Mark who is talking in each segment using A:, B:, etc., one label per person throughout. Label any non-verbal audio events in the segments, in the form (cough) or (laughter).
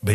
A: Ben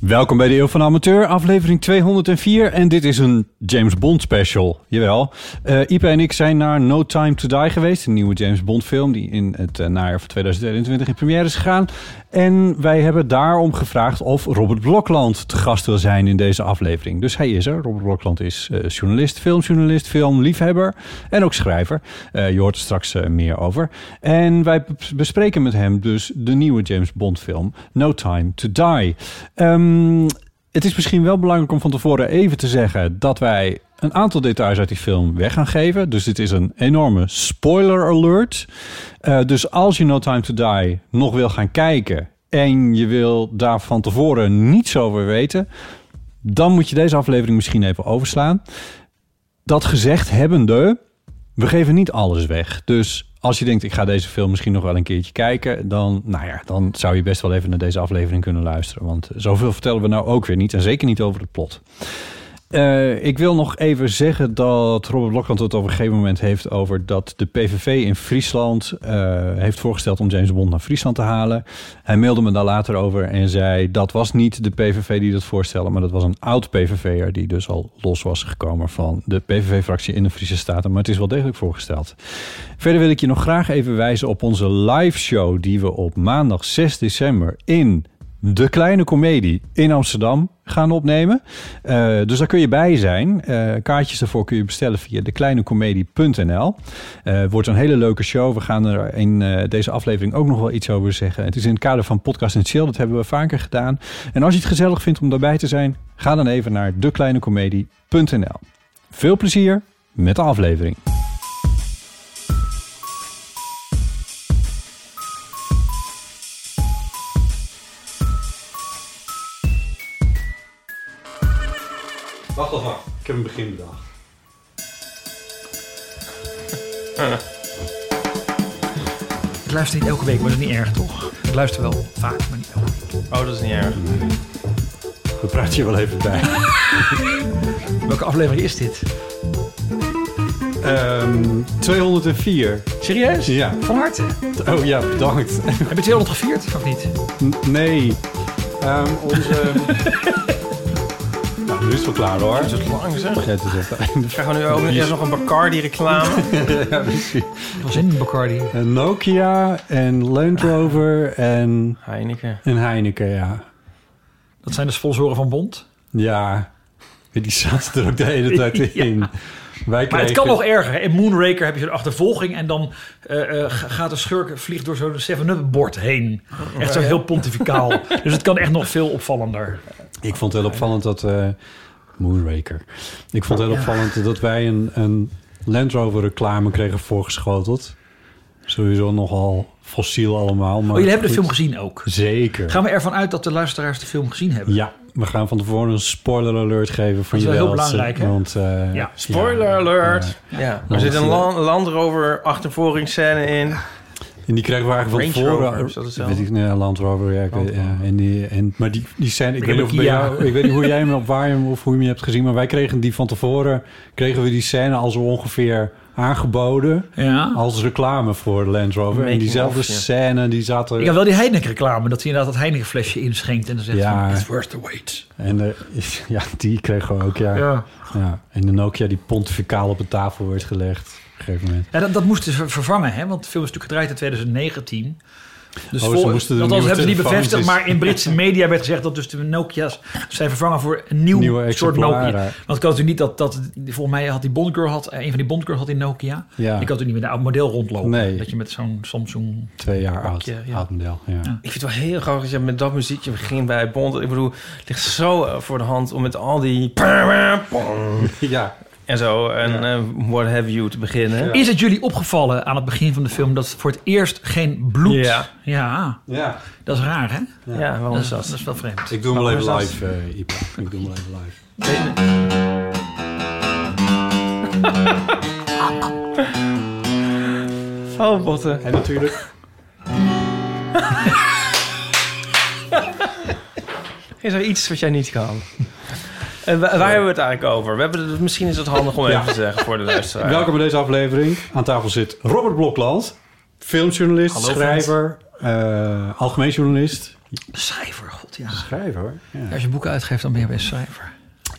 B: Welkom bij de Eeuw van de Amateur, aflevering 204. En dit is een James Bond special. Jawel. Eh Ipe en ik zijn naar No Time to Die geweest. Een nieuwe James Bond film die in het eh, najaar van 2021 in première is gegaan. En wij hebben daarom gevraagd of Robert Blokland te gast wil zijn in deze aflevering. Dus hij is er. Robert Blokland is eh, journalist, filmjournalist, filmliefhebber en ook schrijver. Eh, je hoort er straks eh, meer over. En wij b- bespreken met hem dus de nieuwe James Bond film No Time to Die. Ehm, het is misschien wel belangrijk om van tevoren even te zeggen dat wij een aantal details uit die film weg gaan geven. Dus dit is een enorme spoiler alert. Eh, dus als je No Time to Die nog wil gaan kijken en je wil daar van tevoren niets over weten, dan moet je deze aflevering misschien even overslaan. Dat gezegd hebbende, we geven niet alles weg. Dus als je denkt, ik ga deze film misschien nog wel een keertje kijken, dan, nou ja, dan zou je best wel even naar deze aflevering kunnen luisteren. Want zoveel vertellen we nou ook weer niet. En zeker niet over het plot. Eh, ik wil nog even zeggen dat Robert Blokland het op een gegeven moment heeft over dat de PVV in Friesland eh, heeft voorgesteld om James Bond naar Friesland te halen. Hij mailde me daar later over en zei dat was niet de PVV die dat voorstelde, maar dat was een oud PVV'er die dus al los was gekomen van de PVV-fractie in de Friese Staten. Maar het is wel degelijk voorgesteld. Verder wil ik je nog graag even wijzen op onze live show die we op maandag 6 december in de Kleine Comedie in Amsterdam gaan opnemen. Eh, dus daar kun je bij zijn. Eh, kaartjes daarvoor kun je bestellen via dekleinecomedie.nl. Eh wordt een hele leuke show. We gaan er in eh, deze aflevering ook nog wel iets over zeggen. Het is in het kader van Podcast en Chill. Dat hebben we vaker gedaan. En als je het gezellig vindt om daarbij te zijn... ga dan even naar dekleinecomedie.nl. Veel plezier met de aflevering. Wacht al wacht. Ik heb een begin bedacht.
C: Ik luister niet elke week, maar dat is niet erg, toch? Ik luister wel vaak, maar niet elke week.
D: Oh, dat is niet erg.
B: We praten je wel even bij.
C: Welke aflevering is dit?
B: Ehm, 204.
C: Serieus?
B: Ja.
C: Van harte.
B: Oh ja, bedankt. (laughs)
C: Heb je 200 gevierd, of niet?
B: N- Nee. Ehm, onze. (laughs) nou, nu is het wel klaar hoor.
D: Dat is lang zeg.
B: Vergeet het even.
D: Krijgen we nu ook eerst nog een Bacardi-reclame?
B: ja, precies.
C: Dat was in Bacardi.
B: En Nokia en Land Rover en,
D: Heineken.
B: en Heineken, ja.
C: Dat zijn de sponsoren van Bond.
B: Ja. Die zaten er ook de hele tijd in. Wij
C: Maar het kan
B: kregen-
C: nog erger. hè? In Moonraker heb je zo'n achtervolging en dan eh, eh, ga- gaat de schurk vliegt door zo'n 7-up-bord heen. Echt zo heel pontificaal. (laughs) dus het kan echt nog veel opvallender.
B: Ik vond het heel opvallend dat... eh, Moonraker. Ik vond het heel opvallend dat wij een, een Land Rover reclame kregen voorgeschoteld. Sowieso nogal fossiel allemaal. Maar
C: Oh, jullie hebben de
B: goed.
C: film gezien ook.
B: Zeker.
C: Gaan we ervan uit dat de luisteraars de film gezien hebben?
B: Ja, we gaan van tevoren een spoiler alert geven voor
C: is
B: je
C: wel heel belangrijk, hè?
B: Want, eh,
C: Ja.
D: Spoiler alert!
C: Ja.
D: Ja, er zit een Lan- Land Rover achtervolgingsscène in.
B: En die krijgen we eigenlijk van
D: Range
B: tevoren.
D: Rover, is dat hetzelfde?
B: weet ik, nee, Land Rover. Ja, ik weet- ja, en die, en, maar die, die zijn, ik,
C: Ik
B: weet niet
C: heb
B: of
C: een
B: bij
C: Kia.
B: jou, ik weet niet hoe jij hem of waar je hem of hoe je hem hebt gezien. Maar wij kregen die van tevoren, kregen we die scène al zo ongeveer aangeboden.
C: ja.
B: Als reclame voor Land Rover. en
D: Making
B: diezelfde
D: of, ja.
B: scène, die zat er...
C: Ik had wel die Heineken-reclame, dat hij inderdaad dat Heineken-flesje inschenkt en dan zegt
B: Ja.
C: van, it's worth the wait.
B: En eh, (laughs) ja, die kregen we ook, ja. ja. En de Nokia die pontificaal op de tafel wordt gelegd. Op een gegeven moment.
C: Ja, dat, dat moest dus ver- vervangen, hè? want de film is natuurlijk gedraaid in 2019. Dus
B: Oh, ze
C: vol-
B: moesten de
C: althans,
B: nieuwe
C: hebben ze niet
B: telefoons
C: bevestigd,
B: eens-
C: maar in
B: (laughs)
C: Britse media werd gezegd dat dus de Nokia's zijn vervangen voor een nieuw
B: Nieuwe
C: soort
B: exemplaren.
C: Nokia. Want het kan natuurlijk niet dat, dat volgens mij had die Bondgirl had, eh, een van die Bondgirl had in Nokia.
B: Ja.
C: Die kan natuurlijk niet met een oud model rondlopen.
B: Nee.
C: Dat je met zo'n Samsung.
B: Twee jaar oud,
C: Pakje, ja.
B: oud model. Ja.
C: Ja.
D: Ik vind het wel heel grappig dat je met dat muziekje begint bij Bond. Ik bedoel, het ligt zo eh, voor de hand om met al die... (laughs)
B: Ja.
D: En zo, en eh, what have you te beginnen.
C: Is het jullie opgevallen aan het begin van de film dat voor het eerst geen bloed?
D: Ja.
C: Ja,
B: ja.
C: dat is raar, hè?
D: Ja, waarom
C: Dat
D: is
C: is, dat
D: dat?
C: is wel vreemd.
B: Ik doe hem wel even
D: Waarom is
B: live, eh Iep. Ik doe hem wel even live.
D: Oh, botten.
B: En natuurlijk...
D: Is er iets wat jij niet kan? En wa- waar hebben we het eigenlijk over? We hebben het, misschien is het handig om even te zeggen voor de luisteraar.
B: Welkom bij deze aflevering. Aan tafel zit Robert Blokland. Filmjournalist,
D: Hallo,
B: schrijver, eh, algemeen journalist.
C: Cijfer, god ja.
B: Schrijver? Ja.
C: Als je boeken uitgeeft, dan ben je bij cijfer.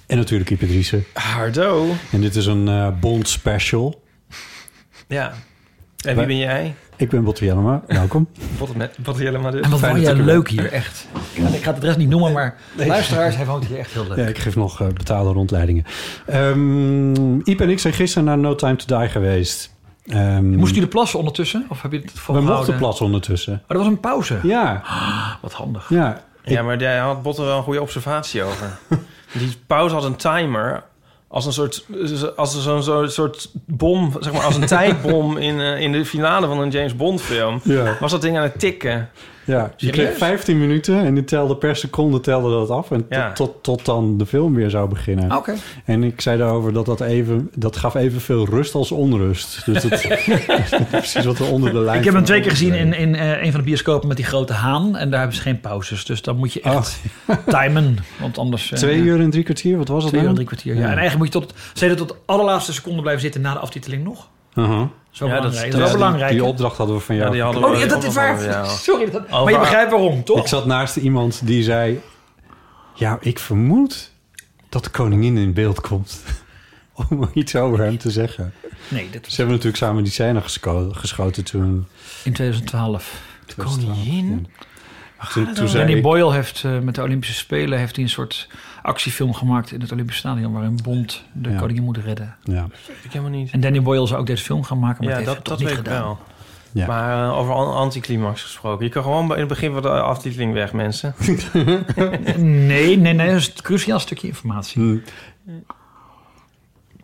B: En natuurlijk Iep Driessen.
D: Hardo.
B: En dit is een eh, Bond special.
D: Ja. En wie ben jij?
B: Ik ben Botte Jellema. Welkom.
D: Botten met Botten helemaal
C: En
B: Fijn
C: wat vond
B: dat
C: jij
B: ik er
C: leuk hier, echt? Ik ga- ik ga het rest niet noemen,
B: (laughs)
C: maar luisteraars, hij woont hier echt heel leuk.
B: Ja, ik geef nog eh, betaalde rondleidingen. Ehm Iep en ik zijn gisteren naar No Time To Die geweest. Ehm,
C: Moest jullie plassen ondertussen? Of heb je het
B: we
C: volgehouden?
B: mochten plassen ondertussen.
C: Maar dat was een pauze.
B: Ja,
C: Wat handig.
B: ja.
D: Ja, maar jij had Botten wel een goede observatie
C: (laughs)
D: over. Die pauze had een timer. Als een soort, als zo'n zo'n soort bom, zeg maar als
C: (laughs)
D: een tijdbom in, eh, in de finale van een James Bond film.
B: Ja,
D: Was dat ding aan het tikken?
B: ja. Je kreeg 15 minuten en die telde per seconde telde dat af. En tot-
D: Ja.
B: tot, tot dan de film weer zou beginnen.
C: Oké.
B: En ik zei daarover dat dat even... Dat gaf evenveel rust als onrust. Dus dat (laughs) precies wat er onder de lijn...
C: Ik heb hem
B: van
C: twee keer gezien in,
B: overbleef.
C: in eh, een van de bioscopen met die grote haan. En daar hebben ze geen pauzes. Dus dan moet je echt (laughs) timen. Want anders... eh,
B: Ah, Twee uur en drie kwartier, wat was dat
C: Twee uur en
B: nou?
C: drie kwartier. Ja.
B: Ja.
C: En eigenlijk moet je tot, zeker tot de allerlaatste seconde blijven zitten na de aftiteling nog.
B: Aha.
C: Dat is wel
D: Ja, dat- dat-
C: belangrijk. Dat, is
B: die-
C: wel belangrijk.
B: Die opdracht hadden we van jou.
D: Ja, die hadden we
C: Oh, ja,
D: ook
C: dat is waar.
D: opgevallen, ja.
C: (laughs) Sorry. Dat, maar je
D: Over-
C: begrijpt waarom, toch?
B: Ik zat naast iemand die zei... Ja, ik vermoed dat de koningin in beeld komt. (laughs) Om iets over hem te zeggen.
C: Nee, dat
B: Ze
C: was
B: hebben natuurlijk samen die scène gescho- geschoten toen...
C: in 2012.
B: De
D: koningin?
B: Toen, toen zei
C: Ah, Danny
B: ik,
C: Boyle heeft eh, met de Olympische Spelen heeft hij een soort actiefilm gemaakt in het Olympisch Stadion. waarin Bond de
B: Ja.
C: koningin moet redden.
B: ja,
D: Weet ik helemaal niet.
C: En Danny Boyle zou ook deze film gaan maken, maar
D: Ja,
C: dat heeft
D: dat,
C: hij
D: dat
C: toch
D: weet
C: niet
D: ik
C: gedaan.
D: wel.
B: Ja.
D: Maar eh, over an- anticlimax gesproken. Je kan gewoon bij- in het begin van de aftiteling weg,
C: (laughs)
D: mensen.
C: Nee, nee, nee, dat is een cruciaal stukje informatie.
B: hm.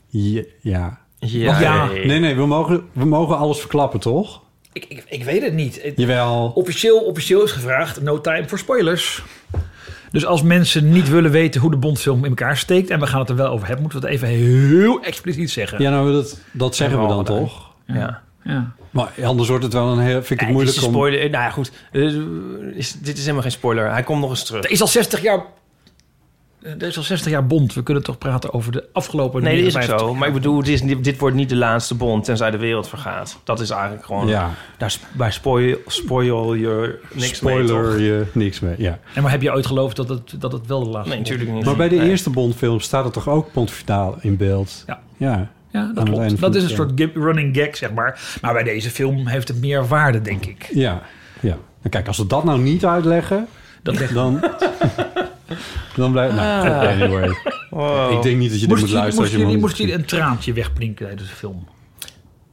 B: Ja, ja.
D: Ja,
C: ja.
B: Nee, nee, we mogen, we mogen alles verklappen, toch?
C: Ik, ik, ik weet het niet. Het-
B: Jawel.
C: Officieel, officieel is gevraagd, no time for spoilers. Dus als mensen niet willen weten hoe de Bondfilm in elkaar steekt... en we gaan het er wel over hebben, moeten we het even heel expliciet zeggen.
B: Ja, nou, dat, dat zeggen we dan
D: Hebben we al
B: toch?
D: Ja.
C: Ja.
B: Maar anders wordt het wel een heel... Vind ik het
D: Ja,
B: moeilijk
D: dit is
B: om...
D: een spoiler. Nou ja, goed. Eh, is- dit is helemaal geen spoiler. Hij komt nog eens terug.
C: Er is al 60 jaar... Er is al 60 jaar Bond. We kunnen toch praten over de afgelopen...
D: Nee, dat is ook
C: 59
D: zo. Maar ik bedoel, dit, is, niet- dit wordt niet de laatste bond tenzij de wereld vergaat. Dat is eigenlijk gewoon...
B: Ja,
D: Daar, sp- bij spoil, spoil je niks
B: spoiler
D: mee, toch?
B: je niks mee, ja.
C: En maar heb je ooit geloofd dat het, dat het wel de laatste
D: Nee,
C: Bond-
D: natuurlijk niet.
B: Maar bij de
D: Nee.
B: eerste Bondfilm staat er toch ook pontificaal in beeld?
C: Ja.
B: Ja,
C: Ja, dat
B: het einde
C: klopt.
B: van
C: Dat
B: de
C: is een
B: film.
C: soort gip- running gag, zeg maar. Maar bij deze film heeft het meer waarde, denk ik.
B: ja. ja. Nou, kijk, als we dat nou niet uitleggen,
C: Dat legt...
B: dan... dan blijft... Nou, goed, anyway.
D: Wow.
B: Ik denk niet dat je dit moet
C: Moest jullie,
B: luisteren
C: moest
B: als je hem
C: jullie,
B: al
C: moest
B: niet
C: jullie een traantje wegplinken tijdens de film?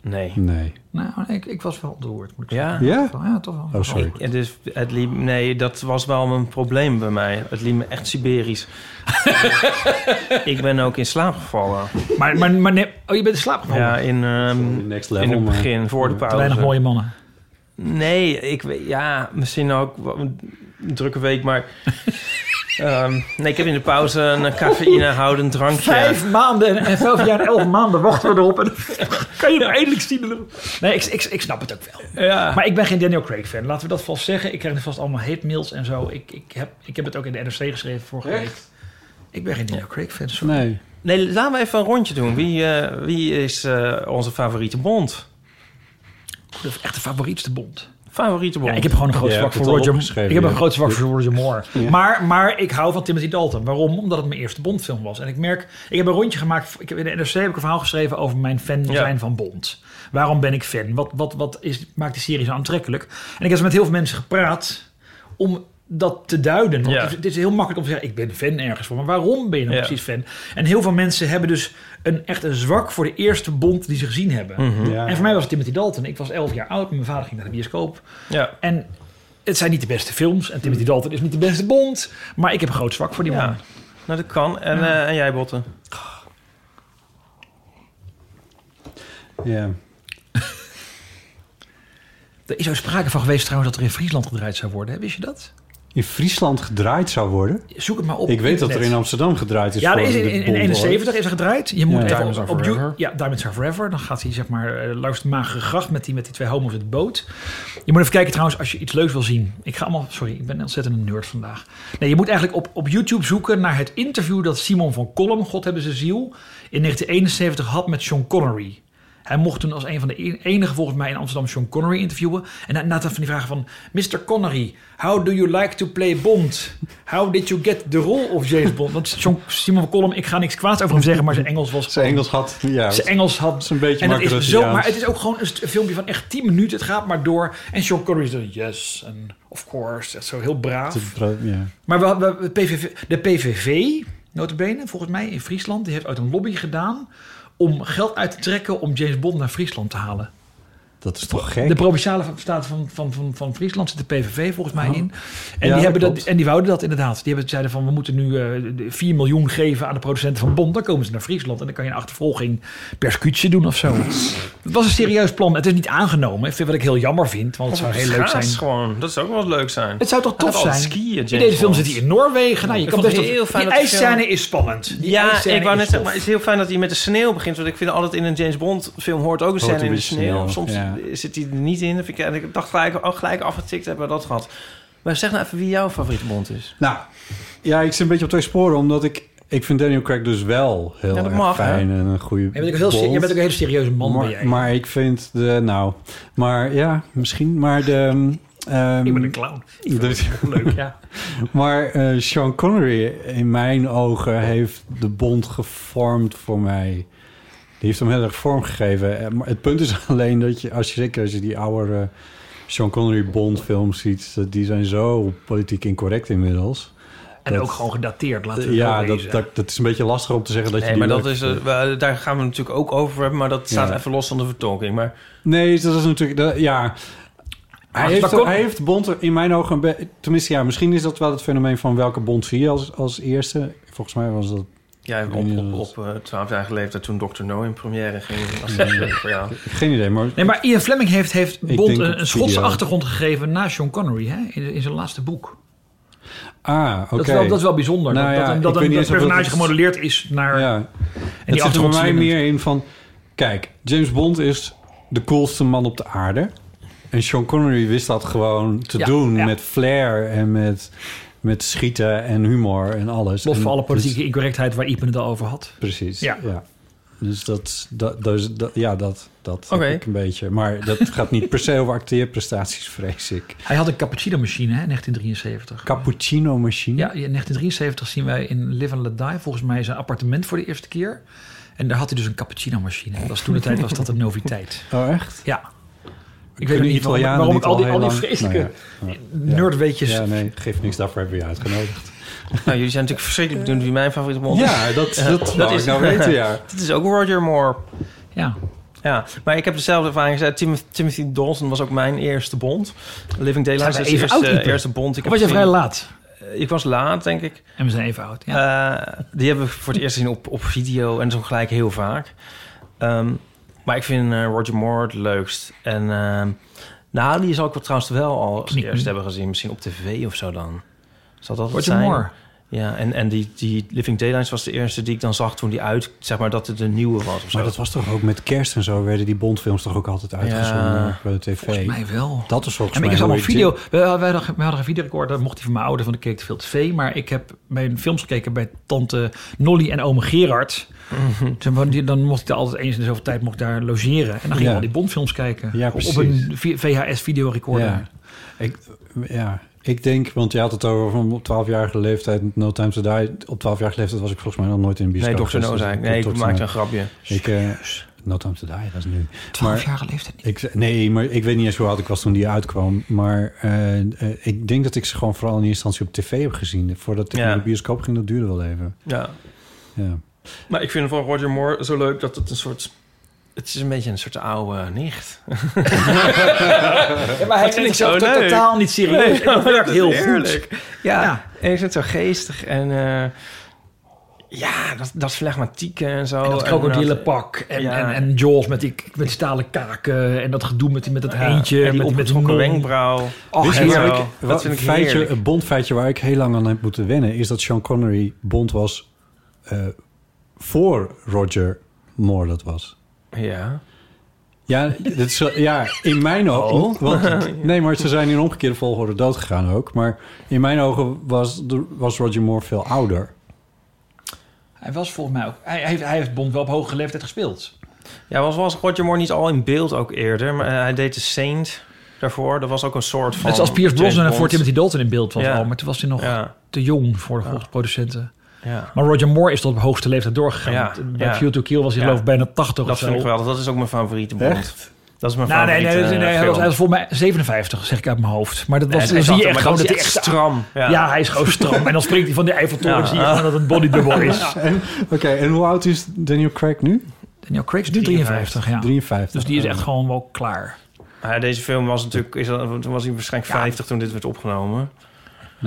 D: Nee.
B: gezien- Nee.
C: Nou, nee, ik, ik was wel ontroerd, moet ik
D: Ja?
C: zeggen.
B: Ja?
C: Ja, toch wel.
B: Oh, sorry.
D: Ja, dus het liep, nee, dat was wel een probleem bij mij. Het liep me echt
B: (laughs)
D: Siberisch. ik ben ook in slaap gevallen.
C: Maar, maar, maar nee, oh, je bent in slaap gevallen.
D: Ja, in, ehm,
B: Next
D: in
B: level,
D: het
B: maar-
D: begin, voor de
C: Te
D: pauze.
C: weinig mooie mannen.
D: Nee, ik weet, ja, misschien ook wel een drukke week, maar... ehm, nee, ik heb in de pauze een cafeïnehoudend drankje.
C: Vijf maanden en, en vijf jaar en elf maanden wachten we erop. En kan je hem eindelijk zien. Nee, ik, ik, ik snap het ook wel.
D: Ja.
C: Maar ik ben geen Daniel Craig fan. Laten we dat vast zeggen. Ik krijg er vast allemaal hate mails en zo. Ik, ik, heb, ik heb het ook in de NRC geschreven vorige week. Ik ben geen Daniel Craig fan. sorry.
B: Nee.
D: Nee, laten we even een rondje doen. Wie, eh, wie is eh, onze favoriete bond?
C: De echte favorietste Bond.
D: Favoriete Bond?
C: Ja, ik heb gewoon een groot
B: Jij
C: zwak
B: hebt
C: voor
B: het al
C: Roger
B: opgeschreven,
C: Ik heb een
B: ja.
C: groot zwak voor Roger Moore.
B: Ja.
C: Maar, maar ik hou van Timothy Dalton. Waarom? Omdat het mijn eerste Bondfilm was. En ik merk, ik heb een rondje gemaakt. Ik heb, in de NRC heb ik een verhaal geschreven over mijn fan
D: Ja.
C: zijn van Bond. Waarom ben ik fan? Wat, wat, wat is, maakt de serie zo aantrekkelijk? En ik heb met heel veel mensen gepraat om dat te duiden. Want
D: Ja.
C: het, is- het is heel makkelijk om te zeggen, ik ben fan ergens van. Maar waarom ben je nou
D: Ja.
C: precies fan? En heel veel mensen hebben dus een, echt een zwak voor de eerste Bond die ze gezien hebben.
B: Ja.
C: Mhm. En voor mij was het Timothy Dalton. Ik was 11 jaar oud. Mijn vader ging naar de bioscoop.
D: Ja.
C: En het zijn niet de beste films. En Timothy
B: Hmm.
C: Dalton is niet de beste Bond. Maar ik heb een groot zwak voor die
D: Ja.
C: man.
D: Nou, dat kan. En, eh, en jij, Botten?
B: Ja.
C: Er is ook sprake van geweest trouwens dat er in Friesland gedraaid zou worden. hè? Wist je dat?
B: In Friesland gedraaid zou worden.
C: Zoek het maar op.
B: ik weet dat er
C: internet.
B: in Amsterdam gedraaid is.
C: Ja, er
B: voor
C: is in,
B: de
C: in, in
B: Bond, hoor.
C: 71 is er gedraaid. Je moet
B: Ja.
C: even
D: Diamonds
C: op,
D: Are
C: op
D: Forever.
C: you- Ja, Diamonds Are Forever. Dan gaat hij zeg maar eh, langs de magere gracht met die, met die twee homo's in de boot. Je moet even kijken trouwens als je iets leuks wil zien. Ik ga allemaal... Sorry, ik ben ontzettend een nerd vandaag. Nee, je moet eigenlijk op, op YouTube zoeken naar het interview dat Simon van Kolm, God hebben zijn ziel, in 1971 had met Sean Connery. Hij mocht toen als een van de e- enige volgens mij in Amsterdam Sean Connery interviewen. En na- na dat van die vragen van... Mr. Connery, how do you like to play Bond? How did you get the role of James Bond? Want Sean, Simon van Kolm, ik ga niks kwaads over hem zeggen... maar zijn Engels was...
B: Zijn Engels had. Ja,
C: Zijn Engels had...
B: is een beetje
C: en het is zo,
B: Marco-Russiaans.
C: maar het is ook gewoon een st- een filmpje van echt 10 minuten. Het gaat maar door. En Sean Connery is dan... Yes, and of course. Echt zo heel braaf.
B: Ja.
C: Maar we, we, we- PVV, de PVV, notabene, volgens mij in Friesland... die heeft uit een lobby gedaan... om geld uit te trekken om James Bond naar Friesland te halen.
B: Dat is toch gek?
C: De provinciale staat van, van, van, van Friesland zit de PVV volgens
D: Ah.
C: mij in. En,
B: dat
C: die hebben dat,
B: klopt.
C: en die wouden dat inderdaad. Die hebben, zeiden van we moeten nu eh, de 4 miljoen geven aan de producenten van Bond. Dan komen ze naar Friesland en dan kan je een achtervolging per scootje doen of zo. Het was een serieus plan. Het is niet aangenomen. Ik vind wat ik heel jammer vind, want het zou heel leuk
D: Schaats
C: zijn.
D: gewoon. Dat zou ook wel leuk zijn.
C: Het zou toch
D: Hij
C: tof
D: gaat altijd
C: zijn?
D: skiën, James
C: in deze film
D: Bond.
C: zit hij in Noorwegen. Nou, je
D: Ik
C: kan
D: vond
C: best
D: het
C: wel-
D: heel fijn
C: die
D: dat de film-
C: ijsscène is spannend. Die
D: Ja,
C: ijsscène
D: ik wou
C: is
D: net zeggen,
C: tof.
D: maar het is heel fijn dat hij met de sneeuw begint. Want ik vind altijd in een James Bond film hoort ook een
B: Hoort
D: scène
B: een
D: in de
B: beetje
D: sneeuw.
B: sneeuw,
D: Soms
B: ja.
D: zit hij er niet in. Dat Vind ik, en ik dacht gelijk, oh, gelijk afgetikt hebben we dat gehad. Maar zeg nou even wie jouw favoriete Bond is.
B: Nou, ja, ik zit een beetje op twee sporen, omdat ik... Ik vind Daniel Craig dus wel heel
D: Ja, dat
B: erg
D: mag, hè?
B: fijn en een goede
C: Jij bent ook, heel
B: Bond.
C: serie- jij bent ook een hele serieuze man. ben
B: maar,
C: jij.
B: maar ik vind de... Nou, maar ja, misschien. Maar de... ehm,
C: ik ben een clown.
B: dus-
C: Leuk, ja.
B: maar eh, Sean Connery in mijn ogen heeft de Bond gevormd voor mij. Die heeft hem heel erg vormgegeven. Eh, Maar het punt is (laughs) alleen dat je, als je zeker als je die oude eh, Sean Connery Bond films ziet, dat die zijn zo politiek incorrect inmiddels.
C: En
B: Dat- eh,
C: ook gewoon gedateerd, laten we het
B: Ja,
C: wel
B: dat,
C: wezen.
B: dat, dat is een beetje lastig om te zeggen dat je
D: Nee,
B: die
D: maar dat
B: leuk
D: is, eh,
B: vindt.
D: we- daar gaan we natuurlijk ook over hebben. Maar dat staat
B: Ja.
D: even los van de vertolking. Maar
B: Nee, dat is natuurlijk... dat- ja. Hij
C: Maar
B: heeft,
C: waar kom-
B: hij heeft Bond er in mijn ogen... een be- Tenminste, ja, misschien is dat wel het fenomeen van welke Bond zie je als, als eerste. Volgens mij was dat...
D: jij
B: weet
D: op,
B: niet
D: op,
B: of
D: op, eh, 12 jaar leeftijd toen Dr. No in première ging. was dat leuk voor jou.
B: Geen idee, maar...
C: Nee, maar Ian Fleming heeft, heeft Bond
B: denk op
C: een, een Schotse
B: video.
C: achtergrond gegeven na Sean Connery hè? In, in zijn laatste boek.
B: Ah, oké.
C: Dat, is wel, dat is wel bijzonder.
B: Nou
C: dat-
B: ja,
C: dat
B: ik
C: dat, dat
B: weet
C: een
B: niet
C: dat
B: eens of dat
C: personage
B: het-
C: gemodelleerd is naar.
B: Ja,
C: en
B: het
C: die
B: zit er voor
C: achtergrond
B: mij
C: zien.
B: meer in van... Kijk, James Bond is de coolste man op de aarde. En Sean Connery wist dat gewoon te
C: Ja,
B: doen
C: ja.
B: met flair en met, met schieten en humor en alles.
C: Los
B: En
C: van alle
B: dus-
C: politieke incorrectheid waar Iepen het al over had.
B: Precies,
C: Ja.
B: ja. Dus dat, dat, dus dat, ja, dat, dat
D: Oké.
B: heb ik een beetje. Maar dat gaat niet per se over acteerprestaties, vrees ik.
C: Hij had een cappuccino-machine, hè, 1973.
B: Cappuccino machine.
C: Ja, in 1973 zien wij in Live and Let Die volgens mij zijn appartement voor de eerste keer. En daar had hij dus een cappuccino-machine. Dat was toen de tijd was dat een noviteit.
B: Oh, echt?
C: Ja. Ik weet
B: Kunnen
C: ook niet
B: Italianen
C: waarom, waarom
B: niet
C: ik al die,
B: heel
C: al die
B: lang-
C: vreselijke
B: Nou ja, ja.
C: nerdweetjes...
B: Ja, nee, geeft niks. Daarvoor hebben we je uitgenodigd.
D: Nou, jullie zijn natuurlijk verschrikkelijk benieuwd wie mijn favoriete Bond
B: (laughs)
D: is. (laughs)
B: Ja, dat, dat, wou ik nou weten, ja.
D: Dit is ook Roger Moore.
C: ja.
D: Ja, maar ik heb dezelfde ervaring. gezegd. Tim- Timothy Dalton was ook mijn eerste bond. Living Daylights
C: Zijn
D: is
C: we
D: de
C: even oud,
D: eerste, eh,
C: Ieper?
D: eerste bond. Ik
C: Of was je
D: heb
C: vrij
D: gezien.
C: laat?
D: Ik was laat, denk ik.
C: En we zijn even oud. Ja.
D: Eh, die hebben we voor het eerst gezien op, op video en zo gelijk heel vaak. Ehm, maar ik vind eh, Roger Moore het leukst. En ehm nou, die zal ik wel trouwens wel al als
C: Knik.
D: eerst hebben gezien. Misschien op tv of zo dan. Zal dat het
C: Roger
D: zijn?
C: Moore.
D: Ja, en, en die, die Living Daylights was de eerste die ik dan zag toen die uit... Zeg maar dat het een nieuwe was of zo.
B: (laughs) Maar dat was toch ook met kerst en zo werden die Bondfilms toch ook altijd uitgezonden
D: Ja.
B: op eh, tv.
C: Volgens mij wel.
B: Dat is volgens
C: Ja, maar ik
B: mij
C: is allemaal
B: hoe
C: video. We, hadden- wij hadden, we hadden een videorecorder, dat mocht hij van mijn ouder, van de keek te veel tv. Maar ik heb mijn films gekeken bij tante Nolly en oom Gerard. Toen wou die- Dan mocht ik daar altijd eens in de zoveel tijd mocht ik daar logeren. En dan ging ik
B: Ja.
C: al die Bondfilms kijken.
B: Ja,
C: op, op
B: precies.
C: een vi- VHS-videorecorder.
B: Ja. Ik, ja, ik denk, want je had het over van 12-jarige leeftijd, No Time To Die. Op 12-jarige leeftijd was ik volgens mij nog nooit in de
D: nee,
B: bioscoop.
D: Dr. No
B: geweest.
D: zei ik.
B: Dus
D: Nee,
B: Dr.
D: ik
B: No.
D: maakte een grapje.
B: Ik, eh, no Time To Die, dat is nu.
C: 12
B: Maar-
C: jaar leeftijd niet.
B: Ik, ze- nee, maar ik weet niet eens hoe oud ik was toen die uitkwam. Maar eh, eh, ik denk dat ik ze gewoon vooral in eerste instantie op tv heb gezien. Voordat ik
D: Ja.
B: naar de bioscoop ging, dat duurde wel even.
D: Ja.
B: Ja.
D: Maar ik vind van Roger Moore zo leuk dat het een soort... Het is een beetje een soort oude nicht.
C: maar hij
D: neemt ik zo zichzelf leuk. totaal
C: niet
D: serieus. En dat werkt heel
C: Heerlijk.
D: Ja,
C: Ja.
D: en ik vind het zo geestig en... eh, ja, dat, dat flegmatieke Oh, en zo.
C: En dat krokodillenpak en,
D: Ja.
C: en, en Jaws met die, met die stalen kaken en dat gedoe met, die- met dat
D: Ja,
C: eentje.
D: en die
C: met, met
D: opgetrokken
C: non.
D: wenkbrauw. nou-
C: Ach,
D: Dit
C: en
D: is
C: zo.
D: ook-
B: Wat
D: dat vind ik
B: een feitje,
D: heerlijk.
B: Een bondfeitje waar ik heel lang aan heb moeten wennen... is dat Sean Connery bond was eh, voor Roger Moore dat was.
D: Ja.
B: Ja, dat is, wel- ja in mijn ogen.
D: Oh. (laughs)
B: Want, nee, maar ze zijn in omgekeerde volgorde doodgegaan ook. Maar in mijn ogen was, de- was Roger Moore veel ouder.
C: Hij was volgens mij ook. Hij, hij heeft, hij heeft Bond wel op hoge leeftijd gespeeld.
D: Ja, was, was Roger Moore niet al in beeld ook eerder? Maar eh, hij deed de Saint daarvoor. Dat was ook een soort van...
C: Net zoals Piers
D: James
C: Brosnan en
D: Bond.
C: voor Timothy Dalton in beeld was
D: Ja.
C: al, maar toen was hij nog
D: Ja,
C: te jong voor de volgens producenten.
D: ja.
C: Maar Roger Moore is tot op hoogste leeftijd doorgegaan.
D: Ja,
C: Want eh, Bij
D: ja.
C: View to Kill was hij
D: Ja.
C: geloof ik bijna 80
D: Dat
C: of zo.
D: vind ik wel. Dat is ook mijn favoriete Bond. Dat is mijn
C: Nou, nee,
D: favoriete
C: nee, nee, nee,
D: eh,
C: hij, was, hij
D: film.
C: was volgens mij 57, zeg ik uit mijn hoofd. Maar dat was,
D: Nee,
C: dan
D: hij
C: zie
D: zat
C: je
D: er, maar
C: echt gewoon
D: dat
C: dat
D: is
C: hij
D: echt
C: echt...
D: stram. Ja.
C: Ja. hij is gewoon
D: (laughs)
C: stram. En dan springt hij van de Eiffeltoren
D: Ja.
C: zie je gewoon dat het bodydouble
D: (laughs)
C: is.
B: En- Oké, en hoe oud is Daniel Craig nu?
C: Daniel Craig is nu 53, ja.
B: 53.
C: Dus die is echt gewoon wel klaar.
D: Ja, deze film was natuurlijk... Is, dat- toen was hij waarschijnlijk
C: Ja.
D: 50 toen dit werd opgenomen.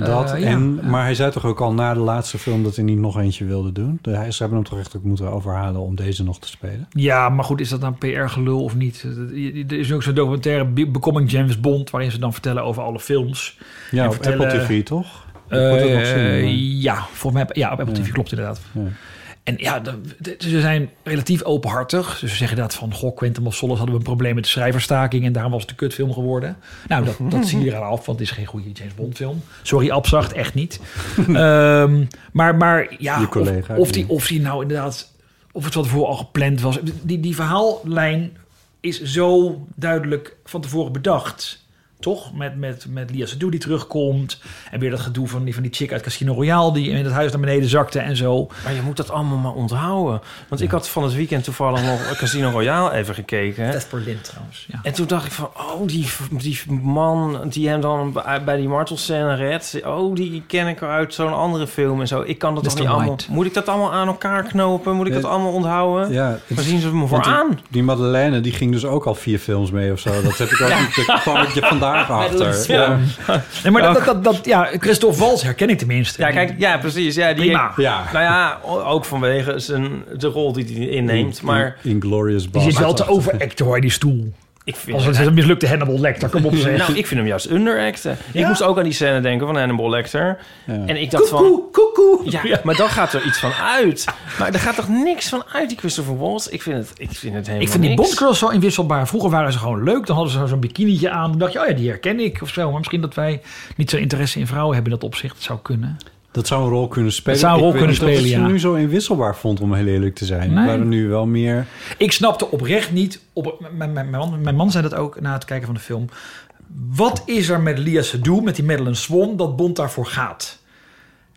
B: Dat,
C: Eh, ja.
B: en, maar hij zei toch ook al na de laatste film dat hij niet nog eentje wilde doen? De, hij- ze hebben hem toch echt ook moeten overhalen om deze nog te spelen?
C: Ja, maar goed, is dat nou PR-gelul of niet? Er is ook zo'n documentaire, Be- Becoming James Bond... waarin ze dan vertellen over alle films.
B: Ja,
C: En
B: op
C: vertellen-
B: Apple TV toch?
C: Eh,
B: Wordt het nog zien, maar-
C: ja, volgens mij, heb- ja, op Apple TV klopt inderdaad.
B: Ja.
C: En ja, de- de- ze zijn relatief openhartig. Dus ze zeggen dat van, goh, Quentin Marsalis hadden we een probleem met de schrijverstaking... en daarom was het een kutfilm geworden. Nou, dat,
B: (laughs)
C: dat zie je eraan af, want het is geen goede James Bond film. Sorry, Abzacht, echt niet. Ehm, maar, maar ja,
B: Hm. Je collega,
C: of, of, die,
B: ja.
C: of die nou inderdaad... of het van tevoren al gepland was. Die, die verhaallijn is zo duidelijk van tevoren bedacht... Toch? Met, met, met Lia Seydoux die terugkomt. En weer dat gedoe van die, van die chick uit Casino Royale... die in het huis naar beneden zakte en zo.
D: Maar je moet dat allemaal maar onthouden. Want ik had van het weekend toevallig nog (laughs) Casino Royale even gekeken. hè.
C: voor Lint trouwens. Ja.
D: En toen dacht ik van, oh, die, die man die hem dan bij- bij die martelscène redt... oh, die ken ik uit zo'n andere film en zo. Ik kan dat
C: Mr.
D: toch niet allemaal...
C: White.
D: Moet ik dat allemaal aan elkaar knopen? Moet ik dat
B: Eh,
D: allemaal onthouden?
B: Ja, het
D: Waar
B: is-
D: zien ze me voor
B: want die-
D: aan?
B: Die Madeleine, die ging dus ook al vier films mee of zo. Dat heb ik ook niet. Daar kwam ik je
D: (laughs)
B: vandaag achter. Ja,
C: Nee, maar dat, dat, dat, dat- ja, Christophe Wals herken ik tenminste.
D: Ja, kijk, ja, precies. Ja, die,
C: Prima.
B: ja.
D: Nou ja, o- ook vanwege zijn, de rol die hij inneemt. Maar
B: Inglorious
C: die zit wel te overacten hoor, die stoel.
D: ik vind...
C: Als het is een mislukte Hannibal Lecter, kom op zeg.
D: Nou, ik vind hem juist underacten. Ik
C: Ja?
D: moest ook aan die scène denken van Hannibal Lecter. En ik dacht van...
C: Koekoe, koekoe.
D: Ja, maar dan gaat er iets van uit. Maar er gaat toch niks van uit, die Christopher Waltz? Ik vind het, ik vind het helemaal
C: Ik vind die
D: niks.
C: bondcurls zo inwisselbaar. Vroeger waren ze gewoon leuk. Dan hadden ze zo'n bikinietje aan. Dan dacht je, oh ja, die herken ik of zo. Maar misschien dat wij niet zo'n interesse in vrouwen hebben in dat opzicht. Dat zou kunnen.
B: Dat zou een rol kunnen spelen.
C: Dat zou een rol
B: Ik weet
C: kunnen
B: niet of
C: spelen,
B: Ik
C: ja.
B: ze nu zo inwisselbaar vond, om heel eerlijk te zijn.
C: Nee.
B: Waren nu wel meer...
C: Ik snapte oprecht niet. Op, mijn, mijn, mijn, man, mijn man zei dat ook na het kijken van de film. Wat is er met Lia Seydoux, met die Madeleine Swan, dat Bond daarvoor gaat?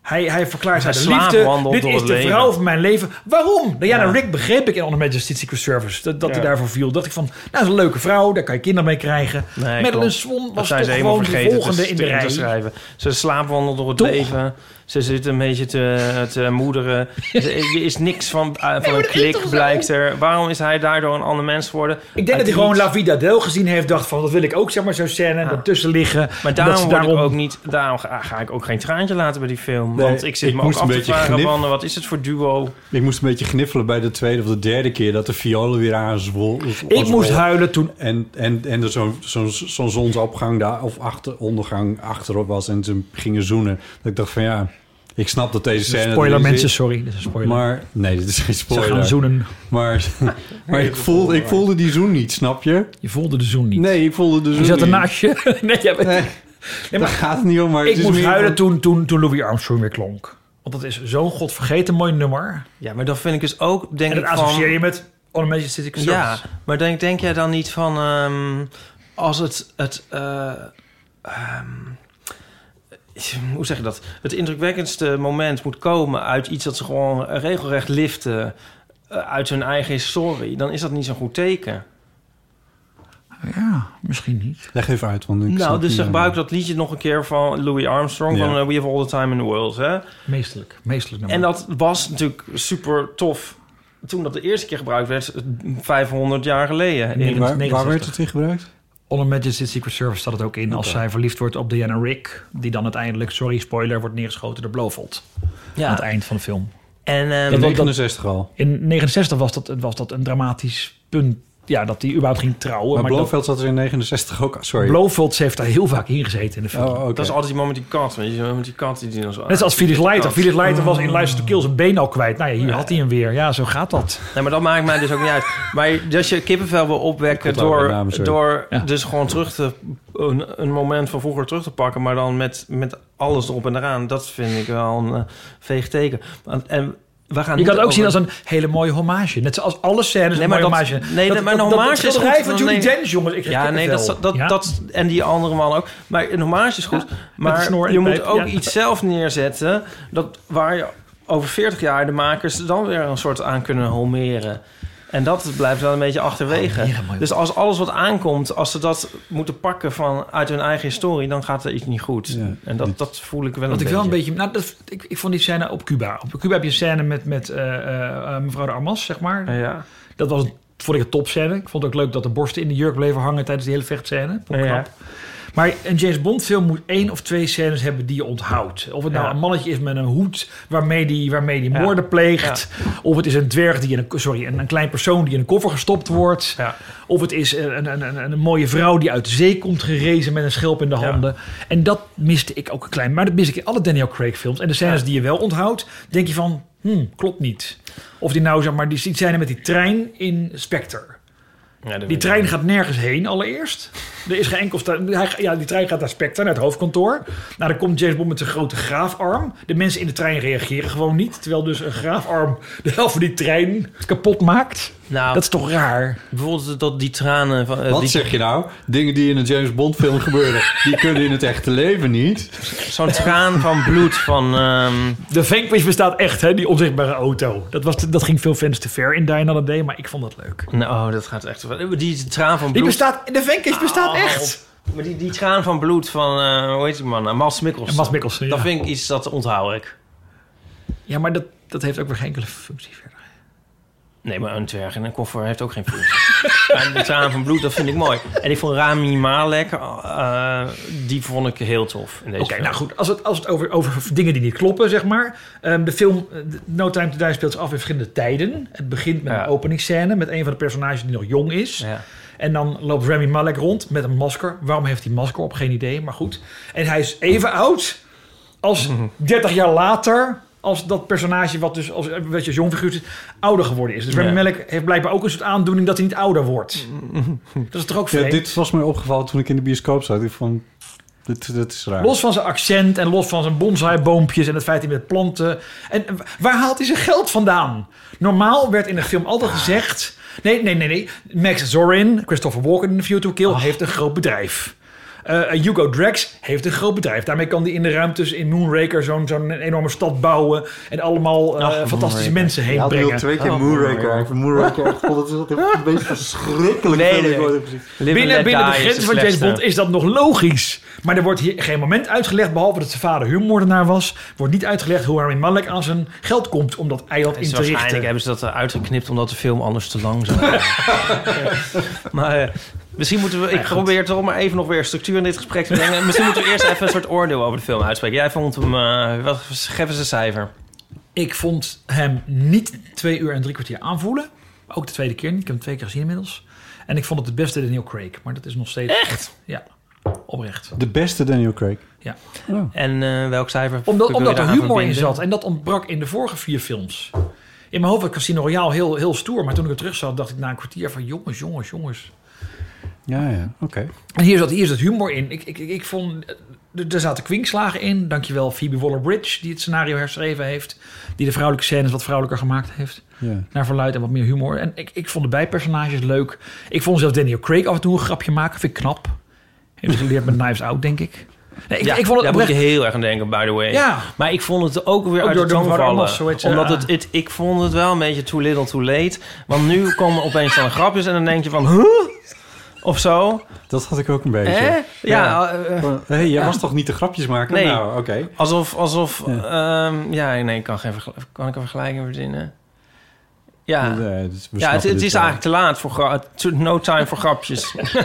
C: Hij, hij verklaart
D: Hij
C: haar de liefde.
D: slaapwandelt
C: Dit
D: door
C: is
D: het
C: de
D: leven.
C: vrouw van mijn leven. Waarom? Nou ja,
D: Ja.
C: nou, Rick begreep ik in On Majesty's Secret Service dat, dat hij
D: Ja.
C: daarvoor viel. Dacht ik van, nou, dat is een leuke vrouw, daar kan je kinderen mee krijgen.
D: Nee,
C: Madeleine
D: klopt.
C: Swan
D: Dat
C: was
D: zijn
C: toch
D: ze helemaal
C: gewoon de
D: vergeten
C: volgende
D: te,
C: in de
D: te- te
C: rij.
D: schrijven. Ze slaapwandelt door het
C: Toch?
D: leven. Ze zit een beetje te, te moederen. Ze- Er is niks van, eh, van een klik, blijkt er. Waarom is hij daardoor een ander mens geworden?
C: Ik denk dat hij gewoon La Vida Del gezien heeft. Dacht van, dat wil ik ook, zeg maar, zo'n scène.
D: Ja.
C: Daartussen liggen.
D: Maar
C: dat ze
D: daarom, word
C: daarom-
D: ik ook niet, daarom ga, ga ik ook geen traantje laten bij die film.
B: Nee,
D: want ik zit
B: ik
D: me ook
B: moest
D: af
B: een
D: te
B: beetje
D: vragen,
B: gnip-
D: van, wat is het voor duo?
B: Ik moest een beetje gniffelen bij de tweede of de derde keer... dat de violen weer aanzwol.
C: Ik moest huilen toen
B: En, en, en er zo'n zo'n zo'n zonsopgang daar, of achter, ondergang achterop was en ze gingen zoenen. Dat ik dacht van ja, Ik snap dat deze scène...
C: Spoiler
B: er is.
C: mensen, sorry. Dit is een spoiler.
B: Maar nee, dit is geen spoiler.
C: Ze gaan zoenen.
B: Maar,
C: (laughs)
B: maar ik, voelde, ik voelde die zoen niet, snap je?
C: Je voelde de zoen niet.
B: Nee, ik voelde de zoen
C: je zat
B: niet.
C: ernaast je. (laughs) Nee, jij
B: (laughs)
C: bent-
B: Nee,
C: Nee,
B: daar
C: maar
B: gaat het niet om. Maar het
C: ik
B: is
C: moest
B: meer
C: huilen
B: van-
C: toen, toen, toen Louis Armstrong weer klonk. Want dat is zo'n godvergeten mooi nummer.
D: Ja, maar dan vind ik dus ook, denk
C: En dat
D: ik van...
C: associeer je met On a Magic City
D: Ja,
C: Concerts.
D: maar denk, denk jij dan niet van... ehm, als het... het eh, ehm, hoe zeg je dat? Het indrukwekkendste moment moet komen uit iets dat ze gewoon regelrecht liften eh, uit hun eigen historie. Dan is dat niet zo'n goed teken.
C: Ja. misschien niet.
B: Leg even uit, want ik
D: nou,
B: snap
D: dus
B: niet
D: ze gebruiken
B: helemaal.
D: dat liedje nog een keer van Louis Armstrong.
B: Ja.
D: Van eh, We Have All The Time In The World. Hè?
C: Meestelijk. Meestelijk nummer.
D: En dat was natuurlijk super tof toen dat de eerste keer gebruikt werd, 500 jaar geleden.
C: Nee,
D: In,
B: Waar, waar
C: maar- 69.
B: werd het in gebruikt?
C: On a Magic City Secret Service staat het ook in als
B: Oké.
C: zij verliefd wordt op Diana Rick. Die dan uiteindelijk, sorry spoiler, wordt neergeschoten door Blofeld. Aan
D: ja.
C: het eind van de film.
D: En, ehm,
B: In
C: dat-
B: 69 al.
C: In 69 was dat, was dat een dramatisch punt. Ja, dat hij überhaupt ging trouwen.
B: Maar,
C: Maar, dat-
B: Blofeld zat er in 69 ook. Sorry.
C: Blofeld heeft daar heel vaak in gezeten in de film.
B: Oh, oké.
D: Dat is altijd die man met die kat, weet je wel, met die kat die die dan zo...
C: Net zoals Felix Leiter.
D: Kat.
C: Felix Leiter was in License to Kill zijn been al kwijt. Nou ja, hier had hij hem weer. Ja, zo gaat dat.
D: Nee, maar dat maakt mij dus ook
C: (laughs)
D: niet uit. Maar als je kippenvel wil opwekken
B: Ik onthoud
D: door,
B: mijn naam, sorry.
D: door
C: Ja.
D: dus gewoon terug te... Een, een moment van vroeger terug te pakken, maar dan met, met alles erop en eraan. Dat vind ik wel een eh, veeg teken. Want- En we gaan
C: Je
D: niet
C: kan het ook
D: over-
C: zien als een hele mooie hommage. Net zoals alle scènes
D: Nee,
C: een
D: maar
C: mooie
D: dat-
C: hommage.
D: nee, maar een hommage is
C: dat, schilderij
D: goed.
C: van Judy
D: Nee.
C: Dench, jongens. Ik
D: Ja, nee, dat, dat, dat, en die andere man ook. Maar een hommage is goed.
C: de
D: maar
C: snor en
D: je
C: de
D: moet
C: peep,
D: ook
C: ja.
D: iets zelf neerzetten... Dat, waar je over 40 jaar de makers dan weer een soort aan kunnen homeren. En dat blijft wel een beetje achterwege.
C: Homeren, mooi.
D: dus als alles wat aankomt, als ze dat moeten pakken van, uit hun eigen historie... dan gaat er iets niet goed.
B: Ja.
D: en dat, dat voel ik wel een
C: Wat ik
D: beetje.
C: wel een beetje... Nou, dat, ik, ik vond die scène op Cuba. Op Cuba heb je een scène met, met eh, eh, eh, mevrouw de Armas, zeg maar.
D: Ja.
C: Dat was, een- vond ik een topscène. Ik vond het ook leuk dat de borsten in de jurk bleven hangen tijdens die hele vechtscène. Vond ik
D: Ja.
C: knap. Maar een James Bond film moet één of twee scènes hebben die je onthoudt. Of het nou
D: Ja.
C: een mannetje is met een hoed waarmee die, waarmee die
D: Ja.
C: moorden pleegt. Of het is een dwerg die in een, sorry, een, een klein persoon die in een koffer gestopt wordt.
D: Ja.
C: Of het is een, een, een, een mooie vrouw die uit de zee komt gerezen met een schelp in de handen. En dat miste ik ook een klein. Maar dat mis ik in alle Daniel Craig films. En de scènes
D: Ja.
C: die je wel onthoudt, denk je van, hmm, klopt niet. Of die nou, zeg maar, die scène met die trein in Spectre.
D: Ja, dat
C: Die
D: weet ik
C: trein gaat nergens heen allereerst. Er is geen enkel... sta- hij- Ja, die trein gaat naar Spectre, naar het hoofdkantoor. Nou, dan komt James Bond met zijn grote graafarm. De mensen in de trein reageren gewoon niet. Terwijl dus een graafarm de helft van die trein kapot maakt.
D: niet. Nou,
C: Dat is toch raar?
D: bijvoorbeeld dat die tranen... Van, eh,
B: Wat
D: die-
B: zeg je nou? Dingen die in een James Bond film (laughs) gebeuren, die kunnen in het echte leven niet.
D: Zo'n traan van bloed van... ehm,
C: De Vanquish bestaat echt, hè? Die onzichtbare auto. Dat, was te- dat ging veel fans te ver in Die Another Day, maar ik vond dat leuk.
D: nou, oh, dat gaat echt... Die traan van bloed...
C: Die bestaat... De Vanquish bestaat
D: Oh.
C: echt!
D: Maar die, die traan van bloed van, eh, hoe heet die man? Uh, Mas Mikkels.
C: En Mas Mikkelsen, ja.
D: Dat vind ik iets, dat onthoud ik.
C: Ja, maar dat, dat heeft ook weer geen enkele functie verder.
D: Nee, maar een dwerg in een koffer heeft ook geen functie. (laughs) maar de traan van bloed, dat vind ik mooi. En ik vond Rami Malek, eh, die vond ik heel tof in deze
C: Oké,
D: film.
C: nou goed. Als het, als het over, over dingen die niet kloppen, zeg maar. Ehm, de film eh, No Time To Die speelt zich af in verschillende tijden. Het begint met
D: Ja.
C: een openingsscène met een van de personages die nog jong is.
D: Ja.
C: En dan loopt Remy Malek rond met een masker. Waarom heeft hij masker op? Geen idee, maar goed. En hij is even oud als
B: Mhm.
C: 30 jaar later... als dat personage wat dus als, wat je jong figuur is, ouder geworden is. Dus Remy
D: Ja.
C: Malek heeft blijkbaar ook een soort aandoening... dat hij niet ouder wordt. Dat is toch ook
B: Mhm. Ja,
C: vreemd?
B: dit was mij opgevallen toen ik in de bioscoop zat. Ik vond, dit, dit is raar.
C: Los van zijn accent en los van zijn bonsaiboompjes en het feit dat hij met planten. En waar haalt hij zijn geld vandaan? Normaal werd in de film altijd gezegd. Nee, nee, nee, nee. Max Zorin, Christopher Walken in The View to Kill, heeft een groot bedrijf. Eh, Hugo Drax heeft een groot bedrijf. Daarmee kan hij in de ruimtes in Moonraker zo'n zo'n enorme stad bouwen. En allemaal eh, fantastische mensen heen brengen.
B: keer Moonraker. Ik vind Moonraker echt dat een (laughs) beetje verschrikkelijk
D: Nee, film nee. ik ooit heb Live and
C: Binnen,
D: Let
C: binnen de
D: Die is
C: grenzen van James
D: slechtste.
C: Bond is dat nog logisch. Maar er wordt hier geen moment uitgelegd, behalve dat zijn vader huurmoordenaar was. Wordt niet uitgelegd hoe Rami Malek aan zijn geld komt om dat eiland in
D: Dus
C: te
D: waarschijnlijk
C: richten.
D: hebben ze dat eruit geknipt omdat de film anders te lang zou
C: (laughs)
D: zijn. maar eh, misschien moeten we... Ik probeer toch maar even nog weer structuur in dit gesprek te brengen. Misschien moeten we eerst even een soort oordeel over de film uitspreken. Jij vond hem... eh, wat, geef eens een cijfer.
C: Ik vond hem niet twee uur en drie kwartier aanvoelen. Ook de tweede keer niet. Ik heb hem twee keer gezien inmiddels. En ik vond het het beste Daniel Craig. Maar dat is nog steeds... Echt? Ja. Oprecht.
B: De beste Daniel Craig.
C: Ja.
D: En eh, welk cijfer?
C: Omdat,
D: wil je
C: omdat er
D: daaraan
C: humor in
D: verbinden?
C: zat. En dat ontbrak in de vorige vier films. In mijn hoofd was Casino Royale heel, heel stoer. Maar toen ik er terug zat, dacht ik na een kwartier van... jongens, jongens, jongens.
B: Ja, ja. Oké.
C: En hier zat, hier zat humor in. Ik, ik, ik, ik vond... eh, Er zaten kwinkslagen in. Dankjewel Phoebe Waller-Bridge, die het scenario herschreven heeft. Die de vrouwelijke scènes wat vrouwelijker gemaakt heeft.
B: Ja.
C: Naar verluid en wat meer humor. En ik, ik vond de bijpersonages leuk. Ik vond zelfs Daniel Craig af en toe een grapje maken. Vind ik knap. Heeft geleerd met Knives Out, denk ik. Nee, ik,
D: Ja,
C: ik vond het
D: daar moet
C: oprecht-
D: je heel erg aan denken, by the way.
C: Ja.
D: Maar ik vond het ook weer
C: Ook
D: uit
C: door
D: de toon
C: Don Juan
D: vallen.
C: Ramos, zo heet ze,
D: Omdat
C: ja.
D: het, het, ik vond het wel een beetje too little too late. Want nu komen opeens dan grapjes en dan denk je van... Huh? Of zo.
B: Dat had ik ook een beetje.
D: Hè? Ja,
B: Ja.
D: eh, eh,
B: Hé, hey, jij was toch niet de grapjesmaker?
D: Nee.
B: Nou, oké.
D: alsof... alsof ja. ja, nee, ik kan, geen vergel- kan ik een vergelijking verzinnen. Ja,
B: Nee, dus we
D: ja het,
B: snappen
D: het
B: dit
D: is
B: wel.
D: eigenlijk te laat voor gra- to- no time voor grapjes. (laughs) Ik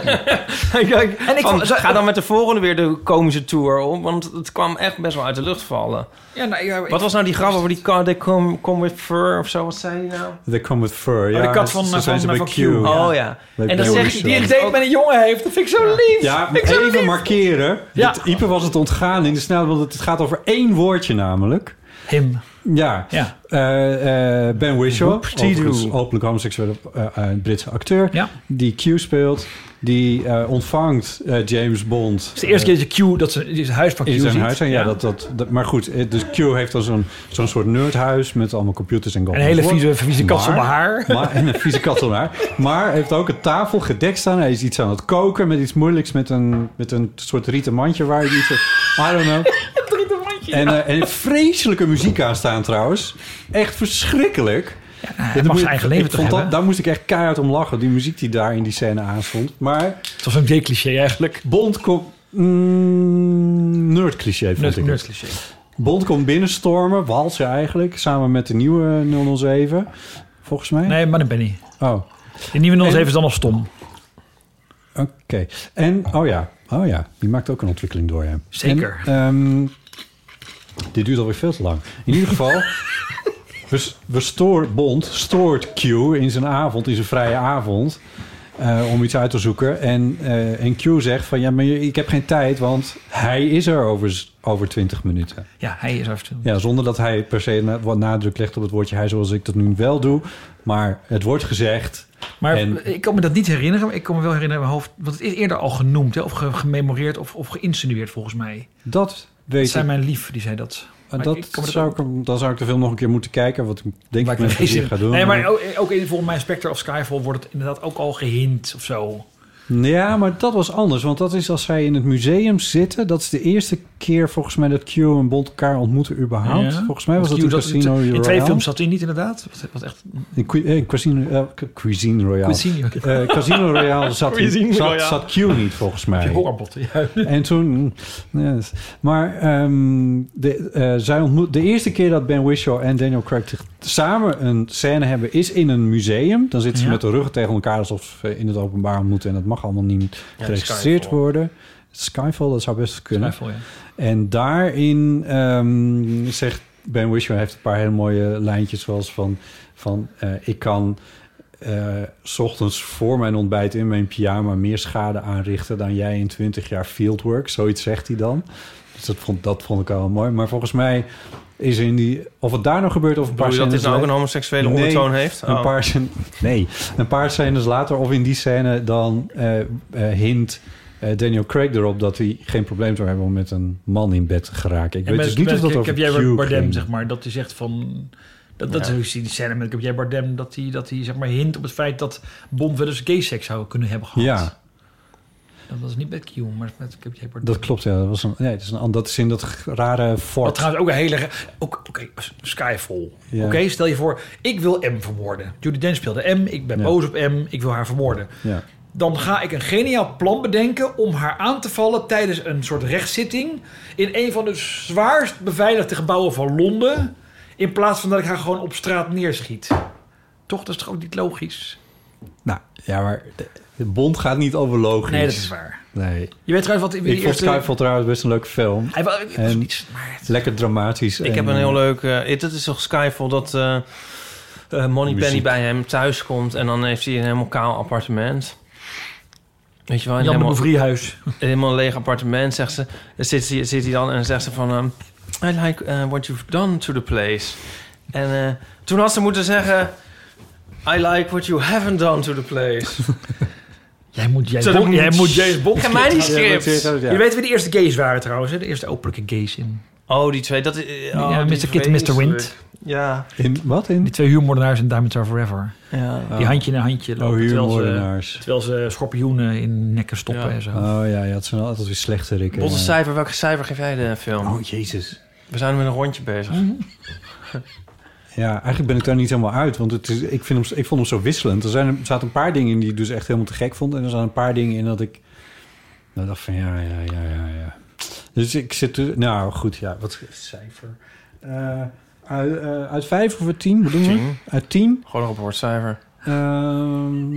D: denk,
C: En ik
D: van,
C: vond- zo-
D: ga dan met de volgende weer de komische tour om, want het kwam echt best wel uit de lucht vallen.
C: Ja, nou, ja, ik-
D: Wat was nou die grap over die car they come, come with fur of zo? Wat zei die nou?
B: They come with fur. Ja,
C: de kat van-
B: zo
C: van-
B: zijn ze
C: van
B: bij
C: Q.
B: Q.
C: Ja.
D: Oh ja.
B: Bij
D: En dan
B: Barry
D: zeg je
B: Sanders.
D: die
C: die date met een jongen heeft. Dat vind ik zo lief.
B: Ja,
C: (laughs) ik zo
B: even
C: lief.
B: markeren.
C: Ja.
B: Dat Ipe was het ontgaan in de snelheid, want het gaat over één woordje namelijk.
C: Him.
B: Ja.
C: Ja.
B: Eh, eh, ben Whishaw,
D: Whoop-dee-doo.
B: overigens openlijk homoseksuele eh, eh, Britse acteur,
C: Ja.
B: die Q speelt, die eh, ontvangt eh, James Bond. eh,
C: Het is de eerste keer dat je Q, dat ze is het huis van Q
B: in zijn
C: ziet.
B: huis. En ja, Dat, dat, dat- maar goed, eh, dus Q heeft dan zo'n zo'n soort nerdhuis met allemaal computers en
C: En een hele
B: golf-
C: vieze, vieze kat
B: Maar-
C: zonder
B: (laughs)
C: haar.
B: Maar, en een vieze kat om haar. Maar hij heeft ook een tafel gedekt staan. Hij is iets aan het koken met iets moeilijks. Met een, met een soort rieten mandje waar hij iets... I don't
C: (laughs)
B: know. En, eh, en vreselijke muziek aan staan trouwens. Echt verschrikkelijk.
C: hij mag zijn eigen leven
B: ik
C: toch
B: vond dat,
C: hebben.
B: Daar moest ik echt keihard om lachen. Die muziek die daar in die scène aanstond. Maar
C: Het was een J-cliché eigenlijk.
B: Bond komt... Mm, nerd cliché vond
C: Nerd,
B: ik het.
C: nerd cliché.
B: Bond komt binnenstormen. Walsen eigenlijk. Samen met de nieuwe 007. Volgens mij.
C: Nee, maar dan ben ik.
B: Oh.
C: De nieuwe
B: En-
C: 07 is dan nog stom.
B: Oké. En, oh ja, oh ja, die maakt ook een ontwikkeling door hem.
C: Zeker.
B: En, ehm, dit duurt alweer veel te lang. In ieder
C: (laughs)
B: geval, we, we stoor, Bond stoort Q in zijn avond, in zijn vrije avond, eh, om iets uit te zoeken. En, eh, en Q zegt van, ja, maar je- ik heb geen tijd, want hij is er over, s- over 20 minuten.
C: Ja, hij is af
B: Ja, zonder dat hij per se na- wat nadruk legt op het woordje hij, zoals ik dat nu wel doe. Maar het wordt gezegd,
C: Maar
B: En-
C: ik kan me dat niet herinneren. Maar ik kan me wel herinneren in mijn hoofd. Want het is eerder al genoemd. Hè, of ge- gememoreerd of, of geïnsinueerd volgens mij.
B: dat weet
C: Het
B: ik
C: zijn mijn lief, die zei dat.
B: Maar
C: Maar
B: dat
C: ik kan me dat
B: zou ik, dan zou ik de film nog een keer moeten kijken. Wat ik denk ik
C: Maakt
B: met
C: geen
B: plezier
C: zin.
B: ga doen.
C: Nee, maar ook, ook in volgens mij Spectre of Skyfall wordt het inderdaad ook al gehint of zo.
B: Ja, maar dat was anders. Want dat is als zij in het museum zitten. Dat is de eerste keer volgens mij dat Q en Bond elkaar ontmoeten überhaupt.
C: Ja.
B: Volgens mij was
C: Want
B: dat in
C: Q
B: Casino
C: in,
B: Royale.
C: in twee films zat hij niet inderdaad. Wat, wat echt
B: In, Cu- eh, Casino, eh, Cuisine Royale. (laughs)
C: Cuisine.
B: Eh, Casino Royale zat,
D: Cuisine
B: zat,
D: Royale.
B: zat Q niet volgens mij.
C: horrorbot. Ja.
B: (laughs) En toen... mm, yes. Maar ehm, de, eh, zij ontmoet, de eerste keer dat Ben Whishaw en Daniel Craig te- samen een scène hebben... is in een museum. Dan zitten ze
C: Ja.
B: met de ruggen tegen elkaar alsof ze in het openbaar ontmoeten. En dat mag allemaal niet geregistreerd
D: Skyfall.
B: worden. Skyfall, dat zou best kunnen.
C: Twijfel, ja.
B: En daarin ehm, zegt Ben Whishaw heeft een paar hele mooie lijntjes zoals van, van eh, ik kan eh, s ochtends voor mijn ontbijt in mijn pyjama meer schade aanrichten dan jij in 20 jaar fieldwork. Zoiets zegt hij dan. Dus dat vond, dat vond ik al wel mooi. Maar volgens mij is in die of het daar nog gebeurt of een paar
D: Bedoel je dat dit nou ook een homoseksuele
B: Nee,
D: ondertoon heeft?
B: een
D: Oh.
B: paar, scène- nee, een paar scènes later of in die scène dan eh, eh, hint eh, Daniel Craig erop dat hij geen probleem zou hebben om met een man in bed te geraken. Ik
C: En
B: weet
C: met-
B: dus niet
C: met-
B: of dat
C: ik-
B: over
C: Ik heb jij
B: Q
C: Bardem,
B: ging.
C: zeg maar, dat hij zegt van... Dat, dat
D: Ja.
C: is die scène met ik heb jij Bardem, dat hij, dat hij zeg maar hint op het feit dat Bond wel eens gay seks zou kunnen hebben gehad.
B: Ja.
C: Dat was niet met Q, maar met ik heb jij Bardem.
B: Dat klopt, ja. Dat, was een, nee, dat, is een, ander- dat is in dat g- rare
C: Wat
B: fort.
C: trouwens ook een hele... ge- ook- Oké, Skyfall.
B: Ja.
C: Oké, stel je voor, ik wil M vermoorden. Judy Dench speelde M, ik ben
B: Ja.
C: boos op M, ik wil haar vermoorden.
B: Ja.
C: Dan ga ik een geniaal plan bedenken om haar aan te vallen tijdens een soort rechtszitting in een van de zwaarst beveiligde gebouwen van Londen. In plaats van dat ik haar gewoon op straat neerschiet. Toch, dat is toch ook niet logisch?
B: Nou, ja, maar de, de Bond gaat niet over logisch.
C: Nee, dat is waar.
B: Nee.
C: Je weet trouwens wat in
B: Ik vond Skyfall trouwens best een leuke film.
C: Hij was, het was
B: En-
C: niets, maar het-
B: Lekker dramatisch.
D: Ik heb een heel leuk... eh, het- het is toch Skyfall dat eh Penny
B: Muziek.
D: bij hem thuis komt... en dan heeft hij een helemaal kaal appartement. Weet je wel,
C: Jan de
D: helemaal,
C: Boevriehuis.
D: helemaal een leeg appartement, zegt ze. Dan Zit, hij- zit hij dan en zegt ze van... ehm, I like eh, what you've done to the place. En eh, toen had ze moeten zeggen... I like what you haven't done to the
C: (laughs)
D: place.
C: Jij moet, jij,
D: Zodat
C: Bond-
D: ik
C: jij
D: niet-
C: moet James Bond.
D: Ik heb mij niet
B: Ja,
D: script.
B: ja.
C: Je weet wie de eerste gays waren trouwens, hè? De eerste openlijke gays in.
D: Oh, die twee. Dat, is- oh,
C: ja,
D: die
C: Mr. Kid en Mr. Wind.
D: Ja.
B: In, wat in?
C: Die twee huurmoordenaars in Diamonds Are Forever.
D: ja.
C: Die handje in handje
B: Oh,
C: lopen. terwijl, ze,
B: huurmoordenaars.
C: terwijl ze eh, schorpioenen in nekken stoppen
D: Ja.
C: en zo.
B: Oh ja, ja, het zijn altijd weer slechte rikken.
D: Botte
B: Ja.
D: cijfer. Welke cijfer geef jij de film?
B: Oh, jezus.
D: We zijn met een rondje bezig.
B: Mhm. Ja, eigenlijk ben ik daar niet helemaal uit. Want het is, ik, vind hem, ik vond hem zo wisselend. Er, zijn, er zaten een paar dingen in die ik dus echt helemaal te gek vond. En er zaten een paar dingen in dat ik... Nou, dacht van ja, ja, ja, ja, ja. Dus ik zit... er- Nou, goed, ja. Wat is het cijfer? Eh, uit, eh, uit vijf of uit tien? Wat doen we?
D: Tien.
B: Uit tien?
D: Gewoon nog op woordcijfer.
B: Ehm,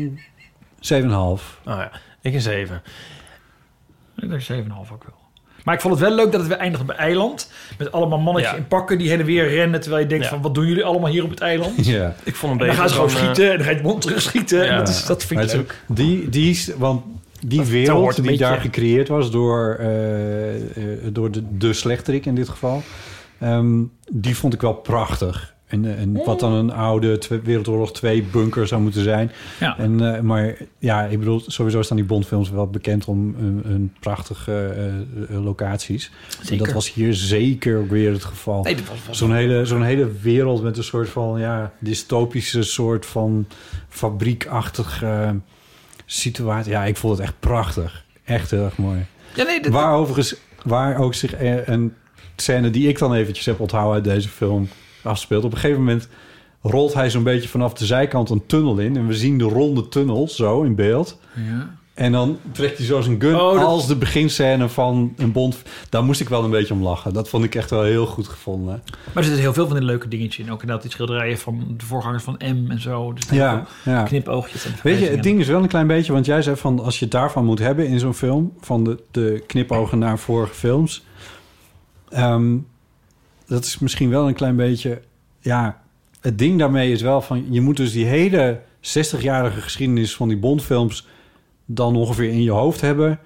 B: Zeven en een half.
D: Nou ja, ik een zeven.
C: Ik denk 7,5 ook wel. Maar ik vond het wel leuk dat het weer eindigt op een eiland. Met allemaal mannetjes
D: Ja.
C: in pakken die heen en weer rennen. Terwijl je denkt
D: Ja.
C: van, wat doen jullie allemaal hier op het
D: (laughs)
C: eiland?
B: Ja.
D: Ik vond hem
C: En
D: beter
C: dan gaan ze gewoon
D: dan, eh,
C: schieten en dan ga je het mond terug schieten.
D: ja.
C: En dat, is, dat vind
B: Maar
C: ik
B: het is
C: leuk.
B: ook- die, die, is- want die wereld
C: hoort een
B: die
C: beetje.
B: daar gecreëerd was door, eh, eh, door de, de slechterik in dit geval, ehm, die vond ik wel prachtig. En, eh, en wat dan een oude Twe- Wereldoorlog 2 bunker zou moeten zijn.
C: Ja.
B: En, eh, maar ja, ik bedoel, sowieso staan die Bondfilms wel bekend om hun, hun prachtige eh, eh, locaties. En dat
C: Zeker.
B: was hier zeker weer het geval.
C: Nee, dat was, was-
B: Zo'n hele, zo'n hele wereld met een soort van ja, dystopische soort van fabriekachtige eh, situatie. Ja, ik vond het echt prachtig. Echt heel erg mooi.
C: Ja, nee, dat-
B: Waar overigens, waar ook zich eh, een scène die ik dan eventjes heb onthouden uit deze film afspeelt. Op een gegeven moment rolt hij zo'n beetje vanaf de zijkant een tunnel in. En we zien de ronde tunnel zo in beeld. En dan trekt hij zo zijn gun
C: Oh, dat-
B: als de beginscène van een bond. Daar moest ik wel een beetje om lachen. Dat vond ik echt wel heel goed gevonden.
C: Maar er zitten heel veel van die leuke dingetjes in. Ook inderdaad die schilderijen van de voorgangers van M en zo. Dus
B: Ja, ja.
C: Knipoogjes en
B: Weet je,
C: verwijzingen.
B: het ding is wel een klein beetje, want jij zei van als je het daarvan moet hebben in zo'n film, van de, de knipogen naar vorige films, ehm, dat is misschien wel een klein beetje, ja, het ding daarmee is wel van je moet dus die hele 60-jarige geschiedenis van die Bondfilms dan ongeveer in je hoofd hebben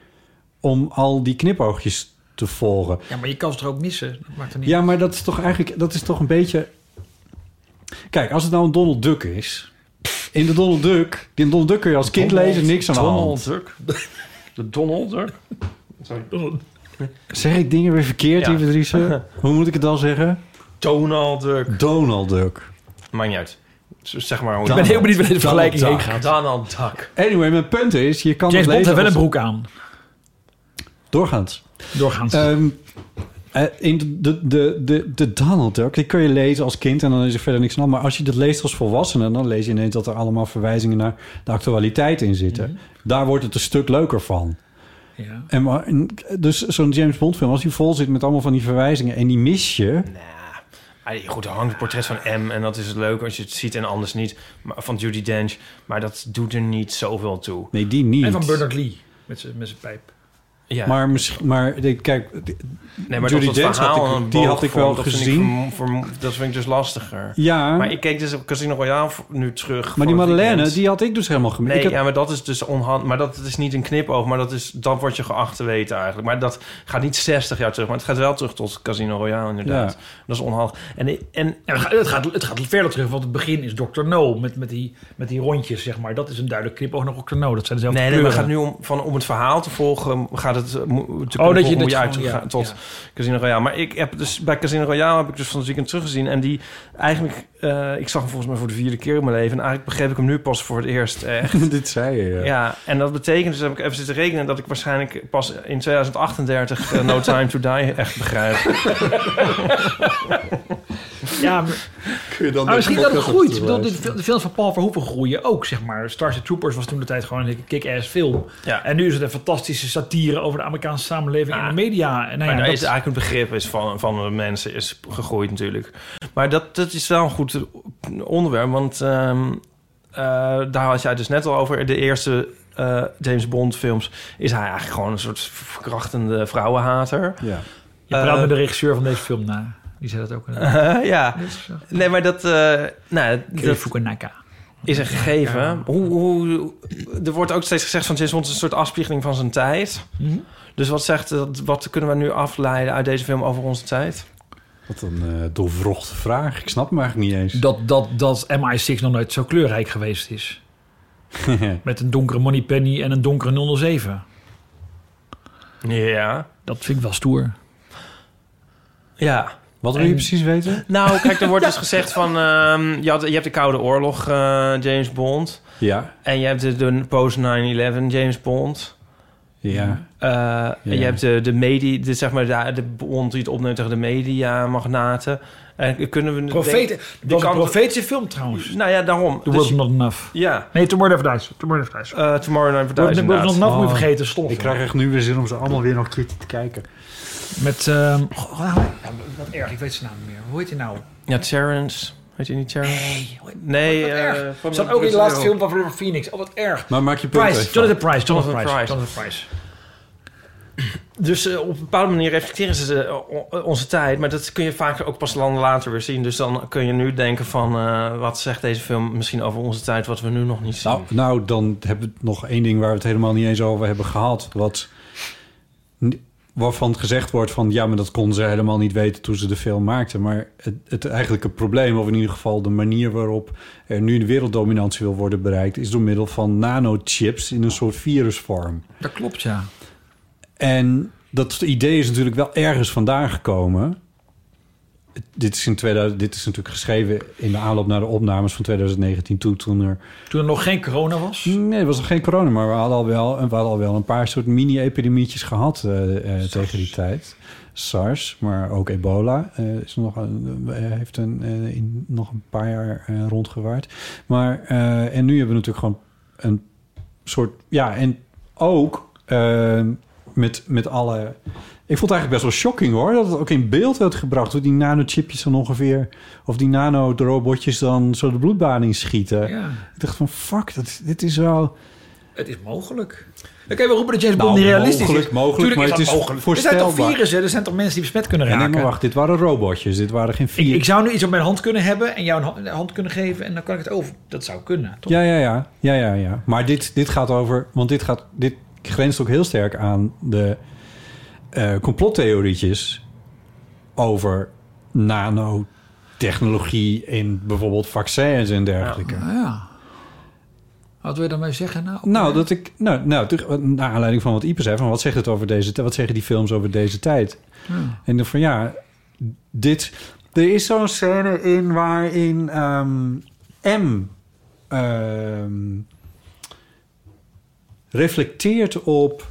B: om al die knipoogjes te volgen.
C: Ja, maar je kan ze er ook missen. Dat maakt er niet
B: Ja, maar dat is toch eigenlijk, dat is toch een beetje. Kijk, als het nou een Donald Duck is. In de Donald Duck, in Donald Duck kun je als kind lezen niks aan de hand.
D: Donald Duck. (laughs) De Donald Duck. Sorry.
B: Zeg ik dingen weer verkeerd,
D: Ja.
B: ja.
C: (laughs)
B: Hoe moet ik het dan zeggen?
D: Donald Duck.
B: Donald Duck.
D: Maakt niet uit. Z- Zeg maar hoe
B: Dan-
C: Ik ben
D: (laughs)
C: heel benieuwd waar deze
B: Donald
C: vergelijking heen
B: Duck.
C: gaat.
D: Donald Duck.
B: Anyway, mijn punt is, je kan
C: James
B: het
C: Bond
B: lezen
C: heeft wel een
B: als-
C: broek aan.
B: Doorgaans.
C: Doorgaans.
B: Ehm, eh, in de, de, de, de Donald Duck, die kun je lezen als kind en dan is er verder niks aan. Maar als je dat leest als volwassene, dan lees je ineens dat er allemaal verwijzingen naar de actualiteit in zitten.
C: Mhm.
B: Daar wordt het een stuk leuker van.
C: ja.
B: En maar, en dus zo'n James Bond film, als die vol zit met allemaal van die verwijzingen en die mis je.
D: Ah, Goed, er hangt het portret van M en dat is het leuk als je het ziet en anders niet. Maar, van Judy Dench. Maar dat doet er niet zoveel toe.
B: Nee, die niet.
C: En van Bernard Lee. Met zijn met zijn pijp.
D: Ja.
B: Maar, misschien, maar de- kijk, de-
D: nee, maar
B: Judi
D: dat het
B: Dench had
D: verhaal
B: ik-
D: een
B: die
D: boog
B: had ik wel
D: vormt, dat vind ik
B: gezien.
D: vermo- vermo- dat vind ik dus lastiger.
B: ja, maar,
D: Maar ik keek dus Casino Royale v- nu terug. voor
B: die
D: het
B: Madeleine,
D: weekend.
B: die had ik dus helemaal gemist.
D: Nee,
B: ik heb-
D: ja, maar dat is dus onhand. Maar dat is niet een knipoog, maar dat is dan word je geacht te weten eigenlijk. Maar dat gaat niet 60 jaar terug, maar het gaat wel terug tot Casino Royale inderdaad.
B: Ja.
D: Dat is onhandig. En, en
C: Ja, het, gaat, het, gaat, het gaat verder terug, want het begin is Dr. No met, met, die, met die rondjes, zeg maar. Dat is een duidelijk knipoog naar Dr. No. Dat zijn dezelfde
D: nee, nee, maar
C: kleuren.
D: het gaat nu om van om het verhaal te volgen, gaat het eh, mo- te kunnen
C: Oh, dat je
D: volgen,
C: dit
D: moet je uit
C: gewoon-
D: te
C: ja,
D: gaan tot
C: ja.
D: Casino Royale. Maar ik heb dus bij Casino Royale heb ik dus van het weekend teruggezien en die eigenlijk eh, ik zag hem volgens mij voor de vierde keer in mijn leven en eigenlijk begreep ik hem nu pas voor het eerst
B: (laughs)
D: echt.
B: dit zei je. Ja.
D: Ja, en dat betekent, dus heb ik even zitten rekenen... dat ik waarschijnlijk pas in 2038 eh, No Time To Die echt begrijp.
C: Ja, maar,
B: (laughs) Kun je dan
C: maar misschien dat het groeit. Ik bedoel, de, fil- de films van Paul Verhoeven groeien ook, zeg maar. Starship Troopers was toen de tijd gewoon een kick-ass film.
D: Ja.
C: En nu is het een fantastische satire over de Amerikaanse samenleving en
D: Ah.
C: de media. En, nou ja,
D: maar daar
C: dat-
D: is eigenlijk het begrip is van, van de mensen is gegroeid natuurlijk. Maar dat, dat is wel een goed onderwerp, want ehm, eh, daar had jij dus net al over. De eerste eh, James Bond films is hij eigenlijk gewoon een soort verkrachtende vrouwenhater. (laughs)
B: Ja.
C: je praat
D: eh,
C: met de regisseur van deze film na. Die zei dat ook. Uh,
D: ja, nee, maar dat... eh nou,
C: Kei
D: dat
C: Fukunaga.
D: is een gegeven. Hoe, hoe, er wordt ook steeds gezegd van James Bond is een soort afspiegeling van zijn tijd.
C: Mhm.
D: Dus wat, zegt, dat- wat kunnen we nu afleiden uit deze film over onze tijd?
B: Wat een eh doorwrochte vraag. Ik snap hem eigenlijk niet eens.
C: Dat, dat, dat MI6 nog nooit zo kleurrijk geweest (laughs) is. Met een donkere Moneypenny en een donkere 007.
D: Ja.
C: Dat vind ik wel stoer.
D: Ja.
B: Wat wil je precies weten?
D: Nou, kijk, er (laughs) wordt dus gezegd van... ehm, je, had, je hebt de Koude Oorlog, eh, James Bond.
B: Ja.
D: En je hebt de, de post-9-11 James Bond.
B: Ja.
D: Eh, en je hebt de, de media, de, zeg maar, de, de Bond die het opneemt tegen de media-magnaten. En kunnen we... die
C: Profeten. Dat was een
D: kant-
C: profetische film trouwens.
D: Nou ja, daarom.
C: The
D: Dus-
C: World Not Enough.
D: ja,
C: Nee, Tomorrow Never Dies. Tomorrow Never Dies.
D: eh, Tomorrow Night
C: The
D: Paradise
C: World Not
D: inderdaad.
C: Enough moet je
B: Oh.
C: vergeten. Stof.
B: Ik krijg echt nu weer zin om ze allemaal weer nog een keertje te kijken.
C: Met... ehm goh, nou, nou, wat erg. Ik weet zijn naam niet meer. Hoe heet hij nou?
D: Ja, Terrence. Weet je niet Terrence?
C: Nee. hoe heet-
D: Eh, Nee,
C: Wat
D: eh,
C: erg.
D: van
C: Zat
D: de
C: ook in de laatste
D: origineel.
C: film van River Phoenix. Oh, wat erg.
B: Maar maak je punt
C: Price.
B: even.
C: Jonathan Price. Jonathan
D: Jonathan
C: Price.
D: Price.
C: Jonathan Price.
D: Dus eh, op een bepaalde manier reflecteren ze eh, o- onze tijd. Maar dat kun je vaak ook pas lang later weer zien. Dus dan kun je nu denken van... eh, wat zegt deze film misschien over onze tijd... wat we nu nog niet zien.
B: Nou, nou, dan hebben we nog één ding waar we het helemaal niet eens over hebben gehad. Wat, waarvan gezegd wordt van... ja, maar dat konden ze helemaal niet weten toen ze de film maakten. Maar het, het eigenlijke probleem, of in ieder geval de manier waarop... er nu de werelddominantie wil worden bereikt... is door middel van nanochips in een soort virusvorm.
C: Dat klopt, ja.
B: En dat idee is natuurlijk wel ergens vandaan gekomen. Dit is, in 2000, dit is natuurlijk geschreven in de aanloop naar de opnames van 2019 toe... toen er
C: Toen er nog geen corona was.
B: Nee, het was nog geen corona, maar we hadden al wel, we hadden al wel een paar soort mini-epidemietjes gehad eh, eh, tegen die tijd. SARS, maar ook ebola eh, is nog een- eh, heeft een, eh, in, nog een paar jaar eh, rondgewaard. Maar, eh, en nu hebben we natuurlijk gewoon een soort... Ja, en ook eh, met, met alle... Ik vond het eigenlijk best wel shocking hoor, dat het ook in beeld werd gebracht... hoe die nanochipjes dan ongeveer, of die nano-robotjes dan zo de bloedbaan inschieten.
C: Ja.
B: Ik dacht van, fuck, dat, dit is wel...
C: Het is mogelijk. Oké, we roepen dat James Bond niet
B: Nou,
C: realistisch
B: mogelijk,
C: is.
B: mogelijk,
C: Tuurlijk
B: maar
C: is
B: het
C: dat
B: is
C: mogelijk. Er zijn toch
B: voorstelbaar.
C: virussen, er zijn toch mensen die besmet kunnen
B: Ja, nee,
C: raken.
B: maar wacht, dit waren robotjes. Dit waren geen
C: ik,
B: vier.
C: ik zou nu iets op mijn hand kunnen hebben en jou een ha- een hand kunnen geven en dan kan ik het over. Dat zou kunnen, toch?
B: ja, ja, ja, ja, ja, ja. Maar dit, dit gaat over... Want dit, gaat, dit grenst ook heel sterk aan de eh, complottheorietjes... over nanotechnologie in bijvoorbeeld vaccins en dergelijke.
C: Ah, ja. Wat wil je daarmee zeggen nou?
B: Nou, dat ik, nou, nou, terug- naar aanleiding van wat Ieper zei, van wat zegt het over deze, tijd? wat zeggen die films over deze tijd?
C: Ah.
B: En dan van ja, dit, er is zo'n scène in waarin ehm, M ehm, reflecteert op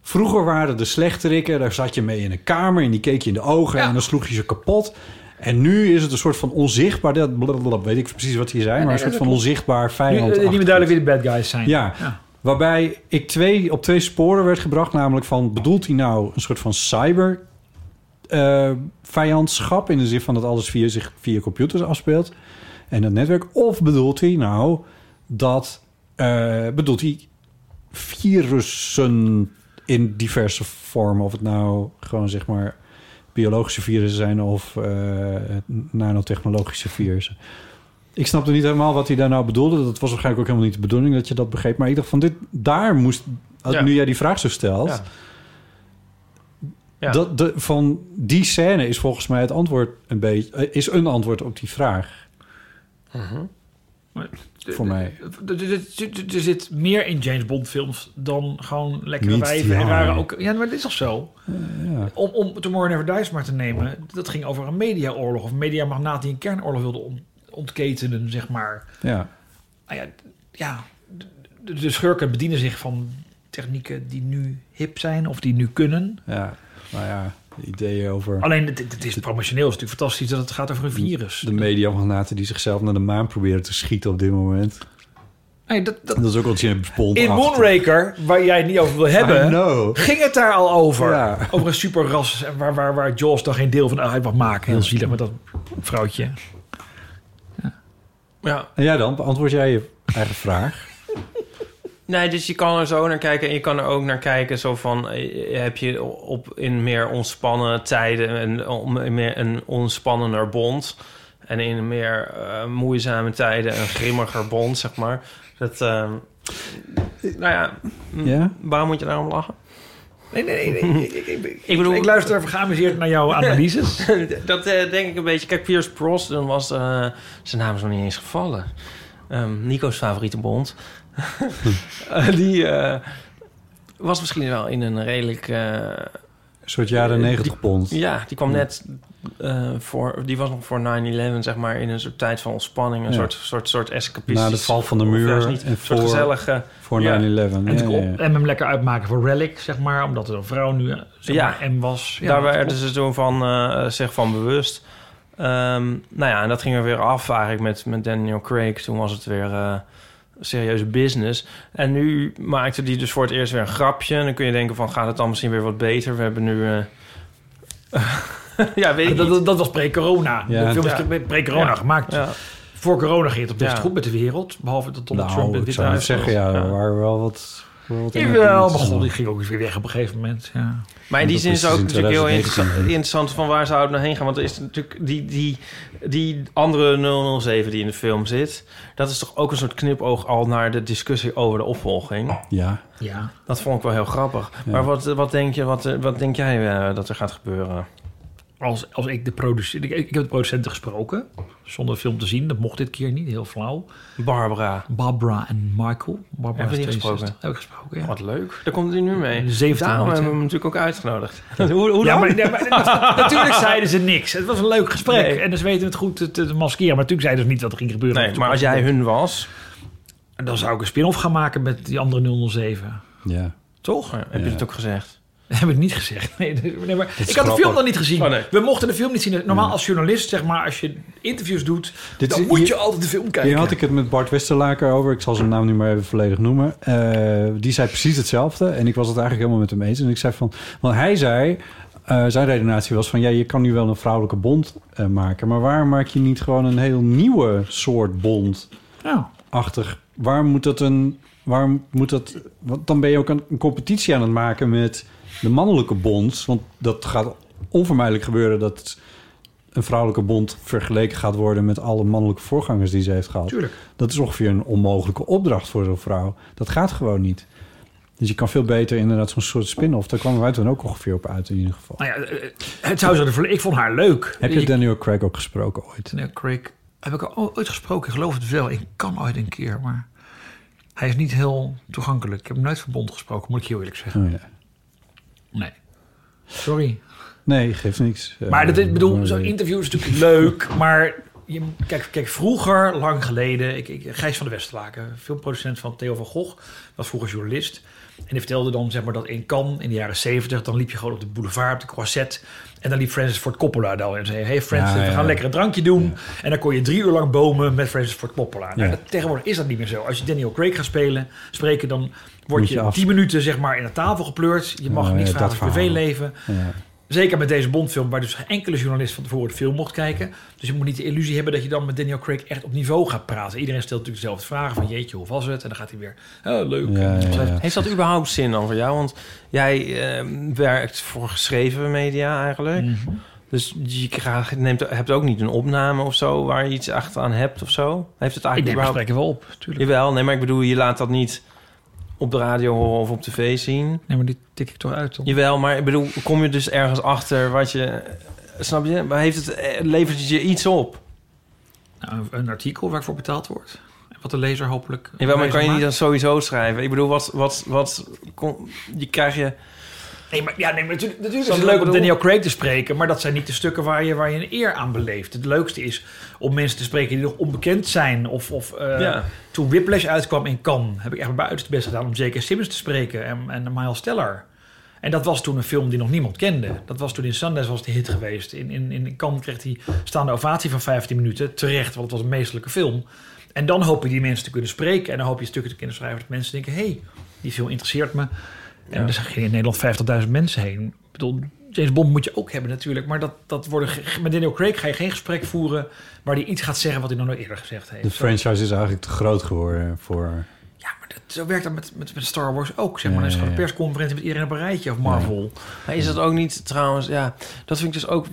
B: vroeger waren de slechterikken, daar zat je mee in een kamer en die keek je in de ogen
C: Ja.
B: en dan sloeg je ze kapot. En nu is het een soort van onzichtbaar, dat blablabla, weet ik precies wat hij zei, maar een soort van onzichtbaar
C: Nu, eh,
B: vijand.
C: niet meer duidelijk wie de bad guys zijn.
B: Ja.
C: Ja.
B: Waarbij ik twee, op twee sporen werd gebracht. Namelijk van, bedoelt hij nou een soort van cyber eh, vijandschap... in de zin van dat alles via, zich via computers afspeelt en dat netwerk? Of bedoelt hij nou dat... eh, bedoelt hij virussen in diverse vormen? Of het nou gewoon zeg maar biologische virussen zijn of eh, nanotechnologische virussen. Ik snapte niet helemaal wat hij daar nou bedoelde. Dat was waarschijnlijk ook helemaal niet de bedoeling dat je dat begreep. Maar ik dacht van, dit, daar moest... als-
D: Ja.
B: Nu jij die vraag zo stelt...
D: Ja. Ja.
B: Dat de, van die scène is volgens mij het antwoord een beetje... eh, is een antwoord op die vraag.
C: Mhm.
B: Voor mij.
C: Er- er- er- Er zit meer in James Bond films dan gewoon lekkere
B: Niet,
C: wijven. en
B: ja.
C: rare ook, ja, maar dit is toch zo? Om, om Tomorrow Never Dies maar te nemen. Dat ging over een mediaoorlog. Of een mediamagnaat die een kernoorlog wilde on- ontketenen, zeg maar.
B: Ja.
C: Nou ja, d- ja d- de, de schurken bedienen zich van technieken die nu hip zijn of die nu kunnen.
B: ja. Nou ja, de ideeën over...
C: Alleen, het, het is promotioneel. Het is natuurlijk fantastisch dat het gaat over een virus.
B: De mediamagnaten die zichzelf naar de maan proberen te schieten op dit moment.
C: Nee, dat, dat,
B: Dat is ook wat James Bond
C: in Moonraker, waar jij het niet over wil hebben...
B: No.
C: Ging het daar al over?
B: Ja.
C: Over een superras en waar, waar, waar Jaws dan geen deel van uit mag maken. Heel zielig met dat vrouwtje.
D: Ja.
B: En jij dan? Beantwoord jij je eigen vraag?
D: Nee, dus je kan er zo naar kijken. En je kan er ook naar kijken zo van... eh, heb je op, in meer ontspannen tijden... en om- in meer een ontspannender bond... En in meer eh, moeizame tijden een grimmiger bond, zeg maar. Dat, eh, nou ja,
C: Hm.
D: m-
B: Ja?
D: waarom moet je daarom lachen?
C: Nee, nee, nee. nee, Ik, ik, ik,
D: Ik bedoel-
C: ik luister geamuseerd naar jouw analyses.
D: dat eh, denk ik een beetje. Kijk, Pierce Brosnan was... eh, zijn naam is nog niet eens gevallen. Ehm, Nico's favoriete bond. (laughs) Eh, die eh, was misschien wel in een redelijk... eh,
B: Een soort jaren
D: Eh,
B: 90 pond.
D: Ja, die kwam net eh, voor, die was nog voor 9-11, zeg maar, in een soort tijd van ontspanning, een
B: Ja.
D: soort, soort, soort escapistisch.
B: Na de val van de
D: of
B: muur
D: juist niet,
B: en
D: een soort
B: voor-
D: gezellige.
B: Voor 9-11.
D: Ja.
B: Ja,
C: En, het
B: ja, Nou,
C: op-
B: ja.
C: en hem lekker uitmaken voor Relic, zeg maar. Omdat er een vrouw nu eh, zeg
D: Ja.
C: maar, M was. Ja,
D: daar
C: dat
D: werden
C: klopt.
D: ze zo van, eh, zich van bewust. Ehm, nou ja, en dat ging er weer af eigenlijk met, met Daniel Craig. Toen was het weer eh, serieuze business. En nu maakte die dus voor het eerst weer een grapje. En dan kun je denken van, gaat het dan misschien weer wat beter? We hebben nu... eh, ja, weet ik
C: dat,
D: niet.
C: dat, dat was pre-corona.
B: Ja.
C: De film is
D: Ja.
C: natuurlijk pre-corona
D: Ja.
C: gemaakt.
D: Ja.
C: Voor corona ging het op best
D: Ja.
C: goed met de wereld. Behalve dat Donald Trump
B: Nou,
C: het
B: ik
C: dit
B: zou net
C: huis
B: zeggen, ja,
D: Ja.
B: er waren wel wat... wel wat
C: Jawel, maar god,
B: incidenten.
C: die ging ook eens weer weg op een gegeven moment. Ja.
D: Maar in die
B: Dat
D: zin
B: is
D: is het ook
B: in
D: natuurlijk heel
B: 2019
D: interessant, interessant van waar zou het nou heen gaan. Want er is natuurlijk die, die, die andere 007 die in de film zit. Dat is toch ook een soort knipoog al naar de discussie over de opvolging.
B: Ja,
C: ja.
D: Dat vond ik wel heel grappig. Maar wat, wat, denk, je, wat, wat denk jij eh, dat er gaat gebeuren?
C: Als, als ik de producent... Ik, ik heb de producenten gesproken, zonder de film te zien. Dat mocht dit keer niet, heel flauw.
D: Barbara.
C: Barbara en Michael. Barbara
D: Hebben we die
C: 62.
D: gesproken?
C: Heb ik gesproken, ja.
D: Wat leuk. Daar komt hij nu mee.
C: De 17
D: Daarom
C: minuten.
D: hebben we hem natuurlijk ook uitgenodigd. hoe hoe
C: Ja,
D: dan?
C: maar, nee, maar
D: (laughs)
C: nat- natuurlijk zeiden ze niks. Het was een leuk gesprek.
D: Nee.
C: En dus weten we het goed te, te maskeren. Maar natuurlijk zeiden ze niet wat er ging gebeuren.
D: Nee, maar als jij hun was...
C: Dan zou ik een spin-off gaan maken met die andere 007.
B: ja.
D: Toch? Heb je het ook gezegd?
C: Dat heb ik niet gezegd. (laughs) Nee, nee, nee, maar ik had de
B: grappig.
C: film dan niet gezien.
D: Oh, nee. Hmm.
C: We mochten de film niet zien. Normaal als journalist, zeg maar, als je interviews doet...
B: Dit
C: dan
B: is-
C: moet je
B: hier-
C: altijd de film kijken.
B: Hier had ik het met Bart Westerlaker over. Ik zal zijn naam nu maar even volledig noemen. Eh, die zei precies hetzelfde. En ik was het eigenlijk helemaal met hem eens. En ik zei van... Want hij zei... eh, zijn redenatie was van... Ja, je kan nu wel een vrouwelijke bond eh, maken. Maar waarom maak je niet gewoon een heel nieuwe soort bondachtig?
C: Ja.
B: Waarom moet dat een... Waarom moet dat... Want dan ben je ook een, een competitie aan het maken met de mannelijke bond. Want dat gaat onvermijdelijk gebeuren dat een vrouwelijke bond vergeleken gaat worden met alle mannelijke voorgangers die ze heeft gehad.
C: Tuurlijk.
B: Dat is ongeveer een onmogelijke opdracht voor zo'n vrouw. Dat gaat gewoon niet. Dus je kan veel beter inderdaad zo'n soort spin-off. Daar kwamen wij toen ook ongeveer op uit in ieder geval.
C: Nou ja, eh, het zou zo... de verle- Ik vond haar leuk.
B: Heb je Daniel Craig ook gesproken ooit?
C: Daniel Craig heb ik al ooit gesproken. Ik geloof het wel. Ik kan ooit een keer, maar hij is niet heel toegankelijk. Ik heb hem nooit verbond gesproken, moet ik heel eerlijk zeggen.
B: Oh, ja.
C: Nee. Sorry.
B: Nee, geeft niks.
C: Maar
B: Eh,
C: dat is, bedoel,
B: eh,
C: zo'n interview is natuurlijk leuk, (laughs) maar je, kijk, kijk, vroeger, lang geleden, ik, ik, Gijs van de Westerlaken, filmproducent van Theo van Gogh, was vroeger journalist. En die vertelde dan zeg maar, dat in Cannes in de jaren 70, dan liep je gewoon op de boulevard, op de croisette. En dan liep Francis Ford Coppola daar en zei, hey Francis,
B: Ja,
C: we
B: ja,
C: gaan
B: ja.
C: lekker een drankje doen. En dan kon je drie uur lang bomen met Francis Ford Coppola. Nou,
B: Ja.
C: dat- tegenwoordig is dat niet meer zo. Als je Daniel Craig gaat spelen, spreken, dan word
B: Moet
C: je,
B: je af-
C: tien minuten zeg maar, in de tafel gepleurd. Je mag
B: Ja,
C: niets
B: ja,
C: vragen
B: dat
C: over je
B: verhaal.
C: privéleven.
B: ja.
C: Zeker met deze Bondfilm, waar dus geen enkele journalist van tevoren de film mocht kijken. Dus je moet niet de illusie hebben dat je dan met Daniel Craig echt op niveau gaat praten. Iedereen stelt natuurlijk dezelfde vragen van jeetje, hoe was het? En dan gaat hij weer, oh, leuk.
B: Ja, ja, ja.
D: Heeft dat überhaupt zin dan voor jou? Want jij eh, werkt voor geschreven media eigenlijk.
C: Mhm.
D: Dus je krijgt, neemt, hebt ook niet een opname of zo waar je iets achteraan hebt of zo? Heeft het
C: Ik
D: eigenlijk
C: neem het
D: überhaupt...
C: gesprekken wel op, natuurlijk.
D: Jawel, nee, maar ik bedoel, je laat dat niet op de radio horen of op tv zien.
C: Nee, maar die tik ik toch uit, dan.
D: Jawel, maar ik bedoel, kom je dus ergens achter wat je... Snap je? Maar heeft het, eh, levert het je iets op?
C: Nou, een artikel waar ik voor betaald word. En Wat de lezer hopelijk...
D: Jawel, maar kan je niet
C: maakt.
D: dat sowieso schrijven? Ik bedoel, wat... wat, wat kom, je krijg je...
C: Nee, maar, ja, nee, maar natuurlijk, natuurlijk
D: Snap je wat
C: is het
D: ik
C: leuk om
D: bedoel?
C: Daniel Craig te spreken, maar dat zijn niet de stukken waar je, waar je een eer aan beleeft. Het leukste is om mensen te spreken die nog onbekend zijn. Of, of eh,
D: Ja.
C: toen Whiplash uitkwam in Cannes, heb ik echt mijn uiterste best gedaan om J.K. Simmons te spreken en, en Miles Teller. En dat was toen een film die nog niemand kende. Dat was toen in Sundance was het een hit geweest. In, in, in Cannes kreeg hij staande ovatie van 15 minuten. Terecht, want het was een meestelijke film. En dan hoop je die mensen te kunnen spreken. En dan hoop je stukken te kunnen schrijven dat mensen denken... hé, hey, die film interesseert me. En er gingen in Nederland 50.000 mensen heen. Ik bedoel, James Bond moet je ook hebben natuurlijk. Maar dat, dat worden, ge- met Daniel Craig ga je geen gesprek voeren... waar hij iets gaat zeggen wat hij nog nooit eerder gezegd heeft.
B: De franchise is eigenlijk te groot geworden voor...
C: Ja, maar dat, zo werkt dat met, met, met Star Wars ook. Zeg maar. Dan is
E: Ja,
C: gewoon een
E: ja,
C: persconferentie met iedereen op een rijtje of Marvel.
D: Maar is dat ook niet trouwens, ja, dat vind ik dus ook,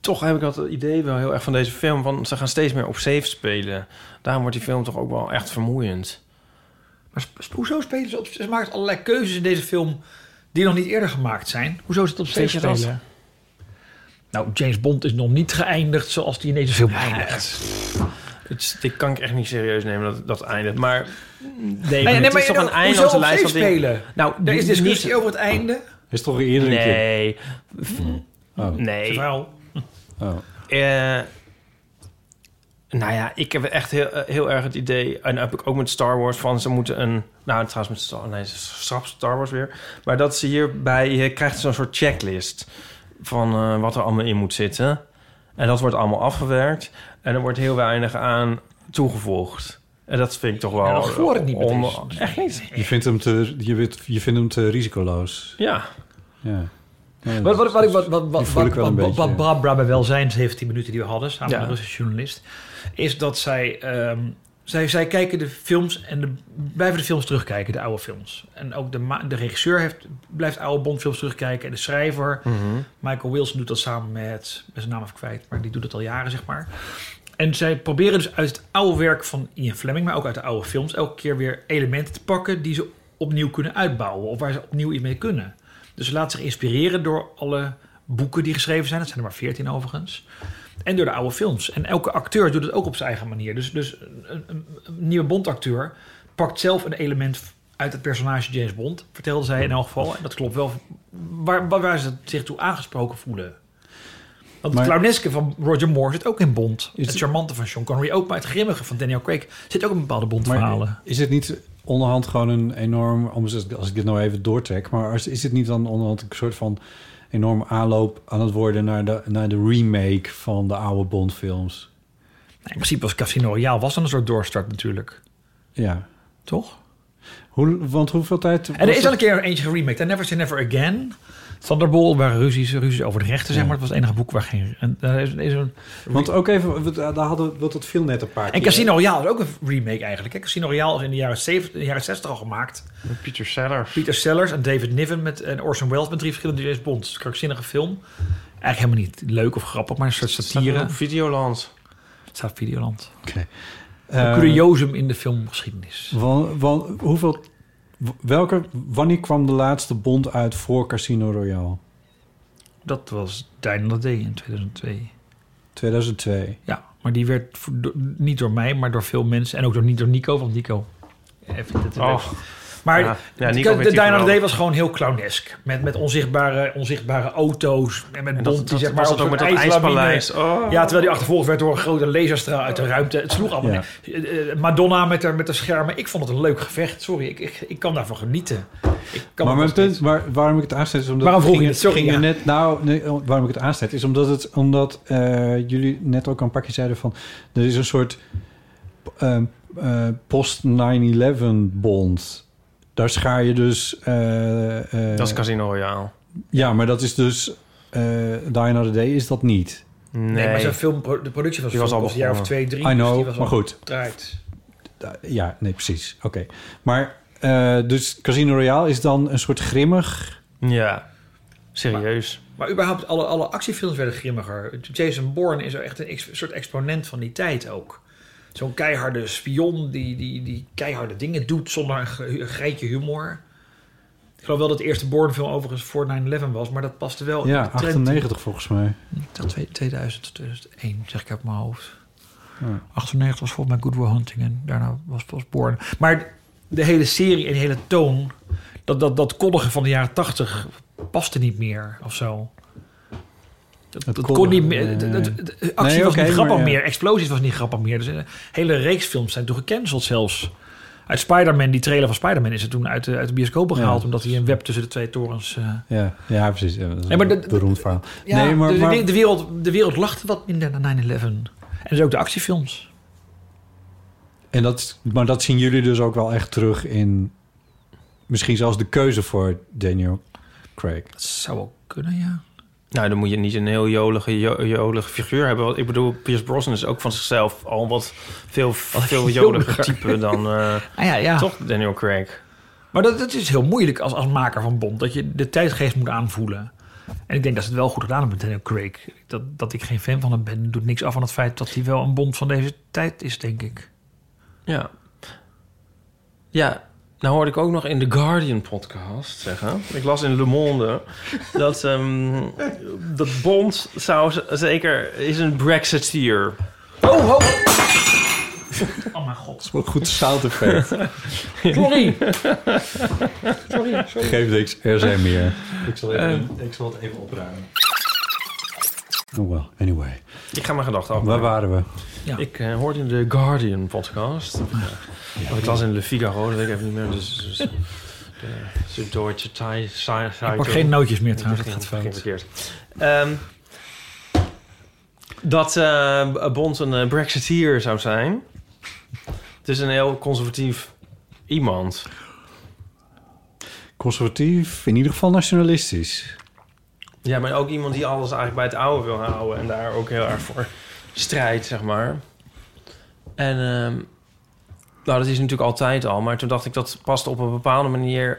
D: toch heb ik dat idee wel heel erg van deze film, van ze gaan steeds meer op safe spelen. Daarom wordt die film toch ook wel echt vermoeiend.
C: Maar sp- sp- hoezo spelen ze op... Ze maken allerlei keuzes in deze film die nog niet eerder gemaakt zijn. Hoezo is het op
D: Weet
C: steeds
D: je dat?
C: spelen? Nou, James Bond is nog niet geëindigd zoals die in deze film eindigt.
D: Het, is- dit kan ik echt niet serieus nemen, dat, dat eindigt. Maar nee,
C: Nee,
D: het
C: nee, maar
D: is toch een
C: hoezo
D: eindeloze
C: op
D: lijst
C: safe
D: van dingen.
C: spelen?
D: Nou,
C: Er is
D: niet-
C: discussie over het einde.
B: Is toch eerder een keer...
D: Nee,
B: Oh.
D: nee.
C: Verhaal.
B: Oh.
D: Eh, nou ja, ik heb echt heel, eh, heel erg het idee... en heb ik ook met Star Wars van... ze moeten een... nou, trouwens met Star... nee, straks Star Wars weer... maar dat ze hierbij... je krijgt zo'n soort checklist... van eh, wat er allemaal in moet zitten. En dat wordt allemaal afgewerkt... en er wordt heel weinig aan toegevoegd. En dat vind ik toch wel...
C: Ja, dat voel ik niet met
D: on-
C: deze.
D: Echt niet?
B: Je vindt hem te, je weet- je vindt hem te risicoloos.
D: Ja.
B: Ja. Ja,
C: Wat, wat, wat, wat, wat, wat,
B: Die voel ik
C: wat,
B: wel een
C: wat, wat,
B: beetje, ja.
C: Barbara bij Welzijn, 17 minuten die we hadden, samen
D: Ja.
C: met een Russische journalist, is dat zij, ehm, zij, zij kijken de films en de, blijven de films terugkijken, de oude films. En ook de, ma- de regisseur heeft, blijft oude Bondfilms terugkijken en de schrijver,
D: Mhm.
C: Michael Wilson doet dat samen met, ik ben zijn naam even kwijt, maar die doet dat al jaren, zeg maar. En zij proberen dus uit het oude werk van Ian Fleming, maar ook uit de oude films, elke keer weer elementen te pakken die ze opnieuw kunnen uitbouwen of waar ze opnieuw iets mee kunnen. Dus ze laat zich inspireren door alle boeken die geschreven zijn. Dat zijn er maar veertien overigens. En door de oude films. En elke acteur doet het ook op zijn eigen manier. Dus, dus een, een, een nieuwe Bond-acteur pakt zelf een element uit het personage James Bond. Vertelde zij in elk geval. En dat klopt wel. Waar, waar, waar ze zich toe aangesproken voelen. Want
B: Maar-
C: het clowneske van Roger Moore zit ook in Bond.
B: Is-
C: het charmante van Sean Connery ook. Maar het grimmige van Daniel Craig zit ook in bepaalde Bond-verhalen.
B: Maar is het niet onderhand gewoon een enorm... Als ik dit nou even doortrek, maar als- is het niet dan onderhand een soort van enorm aanloop aan het worden naar de, naar de remake van de oude Bondfilms?
C: Nou, in principe was Casino Royale was dan een soort doorstart natuurlijk.
B: Ja.
C: Toch?
B: Hoe, want hoeveel tijd...
C: En er is al
B: dat?
C: een keer eentje geremaked. I Never Say Never Again. Thunderball, waar ruzies, ruzies over de rechten, zeg maar. Het was het enige boek waar geen... En, daar is, is een,
B: Want ook even, want daar hadden we want dat viel net een paar
C: en
B: keer.
C: Casino Royale is ook een remake eigenlijk. hè. Casino Royale is in de jaren, 70, jaren 60 al gemaakt.
D: Peter Sellers.
C: Peter Sellers en David Niven met, en Orson Welles met drie verschillende James Bonds. Krankzinnige film. Eigenlijk helemaal niet leuk of grappig, maar een soort satire.
D: Op Videoland.
C: Het staat op Videoland.
B: Eh,
C: Een curiosum in de filmgeschiedenis.
B: wa- wa- hoeveel, welke, wanneer kwam de laatste Bond uit voor Casino Royale?
C: Dat was Dine of the Day in 2002.
B: 2002.
C: Ja, maar die werd voor- door- niet door mij, maar door veel mensen. En ook door, niet door Nico, want Nico... eh, Even dit
D: Oh,
C: Maar
D: Ja, ja, Nico
C: de, de,
D: vindt die
C: Dino
D: geweldig.
C: Day was gewoon heel clownesk. Met, met onzichtbare, onzichtbare auto's. En met
D: en dat,
C: bond die
D: dat
C: zeg maar
D: was
C: op
D: het ook
C: zo'n
D: met dat
C: ijslawine-
D: ijspaleis. Oh.
C: Ja, terwijl die achtervolgd werd door een grote laserstraal uit de ruimte. Het sloeg allemaal
B: Ja.
C: neer. Eh, eh, Madonna met haar, met haar schermen. Ik vond het een leuk gevecht. Sorry, ik, ik, ik kan daarvan genieten. Ik kan
B: maar
C: het
B: mijn
C: nog
B: punt waar- waarom ik het aanzet is omdat...
C: Waarom vroeg je
B: ging-
C: het? Sorry,
B: ging je
C: ja.
B: net, nou, nee, waarom ik het aanzet is omdat, het, omdat eh, jullie net ook al een pakje zeiden van... Er is een soort ehm, eh, post-9-11 bond. Daar schaar je dus... eh, eh,
D: Dat is Casino Royale.
B: ja, maar dat is dus... eh Die Another Day is dat niet.
D: Nee,
C: steeds. Nee, maar zijn film, de productie
D: Die
C: van zijn
D: was
C: film
D: al
C: een jaar of
D: begonnen.
C: twee, drie.
B: I
C: dus die
B: know,
C: was
B: maar
C: al
B: goed.
C: gedraaid.
B: Da- Ja, nee, precies. Oké. Maar eh, dus Casino Royale is dan een soort grimmig...
D: Ja, serieus.
C: Maar überhaupt, alle, alle actiefilms werden grimmiger. Jason Bourne is er echt een ex- soort exponent van die tijd ook. Zo'n keiharde spion die, die, die keiharde dingen doet zonder een, ge- een greintje humor. Ik geloof wel dat de eerste Bourne-film overigens voor 9-11 was, maar dat paste wel
B: Ja,
C: in de trend.
B: 98 volgens mij.
C: Dat twee- 2000, 2001, zeg ik uit mijn hoofd. 98 was volgens mij Good Will Hunting en daarna was pas Born. Maar de hele serie en de hele toon, dat, dat, dat koddige van de jaren 80 paste niet meer of zo. Dat,
B: Het
C: dat
B: koddige,
C: kon niet meer.
B: nee,
C: dat- dat-
B: nee.
C: dat- actie
B: Nee,
C: was
B: oké,
C: niet
B: maar
C: grappig
B: ja.
C: meer, explosies was niet grappig meer. Dus een hele reeks films zijn toen gecanceld zelfs. Uit Spider-Man, die trailer van Spider-Man is er toen uit de, uit de bioscoop gehaald...
B: Ja.
C: omdat hij een web tussen de twee torens... eh,
B: Ja, ja precies. Ja, dat is
C: Nee, maar
B: een
C: dat-
B: beroemd verhaal.
C: ja,
B: nee, maar,
C: de,
B: maar-
C: de, de wereld, de wereld lachte wat minder naar 9-11. En dus ook de actiefilms.
B: en dat, maar dat zien jullie dus ook wel echt terug in... Misschien zelfs de keuze voor Daniel Craig.
C: Dat zou ook kunnen, ja.
D: Nou, dan moet je niet een heel jolige, jo- jolige figuur hebben. Want Ik bedoel, Pierce Brosnan is ook van zichzelf al wat veel, veel joliger type dan (laughs) eh,
C: Ah, ja, ja.
D: toch Daniel Craig.
C: Maar dat, dat is heel moeilijk als, als maker van Bond. Dat je de tijdgeest moet aanvoelen. En ik denk dat ze het wel goed gedaan hebben met Daniel Craig. Dat, dat ik geen fan van hem ben, doet niks af van het feit dat hij wel een Bond van deze tijd is, denk ik.
D: Ja. Ja, nou hoorde ik ook nog in de Guardian podcast zeggen. Ik las in Le (laughs) Monde dat, ehm, dat Bond zou z- zeker is een Brexiteer.
C: Oh, ho! Oh mijn god.
B: Wat goed (laughs) zout effect.
C: Sorry. Sorry.
B: Geef niks, er zijn meer. Ik zal, even,
C: Ehm.
B: ik zal het even opruimen. Oh well, anyway.
D: Ik ga mijn gedachten af.
B: Waar waren we?
D: Ik eh, hoorde in de Guardian podcast. Ja. Ik las in Le Figaro, dat weet ik even niet meer. Dus,
C: (laughs)
D: dus de Süddeutsche Zeit- Zeitung.
C: Ik pak geen nootjes meer
D: Ja,
C: trouwens. Dat gaat
D: dat ging
C: fout.
D: verkeerd. Ehm, dat eh, Bond een eh, Brexiteer zou zijn. Het is een heel conservatief iemand.
B: Conservatief, in ieder geval nationalistisch.
D: Ja, maar ook iemand die alles eigenlijk bij het oude wil houden. En daar ook heel erg voor strijdt, zeg maar. En ehm, nou, dat is natuurlijk altijd al. Maar toen dacht ik, dat past op een bepaalde manier...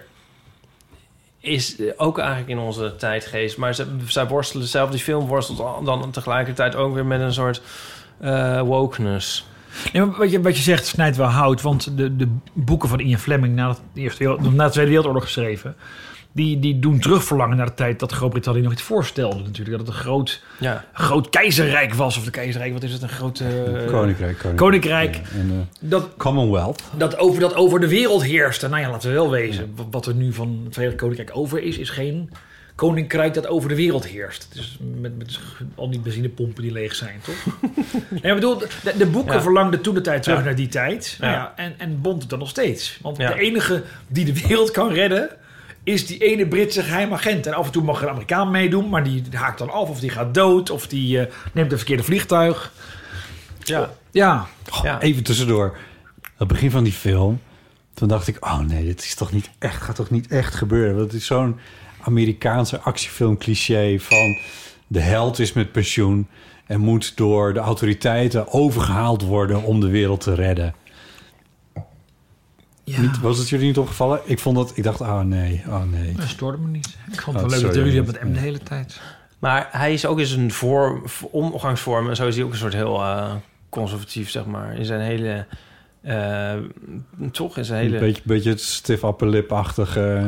D: is eh, ook eigenlijk in onze tijdgeest. Maar ze, zij worstelen zelf, die film worstelt al- dan tegelijkertijd ook weer met een soort eh, wokeness.
C: Nee, maar wat, je, wat je zegt snijdt wel hout. Want de, de boeken van Ian Fleming na, het eerste, Wereld- na de Tweede Wereldoorlog geschreven... Die, die doen terugverlangen naar de tijd dat Groot-Brittannië nog iets voorstelde natuurlijk. Dat het een groot,
D: Ja.
C: groot keizerrijk was. Of de keizerrijk, wat is het? Een groot... eh,
B: Koninkrijk. Koninkrijk.
C: Koninkrijk.
B: Ja, en, eh,
C: Dat,
B: Commonwealth.
C: dat, over, dat over de wereld heerste. Nou ja, laten we wel wezen. Wat- Wat er nu van het Verenigd Koninkrijk over is, is geen koninkrijk dat over de wereld heerst. Dus met, met al die benzinepompen die leeg zijn,
D: (laughs)
C: toch? nee, ik bedoel, de, de boeken
D: Ja.
C: verlangden toen de tijd terug
D: Ja.
C: naar die tijd. Nou
D: Ja.
C: Ja, en, en Bond doet dat nog steeds. Want
D: Ja.
C: de enige die de wereld kan redden, is die ene Britse geheimagent. En af en toe mag er een Amerikaan meedoen, maar die haakt dan af. Of die gaat dood, of die eh, neemt een verkeerde vliegtuig.
D: Ja.
C: Ja,
D: Ja.
B: Even tussendoor. Aan het begin van die film, toen dacht ik, oh nee, dit is toch niet echt, gaat toch niet echt gebeuren. Want het is zo'n Amerikaanse actiefilm cliché van de held is met pensioen en moet door de autoriteiten overgehaald worden om de wereld te redden.
C: ja.
B: Niet, was het jullie niet opgevallen? Ik vond dat, ik dacht, oh nee, oh nee.
C: Dat stoorde me niet. Ik vond
B: Oh,
C: het wel leuk dat
B: sorry,
C: jullie
B: dat-
C: met hem de hele tijd.
D: Maar hij is ook in zijn vorm, omgangsvorm en zo is hij ook een soort heel eh, conservatief, zeg maar. In zijn hele. eh, toch? In zijn hele.
B: Een beetje, beetje het stiff upper lip-achtige,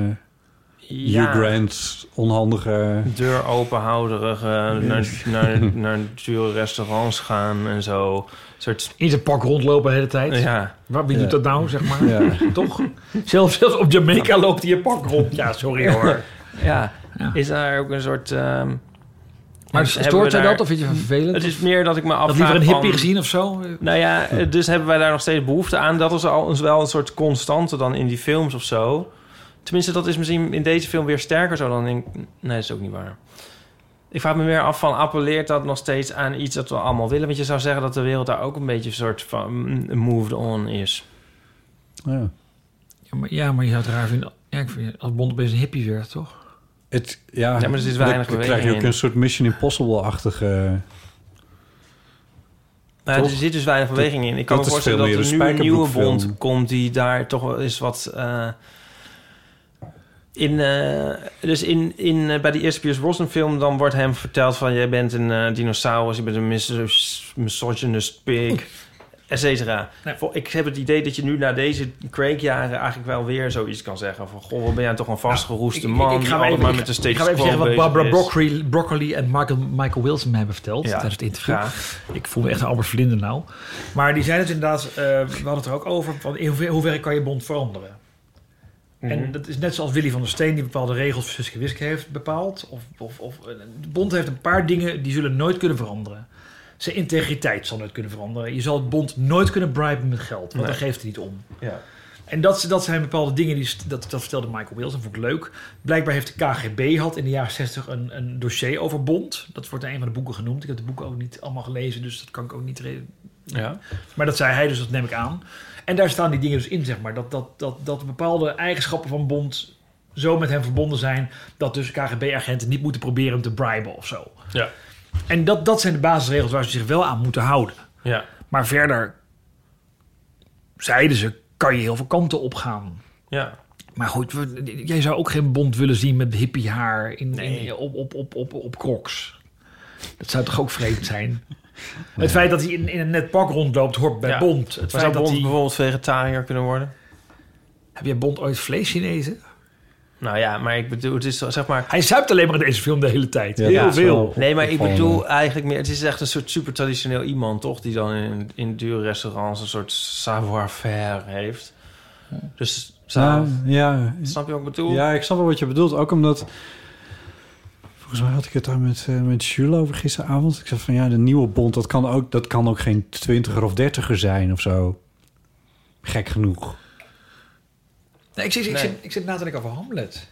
D: ja,
B: Hugh Grant,
D: (laughs)
B: onhandige...
D: Deur openhouderig, eh, naar, naar, naar dure restaurants gaan en zo. Een soort.
C: In zijn pak rondlopen de hele tijd.
D: Ja,
C: Waar, wie
B: Ja.
C: doet dat nou, zeg maar?
B: Ja.
C: Toch? Zelfs, zelfs op Jamaica loopt hij in pak rond. Ja, sorry
D: (laughs)
C: hoor.
D: ja.
C: Ja.
D: Is daar ook een soort. ehm,
C: Maar
D: hebben
C: stoort
D: we
C: hij
D: daar-
C: dat of vind je het vervelend?
D: Het is meer dat ik me afvraag.
C: dat liever een
D: van-
C: hippie gezien of zo?
D: (laughs) Nou ja, eh, dus hebben wij daar nog steeds behoefte aan. Dat is al is wel een soort constante dan in die films of zo. Tenminste, dat is misschien in deze film weer sterker zo dan in... Nee, dat is ook niet waar. Ik vraag me meer af van, appelleert dat nog steeds aan iets dat we allemaal willen? Want je zou zeggen dat de wereld daar ook een beetje een soort van mm, moved on is.
B: Ja.
C: Ja, maar, ja, maar je zou het raar vinden. Ja, ik vind, als Bond opeens een hippie werd, toch?
B: Het, ja,
D: Ja, maar er zit weinig
B: dan krijg je
D: beweging
B: ook
D: in.
B: een soort Mission Impossible-achtige...
D: Nou, er
B: Toch?
D: zit dus weinig beweging in. Ik kan
B: dat
D: me
B: is veel
D: voorstellen dat
B: meer
D: er
B: een
D: nu een nieuwe
B: spijkerbroekfilm.
D: bond komt... die daar toch wel eens wat... eh, in, eh, dus in, in, eh, bij die eerste Pierce Brosnan film... dan wordt hem verteld van... jij bent een eh, dinosaurus, je bent een mis- misogynist pig... et cetera.
C: Nee.
D: Vo- Ik heb het idee dat je nu na deze Craig-jaren... eigenlijk wel weer zoiets kan zeggen van... goh, wat ben jij toch een vastgeroeste man... die
C: maar
D: allemaal
C: ik-
D: met de
C: ik
D: steeds
C: ga even zeggen wat Barbara Broccoli, Broccoli en Michael, Michael Wilson me hebben verteld
D: Ja,
C: tijdens het interview.
D: Graag.
C: Ik voel me echt een Albert Vlinder nou. Maar die zijn het inderdaad, eh, we hadden het er ook over, van in hoever- hoeverre kan je bond veranderen?
D: Mhm.
C: En dat is net zoals Willy van der Steen, die bepaalde regels voor Suske Wiske heeft bepaald. Of, of, of, eh, de bond heeft een paar dingen die zullen nooit kunnen veranderen. Zijn integriteit zal nooit kunnen veranderen. Je zal het bond nooit kunnen briben met geld, want
D: Nee.
C: daar geeft hij niet om.
D: Ja.
C: En dat, dat zijn bepaalde dingen, die, st- dat, dat vertelde Michael Wilson, vond ik leuk. Blijkbaar heeft de KGB had in de jaren 60 een, een dossier over Bond. Dat wordt in een van de boeken genoemd. Ik heb de boeken ook niet allemaal gelezen, dus dat kan ik ook niet... re-
D: Ja.
C: Maar dat zei hij, dus dat neem ik aan. En daar staan die dingen dus in, zeg maar. Dat, dat, dat, dat bepaalde eigenschappen van Bond zo met hem verbonden zijn... dat dus KGB-agenten niet moeten proberen hem te briben of zo.
D: Ja.
C: En dat, dat zijn de basisregels waar ze zich wel aan moeten houden.
D: Ja.
C: Maar verder, zeiden ze, kan je heel veel kanten opgaan.
D: Ja.
C: Maar goed, we- jij zou ook geen bond willen zien met hippie haar in, in,
D: Nee.
C: op, op, op, op, op crocs. Dat zou toch ook vreemd
D: (laughs)
C: zijn? Het feit dat hij in, in een net pak rondloopt hoort bij
D: Ja.
C: Bond. Het
D: Maar
C: feit
D: zou
C: dat
D: Bond
C: hij...
D: bijvoorbeeld vegetariër kunnen worden?
C: Heb jij Bond ooit vlees genezen?
D: Nou ja, maar ik bedoel, het is zo- zeg maar...
C: Hij zuipt alleen maar in deze film de hele tijd.
B: Ja,
C: Heel
B: dat is
C: veel.
B: wel
D: Nee, maar ik
B: opvallend.
D: bedoel eigenlijk meer... Het is echt een soort super traditioneel iemand, toch? Die dan in, in dure restaurants een soort savoir-faire heeft. Dus zou-
B: Nou, ja,
D: snap je wat ik bedoel?
B: ja, ik snap wel wat je bedoelt. Ook omdat... Volgens mij had ik het daar met, eh, met Jules over gisteravond. Ik zei van ja, de nieuwe Bond, dat kan ook, dat kan ook geen twintiger of dertiger zijn of zo. Gek genoeg.
C: Nee, ik, zit, ik,
D: Nee.
C: zit, ik zit na te denken over Hamlet.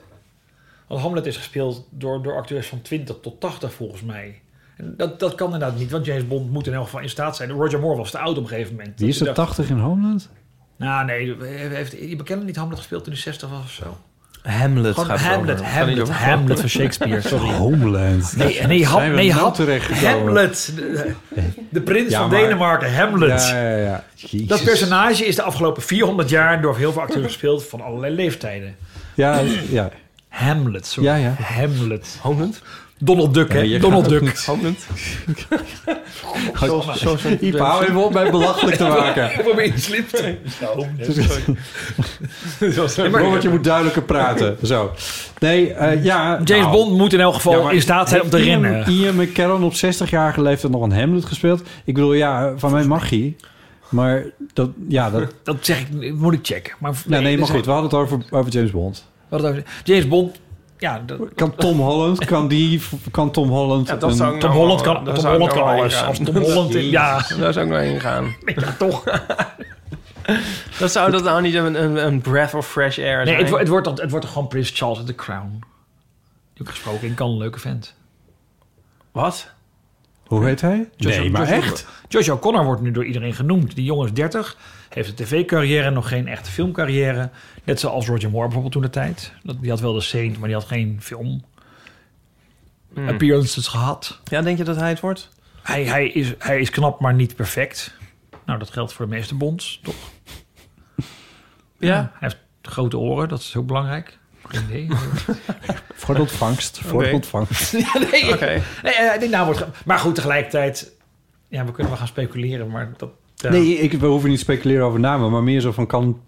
C: Want Hamlet is gespeeld door, door acteurs van 20 tot 80 volgens mij. En dat, dat kan inderdaad niet, want James Bond moet in elk geval in staat zijn. Roger Moore was te oud op een gegeven moment.
B: Die is
C: Dat
B: er
C: hij dacht,
B: 80 in Holland?
C: Nou nee, heeft je bekende niet Hamlet gespeeld toen hij 60 was of zo?
D: Hamlet
C: Gewoon
D: gaat het
C: Hamlet,
D: over. Gaat niet
C: Hamlet,
D: over-
C: Hamlet van (laughs) Shakespeare, sorry.
B: Homeland.
C: Nee, nee, Ham,
B: Zijn we
C: nee
B: nou
C: Ham,
B: terechtgekomen?
C: Hamlet, de, de prins
B: Ja,
C: van
B: maar-
C: Denemarken, Hamlet.
B: Ja, ja, ja. Jezus.
C: Dat personage is de afgelopen 400 jaar door heel veel acteurs gespeeld van allerlei leeftijden.
B: Ja, ja.
C: Hamlet, sorry.
B: Ja, ja.
C: Hamlet.
D: Hamlet?
C: Donald Duck, hè? Donald Duck.
D: Hamlet?
C: Sorry.
D: Zo- zo-
B: Iep, hou even op mij belachelijk te maken. (laughs)
C: Ik probeer iets lip te-
B: nou- Robert, je moet duidelijker praten. Zo. Nee, eh, ja.
C: James
B: nou,
C: Bond moet in elk geval
B: ja, maar
C: in staat zijn om te
B: heeft Ian-
C: rennen.
B: Ian McKellen op 60-jarige leeftijd nog een Hamlet gespeeld. Ik bedoel, ja, van mij mag hij. Maar dat, ja, dat,
C: Dat zeg ik, moet ik checken. Maar,
B: ja, nee, maar
C: dus-
B: goed. We hadden het over, over James Bond.
C: Wat het over- James Bond, ja, dat-
B: Kan Tom Holland, kan die, kan Tom Holland.
D: Ja, dat
B: een-
D: zou ik
C: Tom
D: nou-
C: Holland kan,
D: daar
C: Tom
D: zou ik
C: Holland kan
D: nou heen
C: alles.
D: gaan.
C: Als Tom Holland, in- ja,
D: (laughs) Daar zou ik nou heen gaan.
C: ja, toch.
D: Dat zou dat nou niet een, een, een breath of fresh air
C: Nee,
D: zijn?
C: het, wo- het wordt, dan- het wordt toch gewoon Prins Charles in The Crown. Die ook gesproken in kan een leuke vent.
D: Wat?
B: Hoe heet hij? nee, maar
C: Joshua-
B: echt?
C: Josh O'Connor wordt nu door iedereen genoemd. Die jongen is 30, heeft een tv-carrière, nog geen echte filmcarrière. Net zoals Roger Moore bijvoorbeeld toen de tijd. Dat- Die had wel de Saint, maar die had geen film.
B: Hmm.
C: Appearances gehad.
D: Ja, denk je dat hij het wordt?
C: Hij, hij, is, hij is knap, maar niet perfect. Nou, dat geldt voor de meeste bonds, toch?
D: Ja.
C: Hij heeft grote oren, dat is heel belangrijk. Geen
B: (laughs)
C: idee.
B: Voor de ontvangst. Voor de
D: Oké.
B: ontvangst.
C: Ja, nee,
D: Oké.
C: nee, eh, die naam wordt ge- maar goed, tegelijkertijd... Ja, we kunnen wel gaan speculeren, maar dat... eh,
B: Nee, ik, we hoeven niet te speculeren over namen, maar meer zo van kan.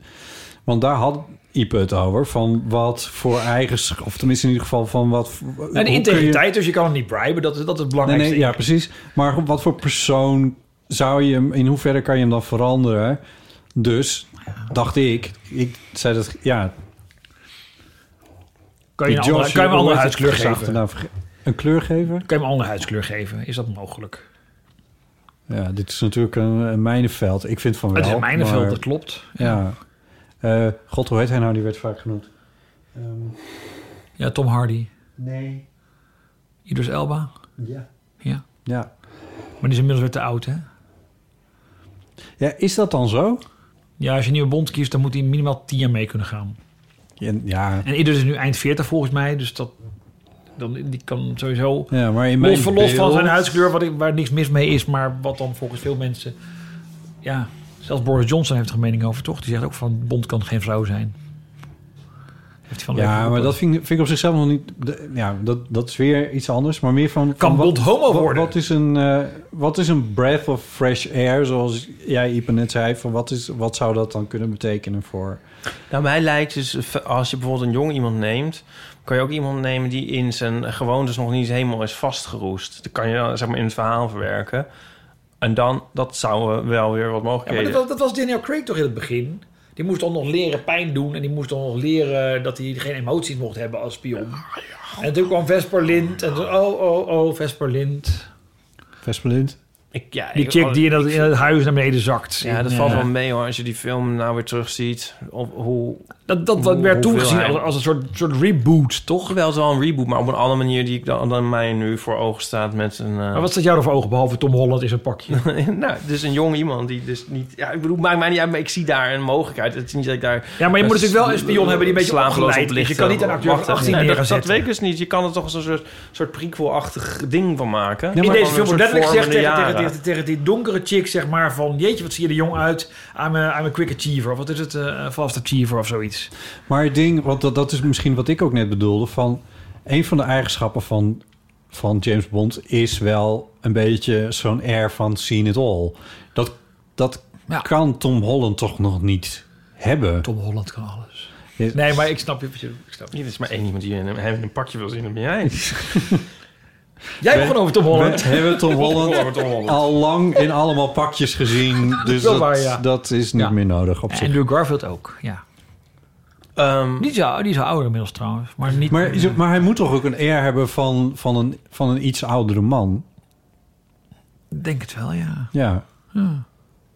B: Want daar had Ipe het over. Van wat voor eigen. Of tenminste in ieder geval van wat.
C: nou, de
B: hoe kun je-
C: integriteit, dus je kan hem niet briben. Dat is, dat is het
B: Nee,
C: belangrijkste.
B: nee, ja, precies. Maar wat voor persoon zou je hem. In hoeverre kan je hem dan veranderen? Dus dacht ik. Ik zei dat. Ja,
C: Kan je een
B: die
C: andere,
B: Josh-
C: kan je hem een
B: hoe heet
C: andere
B: het
C: huidskleur
B: zijn
C: geven? Kan
B: achternaam verge- Een kleur geven?
C: je hem een andere huidskleur geven? Is dat mogelijk?
B: Ja, dit is natuurlijk een, een mijnenveld. Ik vind van wel.
C: het is een mijnenveld,
B: maar-
C: dat klopt.
B: Ja. Eh, God, hoe heet hij nou? Die werd vaak genoemd. Ehm,
C: Ja, Tom Hardy.
B: nee.
C: Idris Elba.
B: Ja.
C: Ja.
B: Ja.
C: Maar die is inmiddels weer te oud, hè?
B: Ja, is dat dan zo?
C: Ja, als je een nieuwe bond kiest, dan moet hij minimaal 10 jaar mee kunnen gaan.
B: Ja, ja.
C: En Idris is nu eind 40 volgens mij, dus dat... Dan, die kan sowieso...
B: Ja, maar in mijn
C: Los van, los van
B: beeld-
C: zijn huidskleur, wat, ik- waar niks mis mee is, maar wat dan volgens veel mensen. Ja, zelfs Boris Johnson heeft er een mening over, toch? Die zegt ook van Bond kan geen vrouw zijn. Heeft hij van de week
B: Ja, maar
C: geroepen.
B: dat vind, ik- vind ik op zichzelf nog niet... de- Ja, dat, dat is weer iets anders. Maar meer van...
C: Kan
B: van
C: Bond homo
B: wat-
C: worden?
B: Wat is, een, eh, wat is een breath of fresh air? Zoals jij, Ipe, net zei. Van wat, is, wat zou dat dan kunnen betekenen voor...
D: Nou, mij lijkt dus, als je bijvoorbeeld een jong iemand neemt... kan je ook iemand nemen die in zijn gewoontes nog niet helemaal is vastgeroest. Dat kan je dan zeg maar in het verhaal verwerken. En dan, dat zou eh, wel weer wat
C: Ja, maar
D: mogelijkheden...
C: dat, was- dat was Daniel Craig toch in het begin? Die moest dan nog leren pijn doen en die moest dan nog leren dat hij geen emoties mocht hebben als spion.
D: Ah,
C: En toen kwam Vesper Lind en toen, oh, oh, oh, Vesper Lind.
B: Vespelint?
D: ik, ja,
C: Die
D: ik-
C: chick die in het, in het huis naar beneden zakt.
D: Ja,
C: In,
D: dat valt
C: eh,
D: wel mee hoor. Als je die film nou weer terugziet. Op hoe
C: Dat, dat, dat
D: Hoe-
C: werd toen gezien
D: hoeveelheid?
C: als, als een soort, soort reboot, toch?
D: Toch wel zo'n reboot, maar op een andere manier die ik dan, dan mij nu voor ogen staat met een... eh,
C: Maar wat staat jou er voor ogen, behalve Tom Holland is een
D: (laughs)
C: pakje?
D: nou, dus een jong iemand die dus niet... Ja, ik bedoel, maakt mij niet uit, maar ik zie daar een mogelijkheid. Het is niet dat ik daar... dus
C: Ja, maar je moet natuurlijk wel een spion hebben die een beetje
D: slapeloos
C: opgeleid
D: op
C: is. Je
D: ligt,
C: kan niet
D: eh,
C: een acteur van
D: wachten.
C: 18
D: Nee, dat, dat
C: neerzetten.
D: weet ik dus niet. Je kan er toch zo'n soort, soort prequel-achtig ding van maken.
C: In
D: Van een
C: deze film wordt
D: soort
C: letterlijk gezegd tegen,
D: vormende
C: tegen,
D: jaren.
C: tegen, tegen die donkere chick, zeg maar, van... Jeetje, wat zie je er jong uit? I'm a, I'm a quick achiever. Of wat is het? eh fast achiever of zoiets.
B: Maar het ding, want dat, dat is misschien wat ik ook net bedoelde... van een van de eigenschappen van, van James Bond... is wel een beetje zo'n air van seen it all. Dat, dat
C: Ja.
B: kan Tom Holland toch nog niet hebben.
C: Tom Holland kan alles.
B: Ja.
C: Nee, maar ik snap je. wat je doet. Ik snap je.
D: Hier is maar één iemand die in een, hem in een pakje wil zien, dat ben jij.
C: Jij begon over Tom Holland.
B: We hebben Tom Holland
C: (laughs)
B: al lang in allemaal pakjes gezien. Dus
C: Wel
B: dat,
C: waar, ja.
B: dat is niet
C: Ja.
B: meer nodig op zich.
C: En Drew Garfield ook, ja.
D: Ehm,
C: Die is, al- die is al ouder inmiddels trouwens. Maar niet...
B: Maar, is het- maar hij moet toch ook een air hebben van, van, een, van een iets oudere man?
C: Ik Denk het wel, ja.
B: Ja. Nou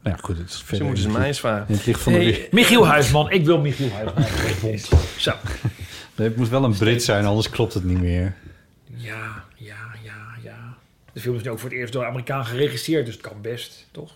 B: ja, goed. Het is
D: ze
B: verder
D: moeten ze
B: in
D: mij
B: het-
D: eens vragen.
B: in het licht van de
D: Hey,
B: weer-
C: Michiel Huisman. Ik wil Michiel
B: (laughs)
C: Huisman. Zo.
B: Nee, het moet wel een Brit zijn, anders klopt het niet meer.
C: Ja, ja, ja, ja. De film is nu ook voor het eerst door een Amerikaan geregisseerd, dus het kan best, toch?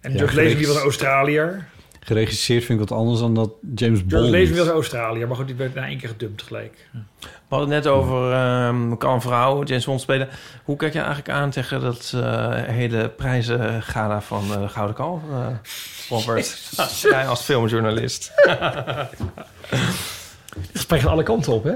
C: En
B: Ja,
C: George Lazenby
B: geregis-
C: was een Australiër.
B: Geregisseerd vind ik wat anders dan dat James
C: George
B: Bond.
C: Lazenby was een Australiër, maar goed, die werd na één keer gedumpt gelijk.
D: We hadden het net over ehm, kan vrouwen James Bond spelen. Hoe kijk je eigenlijk aan tegen dat eh, hele prijzengala van eh, de Gouden Kalf, eh, (laughs) Robert? Jij als filmjournalist.
C: Het spreekt alle kanten op, hè?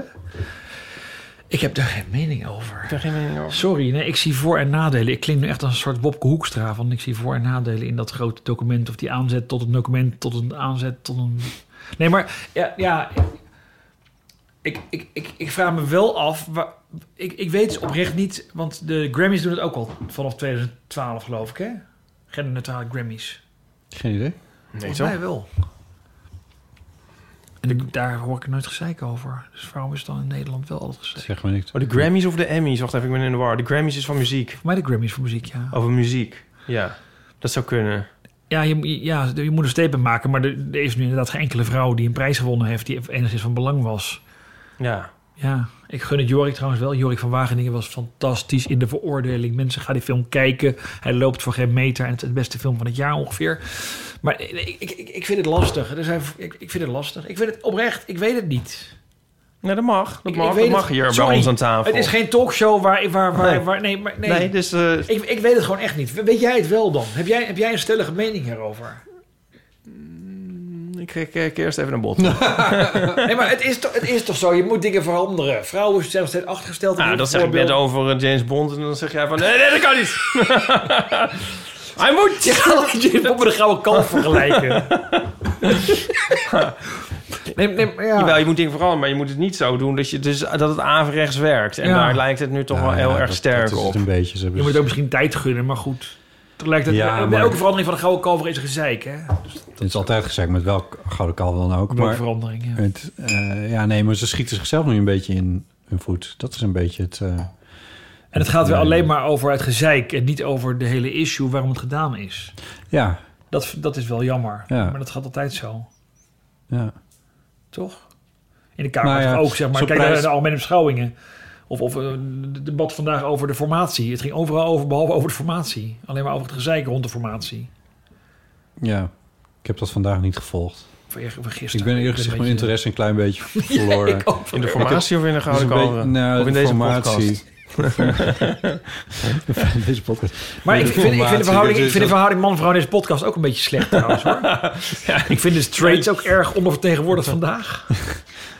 C: Ik heb daar geen mening over.
D: Ik heb geen mening over.
C: Sorry, nee, ik zie voor- en nadelen. Ik klink nu echt als een soort Wopke Hoekstra. Van ik zie voor- en nadelen in dat grote document. Of die aanzet tot een document, tot een aanzet, tot een... Nee, maar ja, ja ik, ik, ik, ik vraag me wel af... waar- ik, ik weet het oprecht niet, want de Grammys doen het ook al vanaf 2012, geloof ik, hè? Genderneutrale Grammys.
B: Geen idee.
D: Nee,
C: Volgens
D: toch?
C: mij wel. En ik- daar hoor ik nooit gezeik over. Dus waarom is het dan in Nederland wel altijd gezeik?
B: Zeg maar niks.
D: Oh, de Grammys of de Emmys? Wacht even, ik ben in de war. De Grammys is van muziek.
C: Voor mij de Grammys voor muziek, ja.
D: Over muziek. Ja, dat zou kunnen.
C: Ja, je, ja, je moet een statement maken, maar er, er is nu inderdaad geen enkele vrouw die een prijs gewonnen heeft die enigszins van belang was.
D: Ja.
C: Ja, ik gun het Jorik trouwens wel. Jorik van Wageningen was fantastisch in de veroordeling. Mensen gaan die film kijken. Hij loopt voor geen meter en het is de beste film van het jaar ongeveer. Maar eh, ik, ik, ik, ik vind het lastig. Er zijn, ik, ik vind het lastig. Ik vind het oprecht. Ik weet het niet.
D: Nee, Nou, dat mag. Dat
C: Ik-
D: mag,
C: ik
D: dat
C: weet het.
D: mag hier
C: Sorry.
D: bij ons aan tafel.
C: Het is geen talkshow waar... waar, waar,
D: Nee.
C: waar nee, maar nee.
D: Nee, dus... eh,
C: Ik, ik weet het gewoon echt niet. Weet jij het wel dan? Heb jij, heb jij een stellige mening hierover?
D: eh, ik kijk kijk eerst even
C: (laughs)
D: naar bot.
C: Nou, Nee, maar het is, toch, het is toch zo? Je moet dingen veranderen. Vrouwen zijn nog steeds achtergesteld.
D: Nou, dat zeg ik net over eh, James Bond. En dan zeg jij van... "Eh, Nee, nee, dat kan
C: (laughs)
D: niet. Hij moet...
C: Je moet met een gouden
D: (laughs)
C: kalf vergelijken. nee, nee, maar ja.
D: Jawel, je moet dingen veranderen, maar je moet het niet zo doen dat, je, dus, dat het averechts werkt. En
C: Ja.
D: daar lijkt het nu toch wel heel erg sterk
B: dat is
D: op.
B: het een beetje. Ze hebben
C: Je moet ook misschien tijd gunnen, maar goed. Tegelijkertijd,
B: Ja,
C: ja,
B: maar-
C: elke verandering van een gouden kalver is een gezeik, hè?
B: Het is altijd gezegd met welk gouden kalf dan ook.
C: Maar,
B: Maar
C: verandering, ja.
B: het, eh, ja, nee, maar ze schieten zichzelf nu een beetje in hun voet. Dat is een beetje het. eh,
C: En het gaat weer alleen maar over het gezeik en niet over de hele issue waarom het gedaan is.
B: ja,
C: Dat, dat is wel jammer,
B: Ja.
C: maar dat gaat altijd zo,
B: ja.
C: toch? In de Kamer
B: Nou ja,
C: ook, zeg maar.
B: zo'n
C: Kijk naar
B: prijs-
C: de algemene beschouwingen. Of, of eh, het debat vandaag over de formatie. Het ging overal over, behalve over de formatie. Alleen maar over het gezeik rond de formatie.
B: ja. Ik heb dat vandaag niet gevolgd.
C: Of eer- of gisteren.
B: Ik ben eerlijk
C: een
B: gezegd mijn
C: beetje- (laughs)
B: interesse een klein beetje verloren.
C: Ik ook.
D: In de formatie of in de
B: Dat is
D: gouden
B: een beetje-
D: kalveren?
B: nou,
D: of eh, in
B: de
D: deze podcast?
B: formatie. (laughs) In deze podcast.
C: Maar ik
B: De
C: vind, ik vind de
B: formatie,
C: verhouding,
B: dat
C: ik
B: is
C: vind de
B: dat-
C: verhouding man-vrouw in deze podcast ook een beetje
B: (laughs)
C: slecht trouwens hoor. Ik vind de straights ook erg ondervertegenwoordigd vandaag.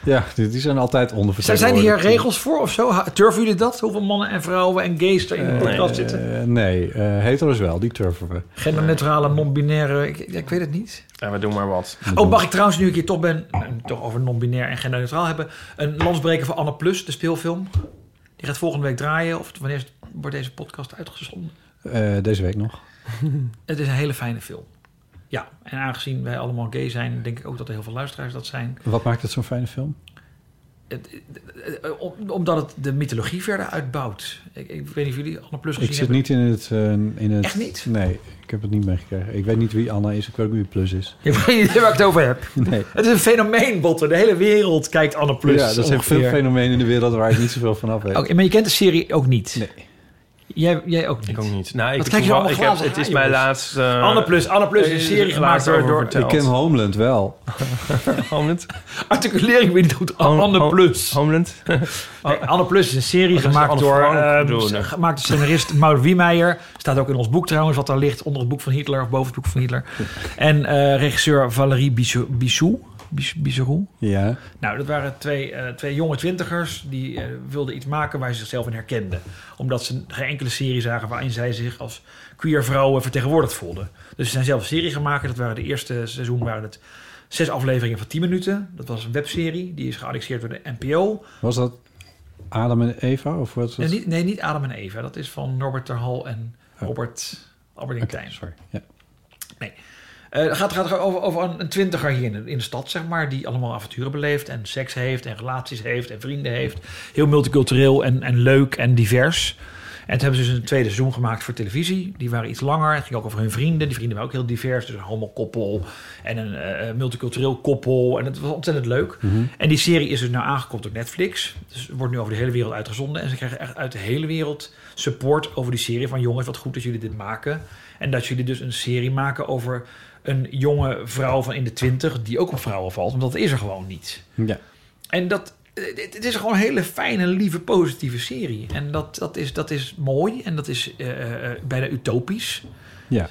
B: Ja, die die zijn altijd
C: Zijn,
B: ondervertegenwoordigd.
C: zijn hier regels voor of zo? Ha- Durven jullie dat? Hoeveel mannen en vrouwen en gays er in de podcast
B: Eh,
C: zitten?
B: nee, eh hetero's wel, die turven we.
C: Genderneutrale, non-binaire, ik, ik weet het niet.
D: Ja, we doen maar wat.
C: Oh, mag ik trouwens, nu ik hier toch ben, nou, we het toch over non-binair en genderneutraal hebben, een landsbreker voor Anne Plus, de speelfilm. Die gaat volgende week draaien, of wanneer is- wordt deze podcast uitgezonden.
B: Eh, deze week nog.
C: Het is een hele fijne film. Ja, en aangezien wij allemaal gay zijn, denk ik ook dat er heel veel luisteraars dat zijn.
B: Wat maakt het zo'n fijne film?
C: het- het- eh, om- omdat het de mythologie verder uitbouwt. Ik, ik weet niet of jullie Anne Plus
B: Ik
C: gezien
B: zit
C: hebben.
B: niet in het, eh, in het...
C: Echt niet?
B: Nee, ik heb het niet meegekregen. Ik weet niet wie Anna is, ik weet ook niet wie Plus is. (laughs)
C: Je hebt geen idee waar (laughs) ik het over heb.
B: Nee.
C: Het is een fenomeen, Botter. De hele wereld kijkt Anne Plus.
B: ja, dat zijn
C: ongeveer.
B: veel fenomenen in de wereld waar ik niet zoveel van af weet.
C: Oké, maar je kent de serie ook niet.
B: Nee.
C: Jij, jij ook niet.
D: Ik ook niet. Nou, ik
C: Wat kijk je allemaal
D: ik heb,
C: glazen
D: Het is
C: aan,
D: mijn
C: jongens?
D: laatst... eh,
C: Anne Plus, Anne Plus is een
D: eh,
C: serie gemaakt
D: laatst
C: door,
D: over
C: door
D: verteld.
B: Ik ken Homeland wel.
D: Homeland.
C: articuleer ik weer niet goed.
D: Home-
C: Anne
D: Home-
C: Plus.
D: Homeland.
C: Nee, Anne Plus is een serie
D: Dat is
C: gemaakt
D: Anne
C: door,
D: Frank
C: ehm,
D: bedoelde.
C: gemaakt door scenarist Maud Wiemeijer. Staat ook in ons boek trouwens, wat daar ligt onder het boek van Hitler of boven het boek van Hitler. En eh, regisseur Valerie Bissou. Bissou? Bis- Bisserou?
B: Ja.
C: Nou, dat waren twee, eh, twee jonge twintigers die eh, wilden iets maken waar ze zichzelf in herkenden. Omdat ze geen enkele serie zagen waarin zij zich als queer vrouwen vertegenwoordigd voelden. Dus ze zijn zelf een serie gaan maken. Dat waren de eerste seizoen waren het zes afleveringen van 10 minuten. Dat was een webserie, die is geannexeerd door de NPO.
B: Was dat Adam en Eva? Of wat was
C: Nee
B: het? Oh.
C: niet, nee, niet Adam en Eva, dat is van Norbert Terhal en Robert Albert
B: Oké,
C: Tijn.
B: sorry. Ja.
C: Eh, Het gaat, gaat over, over een, een twintiger hier in de, in de stad, zeg maar, die allemaal avonturen beleeft en seks heeft en relaties heeft en vrienden heeft. Heel multicultureel en, en leuk en divers. En toen hebben ze dus een tweede seizoen gemaakt voor televisie. Die waren iets langer. Het ging ook over hun vrienden. Die vrienden waren ook heel divers. Dus een homokoppel en een eh, multicultureel koppel. En het was ontzettend leuk. En die serie is dus nou aangekomen op Netflix. Dus het wordt nu over de hele wereld uitgezonden. En ze krijgen echt uit de hele wereld support over die serie. Van jongens, wat goed dat jullie dit maken. En dat jullie dus een serie maken over een jonge vrouw van in de twintig... die ook op vrouwen valt, want dat is er gewoon niet.
B: Ja.
C: En dat, eh, het het is gewoon een hele fijne, lieve, positieve serie. En dat, dat, is, dat is mooi en dat is eh, eh, bijna utopisch.
B: ja.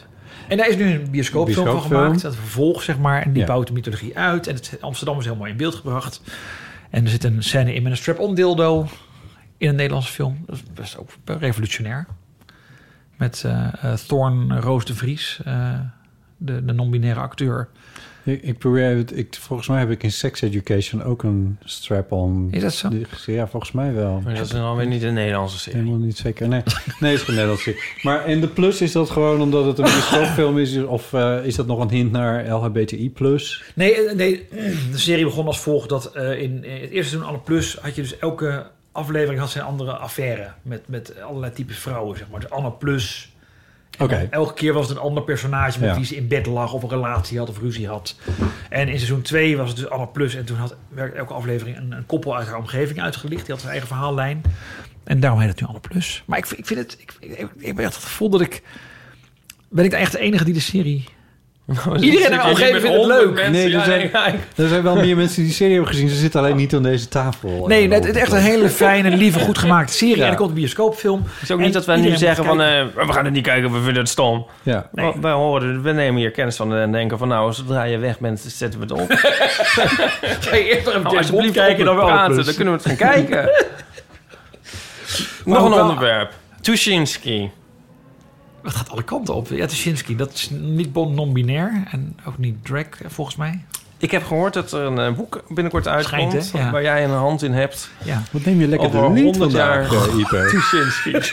C: En daar is nu een bioscoopfilm van
B: Bioscoopfilm.
C: gemaakt. Dat vervolg, zeg maar. En die
B: Ja.
C: bouwt de mythologie uit. En het, Amsterdam is heel mooi in beeld gebracht. En er zit een scène in met een strap-on dildo. In een Nederlandse film. Dat is best ook revolutionair. Met eh eh, Thorn Roos de Vries. eh, de, de non-binaire acteur.
B: Ik, ik probeer het. Ik, volgens mij heb ik in Sex Education ook een strap-on.
C: Is dat zo?
B: Ja, volgens mij wel.
D: Maar dat is dan alweer niet een Nederlandse serie.
B: Helemaal niet zeker. Nee, nee het is net als Maar en de plus is dat gewoon omdat het een bioscoopfilm is? Of eh, is dat nog een hint naar LHBTI+. plus?
C: Nee, eh, nee, (clears throat) de serie begon als volgt. Dat eh, in, in het eerste seizoen Anne Plus had je dus elke aflevering had zijn andere affaire. Met, met allerlei types vrouwen, zeg maar. Dus Anne Plus.
B: Oké.
C: Elke keer was het een ander personage met
B: Ja.
C: wie ze in bed lag of een relatie had of ruzie had. En in seizoen 2 was het dus Anne Plus. En toen had werd elke aflevering een, een koppel uit haar omgeving uitgelicht. Die had zijn eigen verhaallijn. En daarom heet het nu Anne Plus. Maar ik, ik vind het... Ik, ik, ik heb echt het gevoel dat ik... Ben ik echt de enige die de serie... Iedereen in mijn omgeving vindt het leuk.
B: Nee, dat zijn- Er zijn wel meer mensen die die serie hebben gezien. Ze zitten alleen niet aan deze tafel.
C: Nee,
B: Eh,
C: het, het is echt een hele fijne, lieve, goed gemaakte serie.
B: Ja.
C: En er komt een bioscoopfilm.
D: Het is ook
C: En
D: niet dat wij nu
C: iedereen
D: zeggen
C: moet
D: van... eh, we gaan het niet kijken, we vinden het stom.
B: Ja.
D: Wa- Wij, horen, we nemen hier kennis van en denken van... nou, zodra je weg bent, zetten we het op. Nou,
C: (laughs) Ga je eerst nog even James Bond
D: eh, oh, alsjeblieft
C: kijken, dan wel. dus.
D: praten,
C: Plus.
D: dan kunnen we het gaan kijken. Nog
C: ook
D: een
C: wel-
D: onderwerp. Tuschinski.
C: Het gaat alle kanten op. Ja, Tuschinski, dat is niet bon- non-binair en ook niet drag, eh, volgens mij.
D: Ik heb gehoord dat er een eh, boek binnenkort uitkomt...
C: Schijnt, hè? Ja.
D: waar jij een hand in hebt.
C: Ja.
B: Wat neem je lekker
D: Over
B: de lint
D: 100 jaar.
B: vandaag, eh, Ipe?
D: (laughs) Tuschinski.
B: (laughs)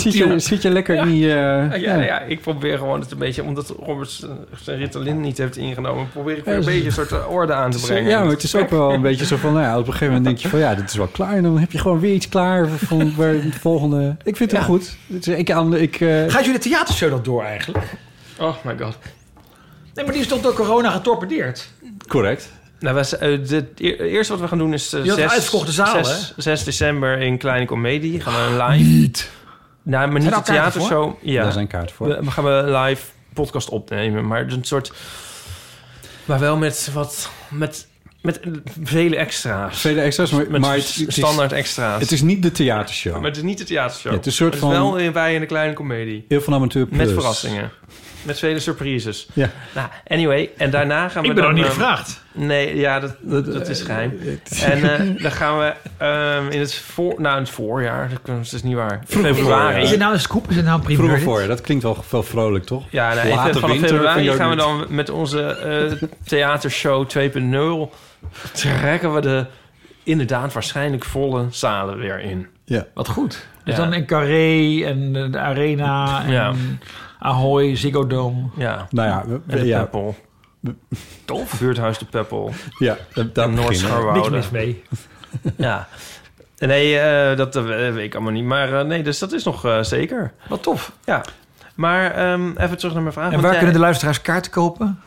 B: Zit je, zit je lekker in die... eh,
D: Ja, ja, ik probeer gewoon het een beetje... omdat Robert zijn- zijn Ritalin niet heeft ingenomen... probeer ik weer een
B: Ja, dat is-
D: beetje een soort eh, orde aan te
B: Het is-
D: brengen.
B: Ja, maar het is ook wel een beetje zo van, nou ja, op een gegeven moment denk je van, ja, dit is wel klaar. En dan heb je gewoon weer iets klaar van waar de volgende... Ik vind het
C: Ja.
B: goed. Het is- Ik aan, ik, eh,
C: Gaat jullie theatershow dat door eigenlijk?
D: Oh my god.
C: Nee, maar die is toch door corona getorpedeerd?
B: correct.
D: Nou, we, eh, de- e- eerst wat we gaan doen is... eh,
C: Je had
D: 6,
C: uitverkochte zaal,
D: 6, 6 december in Kleine Comedie gaan we een live... Ah, Niet. Nou, maar niet
C: er
D: de
C: al kaarten
D: theatershow. Ja,
B: Daar zijn kaart voor.
D: we, we gaan we live podcast opnemen. Maar een soort... Maar wel met wat... Met, met vele extra's.
B: Vele extra's, maar,
D: met
B: maar het,
D: s-
B: het is,
D: standaard extra's.
B: het is niet de theatershow.
D: maar het is niet de theatershow.
B: Ja, het is een soort
D: Maar het is
B: van-
D: wel in, wij in de Kleine Comedie.
B: Heel van Amateur Plus.
D: Met verrassingen. Met vele surprises.
B: Ja.
D: Nou, anyway. En daarna gaan we
C: Ik ben nog
D: dan,
C: niet
D: eh,
C: gevraagd.
D: Nee, ja, dat, dat, is geheim. En eh, dan gaan we ehm, in het, voor, nou, in het voorjaar, dat kan- dat is niet waar.
C: Is
D: februari.
C: het nou een scoop? Is het nou een primeur?
B: Vroeger
C: dit?
B: voor je, dat klinkt wel, wel vrolijk, toch?
D: Ja, nou, ik
B: Late
D: vind vanaf
B: winter vind
D: februari
B: je ook
D: gaan we
B: niet.
D: dan met onze eh, theatershow 2.0 trekken we de inderdaad waarschijnlijk volle zalen weer in.
B: Ja.
C: Wat goed. Dus
D: Ja.
C: dan in Carré en eh, de Arena en
D: Ja.
C: Ahoy, Ziggo Dome.
D: Ja.
B: Nou ja, we-
D: En de
B: ja,
D: Peppel. Tof. Buurthuis de Peppel.
B: ja, daar
D: en
B: beginnen we.
C: Niks
D: Noord-Scharwoude.
C: mis mee.
D: ja. Nee, eh, dat eh, weet ik allemaal niet. Maar eh, nee, dus dat is nog eh, zeker.
C: Wat tof.
D: Ja. Maar ehm, even terug naar mijn vraag.
C: En waar kunnen de luisteraars kaarten kopen?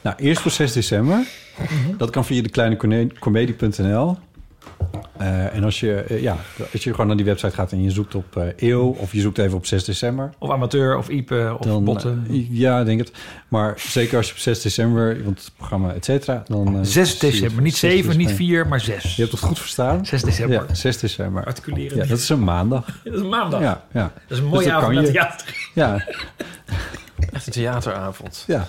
B: Nou, eerst voor 6 december.
D: Mhm.
B: Dat kan via de kleine comedie.nl. en als je, eh, ja, als je gewoon naar die website gaat en je zoekt op eh, eeuw... of je zoekt even op 6 december...
C: Of amateur, of Ipe, of
B: Dan,
C: botten.
B: eh, ja, ik denk het. Maar zeker als je op 6 december, want het programma, et cetera. Dan, eh,
C: 6
B: zie je
C: december.
B: het.
C: Niet
B: 6
C: 7, niet
B: december.
C: 4, maar 6.
B: Je hebt het goed verstaan.
C: 6 december.
B: Ja, 6 december.
C: Articuleren.
B: Ja, dat is een maandag.
C: (laughs) Dat is een maandag.
B: Ja, ja.
C: Dat is een mooie
B: Dus dan
C: avond
B: kan
C: naar
B: je.
C: theater.
B: Ja,
D: Echt een theateravond.
B: ja.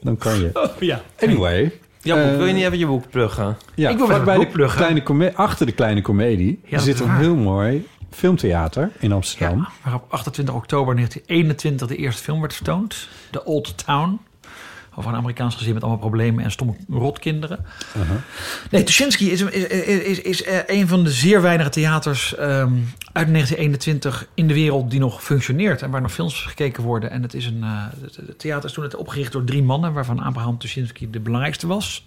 B: Dan kan je.
C: (laughs) Ja.
B: Anyway.
D: Ja,
B: Eh,
D: wil je niet even je boek pluggen?
B: Ja,
C: Ik wil wel
B: vlakbij
C: een
B: de
C: boek pluggen.
B: kleine come- achter de kleine komedie
C: dat
B: zit
C: is
B: een
C: waar.
B: heel mooi filmtheater in Amsterdam.
C: Ja, waar op 28 oktober 1921 de eerste film werd vertoond. The Old Town. Over een Amerikaans gezin met allemaal problemen en stomme rotkinderen. Nee, Tuschinski is, is, is, is eh, een van de zeer weinige theaters ehm, uit 1921 in de wereld die nog functioneert. En waar nog films gekeken worden. En het, is een, eh, het, het theater is toen net opgericht door drie mannen, waarvan Abraham Tuschinski de belangrijkste was.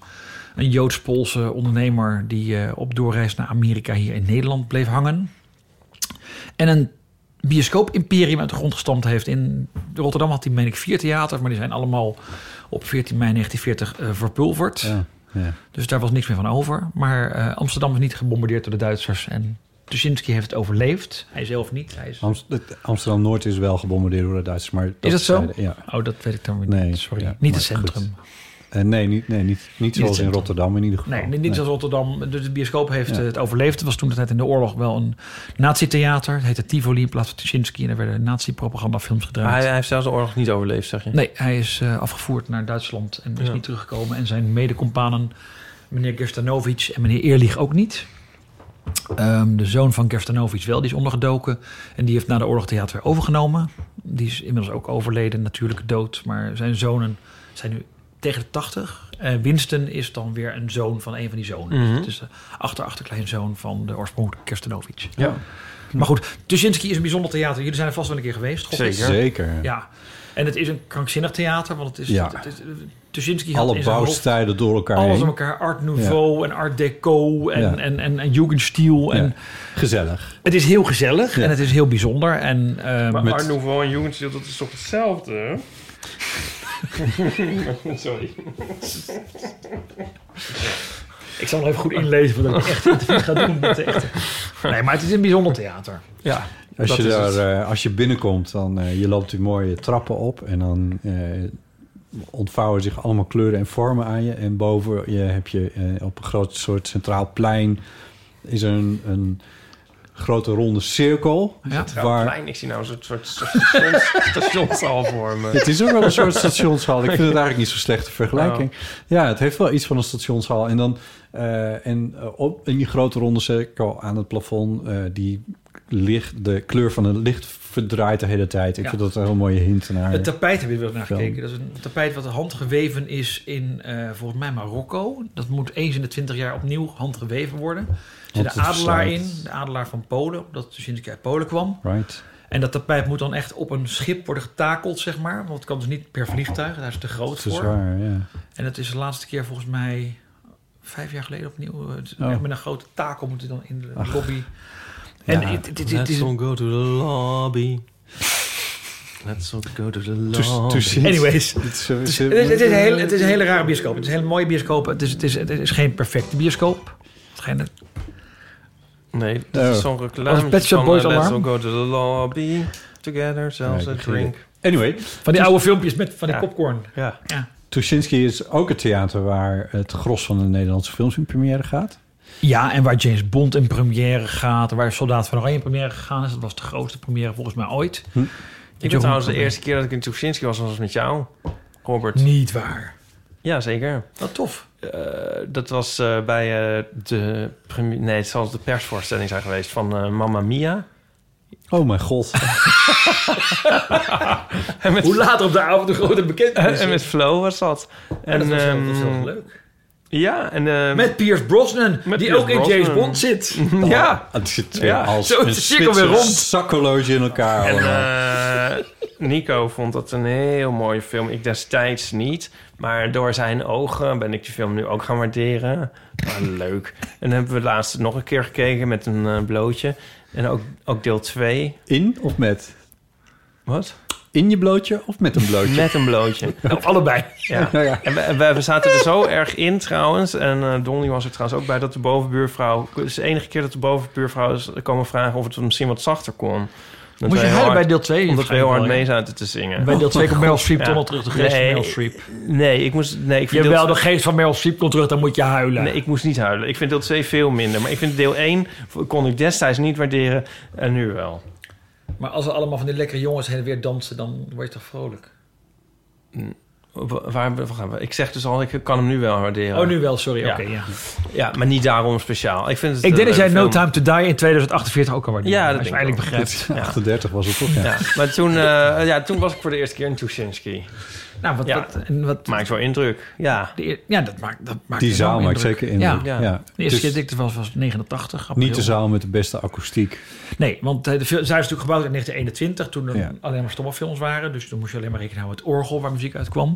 C: Een Joods-Poolse ondernemer die eh, op doorreis naar Amerika hier in Nederland bleef hangen. En een bioscoop-imperium uit de grond gestampt heeft. In Rotterdam had hij, meen ik, vier theaters, maar die zijn allemaal op 14 mei 1940 eh, verpulverd.
B: Ja, ja.
C: Dus daar was niks meer van over. Maar eh, Amsterdam is niet gebombardeerd door de Duitsers. En Tuschinski heeft het overleefd. Hij zelf niet. Hij is...
B: Amst- het- Amsterdam Noord is wel gebombardeerd door de Duitsers, maar
C: Is dat zo?
B: zeiden- Ja.
C: Oh, dat weet ik dan weer
B: Nee,
C: niet. Sorry.
B: ja,
C: niet
B: maar
C: het centrum.
B: goed. Eh, nee, niet, nee, niet, niet zoals in
C: centrum.
B: Rotterdam in ieder geval.
C: Nee, niet zoals Rotterdam. De, de bioscoop heeft eh, het overleefd. Het was toen de tijd in de oorlog wel een nazi-theater. Het heette Tivoli in plaats van Tuschinski. En er werden nazi-propagandafilms gedraaid.
D: hij, hij heeft zelfs de oorlog niet overleefd, zeg je?
C: Nee, hij is eh, afgevoerd naar Duitsland en is
D: Ja.
C: niet teruggekomen. En zijn medecompanen, meneer Gerstanovic en meneer Eerlich ook niet. Ehm, de zoon van Gerstanovic wel, die is ondergedoken. En die heeft na de oorlog theater weer overgenomen. Die is inmiddels ook overleden, natuurlijk dood. Maar zijn zonen zijn nu tegen de tachtig. Eh, Winston is dan weer een zoon van een van die zonen.
D: Mhm.
C: Dus het is de achter-achterkleinzoon van de oorspronkelijke Gerstanovic.
D: Ja.
C: Maar goed, Tuschinski is een bijzonder theater. Jullie zijn er vast wel een keer geweest. God, het is-
D: Zeker.
B: Zeker.
C: ja, en het is een krankzinnig theater, want het is...
B: Ja.
C: Het, het- het- Tuschinski had
B: Alle
C: in zijn hoofd
B: bouwstijlen door elkaar
C: alles
B: heen.
C: aan elkaar. Art Nouveau en Art Deco en,
B: Ja.
C: en, en, en Jugendstil. En
B: Ja. Gezellig.
C: Het is heel gezellig
B: Ja.
C: en het is heel bijzonder. En, ehm,
D: Maar
B: Met-
D: Art Nouveau en Jugendstil, dat is toch
C: (laughs)
D: hetzelfde? Sorry.
C: Ik zal nog even goed inlezen voordat ik echt een interview ga doen met
B: (laughs)
C: de echte. Nee, maar het is een bijzonder theater.
D: Ja.
B: Als
D: Dat
B: je,
D: is
B: daar,
D: het.
B: eh, als je binnenkomt, dan eh, je loopt die mooie trappen op en dan eh, ontvouwen zich allemaal kleuren en vormen aan je. En boven je heb je eh, op een groot soort centraal plein is er een, een grote ronde cirkel.
C: Ja.
D: Waar...
B: waar,
D: ik zie nou een soort, soort
C: (laughs)
D: stations- stationshal voor me.
B: het is ook wel een soort stationshal. Ik vind het eigenlijk niet zo'n slechte vergelijking.
C: Oh.
B: Ja, het heeft wel iets van een stationshal. En dan eh, en, eh, op, in die grote ronde cirkel aan het plafond... eh, die licht, de kleur van het licht verdraait de hele tijd. Ik
C: Ja.
B: vind dat een heel mooie hint naar...
C: Het tapijt hebben we wel naar gekeken. Dat is een tapijt wat handgeweven is in, eh, volgens mij, Marokko. Dat moet eens in de twintig jaar opnieuw handgeweven worden. Er zit
B: Want
C: de
B: het
C: adelaar in,
B: verslijt.
C: de adelaar van Polen, omdat dus Tuschinski uit Polen kwam.
B: Right.
C: En dat tapijt moet dan echt op een schip worden getakeld, zeg maar. Want het kan dus niet per vliegtuig, daar is Oh, het te groot
B: Dat is
C: voor.
B: waar, ja.
C: En dat is de laatste keer volgens mij vijf jaar geleden opnieuw. Het is
B: Oh.
C: echt Met een grote takel moet hij dan in de lobby. En
B: Ja.
C: het, het, het- het is
D: go to the lobby. Let's all go to the
B: To- to see-
C: Anyways.
B: Het is, het is-
C: Het is, het, is een hele, het is een hele rare bioscoop. Het is een hele mooie bioscoop. Het is, het is, het is geen perfecte bioscoop. Geen,
D: Nee, dat is
B: Oh.
D: zo'n reclame.
C: Als Pet Shop
D: van,
C: Boys
D: eh, Let's all
C: Alarm.
D: go to the lobby. Together, zelfs
B: Ja,
D: a
B: ik begin
D: drink.
B: Anyway,
C: van die oude filmpjes met van die
D: Ja.
C: popcorn.
D: Ja.
C: Ja.
B: Tuschinski is ook het theater waar het gros van de Nederlandse films in première gaat.
C: ja, en waar James Bond in première gaat. Waar Soldaat van Oranje in première gegaan is. Dat was de grootste première volgens mij ooit.
D: Hm. Ik ben
C: Johan
D: trouwens de
C: Koppen.
D: eerste keer dat ik in Tuschinski was, was met jou, Robert.
C: Niet waar.
D: Ja, zeker.
C: Wat tof.
D: Eh, dat was eh, bij eh, de... premi- Nee, het zal de persvoorstelling zijn geweest van eh, Mamma Mia.
B: Oh mijn
C: (laughs)
B: god.
D: En met,
C: Hoe later op de avond de grote bekendheid. (laughs)
D: en met Flo was dat. En,
C: dat was heel- dat was heel
D: ehm,
C: leuk.
D: Ja, en... eh,
C: Met Pierce Brosnan,
D: Met
C: die
D: Pierce
C: ook in James
D: Brosnan.
C: Bond zit.
D: (laughs) ja.
C: Oh.
B: Het zit
D: Ja,
B: als
C: zo is
B: een
C: de cirkel weer
B: Zwitser
C: rond. eh,
B: zakkenloge in elkaar.
D: En
B: allemaal.
D: eh, Nico vond dat een heel mooie film. Ik destijds niet. Maar door zijn ogen ben ik die film nu ook gaan waarderen. Maar leuk. En hebben we laatst nog een keer gekeken met een eh, blootje. En ook, ook deel 2.
B: In of met?
D: Wat?
B: In je blootje of met een blootje?
D: Met een blootje.
C: Of allebei.
D: Ja.
B: Nou (laughs) ja.
D: En we, en we- we zaten er zo erg in trouwens. En eh Donnie was er trouwens ook bij dat de bovenbuurvrouw... Het is de enige keer dat de bovenbuurvrouw is komen vragen... of het misschien wat zachter kon. Dat
C: Moest je
D: wij heel
C: huilen bij
D: hard-
C: deel 2?
D: Omdat we heel hard mee zaten te zingen.
C: Bij
D: (laughs)
C: deel 2 komt Meryl Streep
D: Ja.
C: toch wel terug. De geest
D: Nee.
C: van Meryl Streep.
D: Nee, ik moest... Nee, ik vind deel
C: Jawel, de geest van Meryl Streep komt terug. Dan moet je huilen.
D: Nee, ik moest niet huilen. Ik vind deel 2 veel minder. Maar ik vind deel 1 kon ik destijds niet waarderen en nu wel.
C: Maar als er allemaal van die lekkere jongens heen en weer dansen... dan word je toch vrolijk?
D: Wa- Waar waar gaan we? Ik zeg dus al, ik kan hem nu wel waarderen.
C: Oh, nu wel. Sorry.
D: Ja.
C: Oké, ja.
D: Ja, maar niet daarom speciaal. Ik, vind het
C: Ik
D: een
C: denk dat jij
D: leuke
C: No
D: film.
C: Time to Die in 2048 ook al waarderen.
D: Ja, dat
C: als je
D: denk ik
C: eindelijk begrijpt.
B: 38 was het toch? Ja.
D: Ja, maar toen, eh, ja, toen was ik voor de eerste keer in Tuschinski.
C: Nou, wat,
D: Ja.
C: wat, en wat,
D: Maakt wel indruk. Ja.
C: de eer- ja, dat maakt, dat maakt
B: Die
C: enorm
B: zaal maakt
C: indruk.
B: zeker indruk.
C: Ja.
B: Ja.
D: Ja.
C: De
B: Dus
C: eerste keer dat ik er was, was 89. april.
B: niet de zaal met de beste akoestiek.
C: Nee, want eh, de film, zij is natuurlijk gebouwd in 1921... toen er
B: Ja.
C: alleen maar stomme films waren. Dus toen moest je alleen maar rekenen houden met het orgel waar muziek uit kwam.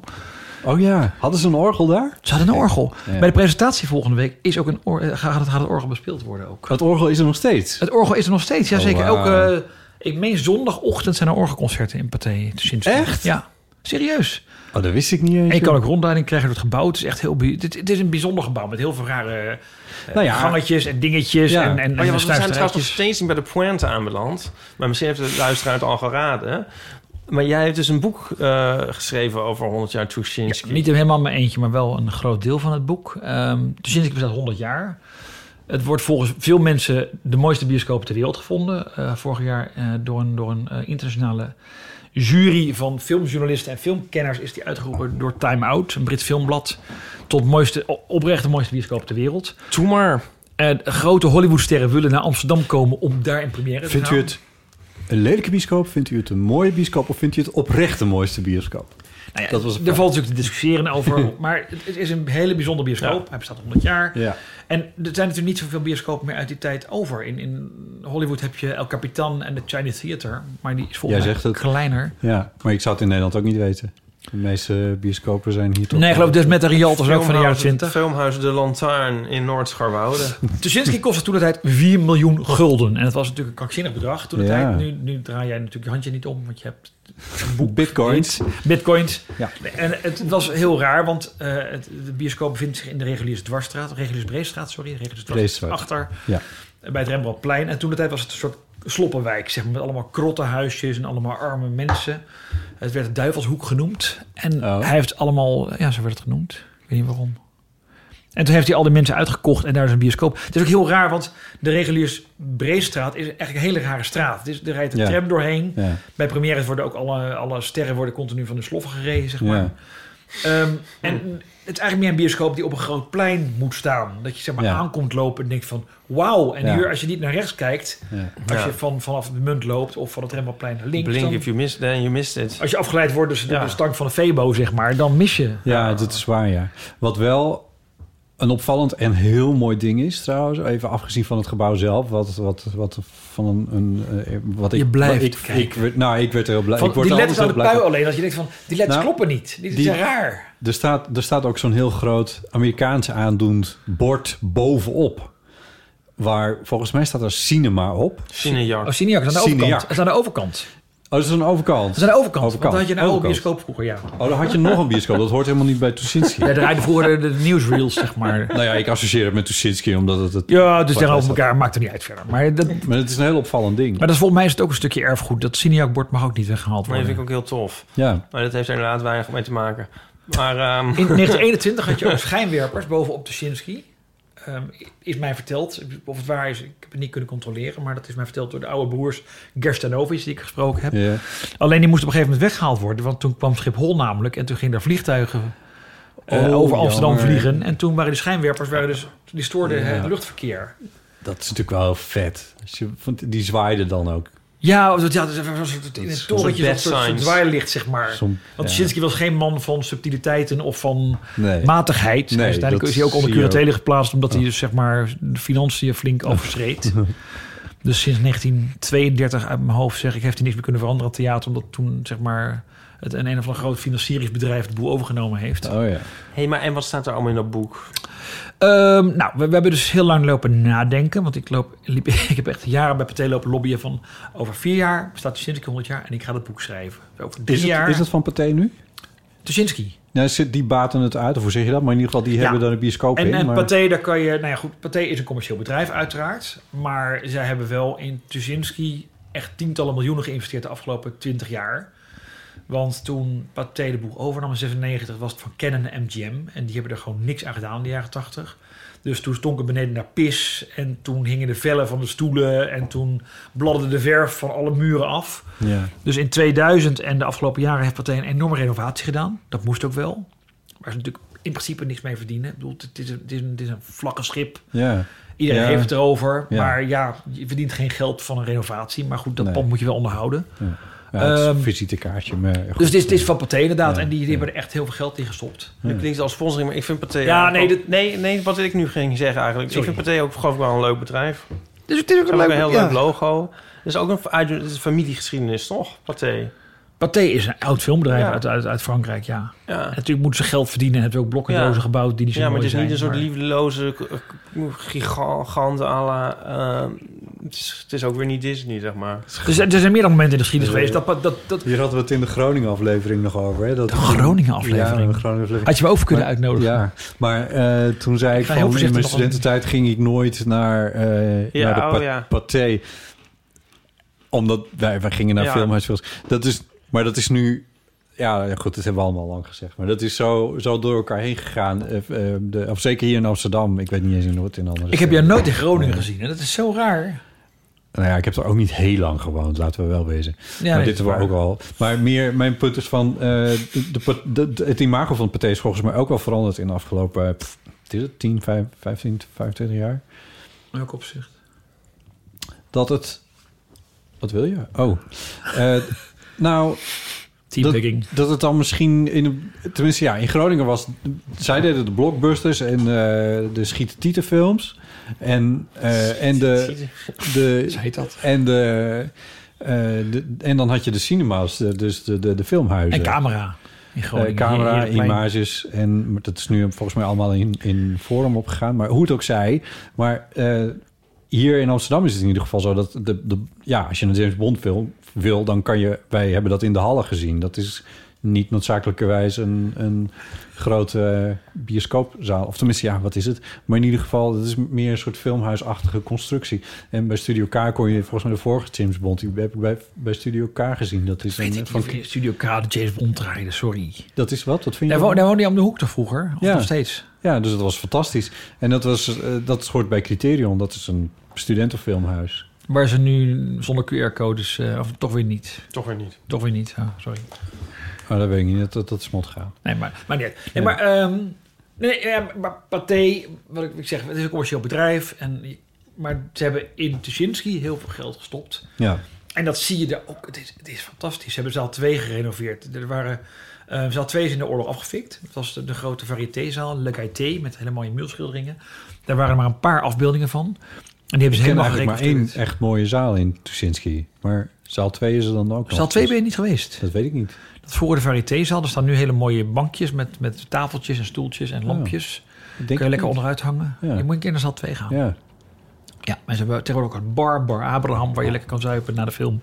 B: Oh ja, hadden ze een orgel daar?
C: Ze hadden een orgel.
B: Ja.
C: Bij de presentatie volgende week is ook een or- eh, gaat, het, gaat het orgel bespeeld worden ook.
B: Dat orgel is er nog steeds.
C: Het orgel is er nog steeds, ja
B: Oh,
C: zeker.
B: wauw.
C: Elke, eh, ik meen zondagochtend zijn er orgelconcerten in Pathé. Sinds
B: Echt?
C: Ja, serieus.
B: Oh, dat wist ik niet eens.
C: En je kan
B: joh.
C: ook rondleiding krijgen door het gebouw. Het is echt heel... bij- Dit, dit is een bijzonder gebouw met heel veel rare eh,
B: Nou ja.
C: gangetjes en dingetjes
B: Ja.
C: en, en,
D: Oh ja,
C: en
D: want we zijn trouwens nog
C: snuisterijtjes.
D: steeds niet bij de pointe aanbeland. Maar misschien heeft de luisteraar het al geraden. Maar jij hebt dus een boek eh, geschreven over 100 jaar Tuschinski.
C: Niet helemaal mijn eentje, maar wel een groot deel van het boek. Ehm dus sinds ik bestaat 100 jaar. Het wordt volgens veel mensen de mooiste bioscoop ter wereld gevonden. Eh, vorig jaar eh, door een, door een eh, internationale jury van filmjournalisten en filmkenners is die uitgeroepen door Time Out, een Brits filmblad, tot mooiste, o- oprecht de mooiste bioscoop ter wereld.
D: Doe maar.
C: En grote Hollywoodsterren willen naar Amsterdam komen om daar in première te
B: Vindt u
C: gaan.
B: het een lelijke bioscoop? Vindt u het een mooie bioscoop? Of vindt u het oprecht de mooiste bioscoop?
C: Nou ja,
B: Dat was een
C: er
B: vraag.
C: valt natuurlijk te discussiëren
B: (laughs)
C: over, maar het, het is een hele bijzondere bioscoop. Hij bestaat 100 jaar.
B: Ja.
C: En er zijn natuurlijk niet zoveel bioscopen meer uit die tijd over. In, in Hollywood heb je El Capitan en de Chinese Theater. Maar die is volgens
B: Jij
C: mij
B: zegt het.
C: kleiner.
B: ja, maar ik zou het in Nederland ook niet weten. De meeste bioscopen zijn hier toch...
C: Nee, ik geloof dus met de Rialto is ook van de jaren
D: Filmhuis-
C: 20.
D: Filmhuis De Lantaarn in Noord-Scharwoude.
C: Tuschinski kostte toen de tijd 4 miljoen gulden. En dat was natuurlijk een krankzinnig bedrag toen de
B: Ja.
C: tijd. Nu, nu draai jij natuurlijk je handje niet om, want je hebt
B: Bitcoins.
C: bitcoins.
B: Ja.
C: En het was heel raar, want eh, het, de bioscoop bevindt zich in de reguliers dwarsstraat. Reguliers Breestraat, sorry. Reguliers Dwarsstraat.
B: Breestraat.
C: Achter.
B: Ja.
C: bij het Rembrandtplein. En toen de tijd was het een soort sloppenwijk, zeg maar, met allemaal krottenhuisjes en allemaal arme mensen. Het werd Duivelshoek genoemd. En
B: Oh.
C: hij heeft allemaal, ja, zo werd het genoemd. Ik weet niet waarom. En toen heeft hij al die mensen uitgekocht en daar is een bioscoop. Het is ook heel raar, want de reguliers Breestraat is eigenlijk een hele rare straat. Dus er rijdt een
B: Ja.
C: tram doorheen.
B: Ja.
C: Bij premières worden ook alle, alle sterren worden continu van de sloffen gereden, zeg maar.
B: Ja.
C: Ehm, en het is eigenlijk meer een bioscoop die op een groot plein moet staan. Dat je zeg maar
B: Ja.
C: aankomt lopen en denkt van wauw. En
B: Ja.
C: hier als je niet naar rechts kijkt,
B: Ja.
C: als
D: Ja.
C: je van, vanaf de munt loopt of van het Rembrandtplein naar links.
D: Blink
C: dan-
D: if you missed, then you missed it.
C: als je afgeleid wordt dus door
D: Ja.
C: de stank van de Febo, zeg maar, dan mis je.
B: Ja, dat is waar, ja. Wat wel een opvallend en heel mooi ding is trouwens... even afgezien van het gebouw zelf... wat, wat, wat van een... een eh, wat ik,
C: Je blijft
B: wat ik,
C: kijken.
B: ik werd- Nou, ik werd er heel blij.
C: Van,
B: ik word
C: die
B: er
C: letters aan de
B: altijd heel
C: pui
B: blij
C: alleen. Dat je denkt van, die letters
B: Nou,
C: kloppen niet. Die,
B: die-
C: zijn raar.
B: van. Er staat, er staat ook zo'n heel groot Amerikaans aandoend bord bovenop... waar volgens mij staat er cinema op.
D: Cinejak.
C: Oh, Cineac is aan de
B: Cineac.
C: overkant. Dat is aan de overkant.
B: Oh, dat is een overkant.
C: Dat is aan de overkant.
B: Overkant.
C: Want dan had je nou ook
B: Overkant.
C: bioscoop vroeger, ja.
B: Oh, dan had je nog een bioscoop. Dat hoort helemaal niet bij Tuschinski.
C: (laughs) Ja, daar rijden vroeger de, de nieuwsreels,
B: (laughs)
C: zeg maar.
B: Nou ja, ik associeer het met Tuschinski omdat het... het
C: Ja, dus
B: Wat was
C: tegenover
B: dat?
C: elkaar maakt er niet uit verder. Maar dat,
B: Maar het is een heel opvallend ding.
C: Maar dat is, volgens mij is het ook een stukje erfgoed. Dat Cineac-bord mag ook niet weggehaald
D: Dat
C: worden.
D: vind ik ook heel tof.
B: Ja.
D: Maar dat heeft er inderdaad weinig mee te maken. Maar ehm,
C: In 1921 had je ook schijnwerpers bovenop de Shinsky. Ehm, is mij verteld, of het waar is, ik heb het niet kunnen controleren... maar dat is mij verteld door de oude broers Gerstanovic die ik gesproken heb.
B: ja.
C: Alleen die moest op een gegeven moment weggehaald worden... want toen kwam Schiphol namelijk en toen gingen er vliegtuigen eh,
B: Oh,
C: over Amsterdam
B: jammer.
C: vliegen. En toen waren de schijnwerpers, waren dus, die stoorden het luchtverkeer.
B: Dat is natuurlijk wel heel vet. Als je- want Die zwaaide dan ook.
C: Ja, dat, ja, dat is even zo'n soort- in een torentje,
D: bad
C: zo'n soort- soort
D: signs.
C: zwaailicht, zeg maar.
B: Som-
C: Want
B: ja.
C: Shinsky was geen man van subtiliteiten of van
B: Nee.
C: matigheid.
B: Nee,
C: Dus uiteindelijk
B: dat
C: is hij ook onder
B: zie je (laughs)
C: curatele geplaatst... omdat hij dus, zeg maar, de financiën flink overschreed. Dus sinds 1932 uit mijn hoofd zeg ik, heeft hij niks meer kunnen veranderen aan theater. Omdat toen zeg maar het een, een of ander groot financieringsbedrijf de boel overgenomen heeft.
E: Oh ja.
D: hey, maar en wat staat er allemaal in dat boek?
C: Ehm, nou, we, we hebben dus heel lang lopen nadenken. Want ik, loop, (laughs) liep, ik heb echt jaren bij Pathé lopen lobbyen van... over vier jaar bestaat Tuschinski 100 jaar en ik ga dat boek schrijven. Over drie
E: Is,
C: jaar...
E: het, is het van Pathé nu?
C: Tuschinski.
E: Nou, zit die baten het uit, of hoe zeg je dat? Maar in ieder geval, die hebben dan een bioscoop
C: En,
E: in.
C: en
E: maar...
C: Pathé, daar kan je... Nou ja, goed, Pathé is een commercieel bedrijf uiteraard. Maar zij hebben wel in Tuschinski echt tientallen miljoenen geïnvesteerd de afgelopen 20 jaar. Want toen Pathé de boel overnam in 96 was het van Canon en MGM. En die hebben er gewoon niks aan gedaan in de jaren 80. Dus toen stonk het beneden naar pis. En toen hingen de vellen van de stoelen. En toen bladde de verf van alle muren af.
E: Ja.
C: Dus in 2000 en de afgelopen jaren heeft Pathé een enorme renovatie gedaan. Dat moest ook wel. Waar ze natuurlijk in principe niks mee verdienen. Ik bedoel, het is een, het is een, het is een vlakke schip.
E: ja.
C: Iedereen
E: Ja.
C: heeft het erover.
E: Ja.
C: Maar ja, je verdient geen geld van een renovatie. Maar goed, dat
E: Nee.
C: pand moet je wel onderhouden.
E: Ja, het is een
C: Ehm,
E: visitekaartje. Maar goed.
C: Dus dit is, dit is van Pathé inderdaad.
E: Ja,
C: en die, die
E: ja.
C: hebben er echt heel veel geld in gestopt.
D: Dat klinkt als sponsoring, maar ik vind Pathé...
C: Ja, nee, dit-
D: nee, nee, wat ik nu ging zeggen eigenlijk.
C: Sorry.
D: Ik vind Pathé ook geloof ik wel een leuk bedrijf.
C: Dus het is ook
D: Ze hebben ook een heel leuk logo. Er is ook een, uit- het is een familiegeschiedenis, toch? Pathé.
C: Pathé is een oud filmbedrijf
D: Ja.
C: uit, uit, uit Frankrijk, ja.
D: Ja.
C: En natuurlijk moeten ze geld verdienen. En hebben ze ook blokken
D: Ja.
C: dozen gebouwd die niet zo
D: Ja, maar
C: mooi
D: het is
C: zijn.
D: niet een soort
C: maar-
D: liefdeloze k- k- gigant à la... eh, het, is, het is ook weer niet Disney, zeg maar.
C: Dus er er zijn meerdere momenten in de geschiedenis geweest. Dat, dat, dat, dat-
B: Hier hadden we het in de Groningen aflevering nog over. Hè? Dat,
C: De Groningen aflevering.
B: Ja, de Groningen aflevering.
C: had je me over kunnen
B: Maar-
C: uitnodigen.
B: Ja, maar eh, toen zei ik
C: ga
B: van in
C: heel
B: mijn
C: voorzichtig nog een-
B: studententijd ging ik nooit naar, eh,
D: Ja,
B: naar de
D: oh
B: pa-
D: ja.
B: pathé. Omdat wij, wij gingen naar
D: Ja.
B: filmhuisfilms. Dat is, maar dat is nu... Ja, ja, goed, dat hebben we allemaal lang gezegd. Maar dat is zo, zo door elkaar heen gegaan. Eh, eh, de, of zeker hier in Amsterdam. Ik weet niet eens in Noord in andere
C: Ik heb jou nooit in Groningen gezien. En dat is zo raar.
B: Nou ja, ik heb er ook niet heel lang gewoond, laten we wel wezen.
C: Ja,
B: maar
C: nee,
B: Nou, dit
C: dat
B: was
C: is
B: ook
C: waar.
B: al. Maar meer mijn punt is van... eh, de, de- de- de- het imago van het paté is volgens mij ook wel veranderd... in de afgelopen eh, pff, wat is het, 10, 5, 15, 25 jaar.
C: Welk opzicht?
B: Dat het... Wat wil je? Oh. Eh, nou, dat,
C: Teampicking.
B: dat het dan misschien... In, de- tenminste, ja, in Groningen was... Zij deden de blockbusters en eh, de schieten-tieten-films. En, eh, en de... de
C: dat.
B: En, de, eh, de- en dan had je de cinema's, de- dus de, de, de filmhuizen.
C: En camera. In
B: Eh,
C: Groningen.
B: camera,
C: Heerlijk plein.
B: images. En maar dat is nu volgens mij allemaal in, in Forum opgegaan. Maar hoe het ook zij. Maar eh, hier in Amsterdam is het in ieder geval zo dat... De, de, ja, als je een James Bond film wil, dan kan je... Wij hebben dat in de hallen gezien. Dat is niet noodzakelijkerwijs een, een grote bioscoopzaal. Of tenminste, ja, wat is het? Maar in ieder geval, het is meer een soort filmhuisachtige constructie. En bij Studio K kon je volgens mij de vorige James Bond... die heb ik bij, bij Studio K gezien. Dat is,
C: Weet
B: een,
C: ik niet
B: van,
C: of je in Studio K de James Bond draaide, sorry.
B: dat is wat? Wat vind je?
C: Daar,
B: ervan?
C: wo daar woonde je om de hoek toch vroeger? Of
B: Ja.
C: nog steeds?
B: Ja, dus dat was fantastisch. En dat, was, eh, dat hoort bij Criterion. Dat is een studentenfilmhuis.
C: Waar ze nu zonder QR-codes... eh, of toch weer niet.
D: Toch weer niet.
C: Toch weer niet. Ah, sorry.
B: Maar dat weet ik niet. Dat, dat, dat is mot gaan.
C: Nee, maar, maar niet. uit.
B: Ja.
C: Nee, maar, ehm, nee, ja, maar Pathé, wat ik, ik zeg, het is een commercieel bedrijf. En, maar ze hebben in Tuschinski heel veel geld gestopt.
B: Ja.
C: En dat zie je daar ook. Het is, het is fantastisch. Ze hebben zaal 2 gerenoveerd. Er waren, eh, zaal 2 is in de oorlog afgefikt. Dat was de, de grote variétézaal, Le Gaieté, met hele mooie muurschilderingen. Daar waren maar een paar afbeeldingen van. En die hebben ze
B: Ik ken
C: Dus helemaal
B: eigenlijk maar één
C: gereconstrueerd.
B: echt mooie zaal in Tuschinski. Maar zaal 2 is er dan ook nog.
C: Zaal 2 ben
B: Dus
C: je niet geweest.
B: Dat weet ik niet.
C: Dat voor de variétézaal. Er staan nu hele mooie bankjes met, met tafeltjes en stoeltjes en lampjes.
B: Ik
C: Kun
B: Oh, Denk
C: je lekker
B: het
C: onderuit hangen.
B: Ja.
C: Je moet een keer naar zaal 2 gaan.
B: niet. Ja.
C: Ja, maar ze hebben tegenwoordig ook een bar, Bar Abraham, waar je lekker kan zuipen na de film.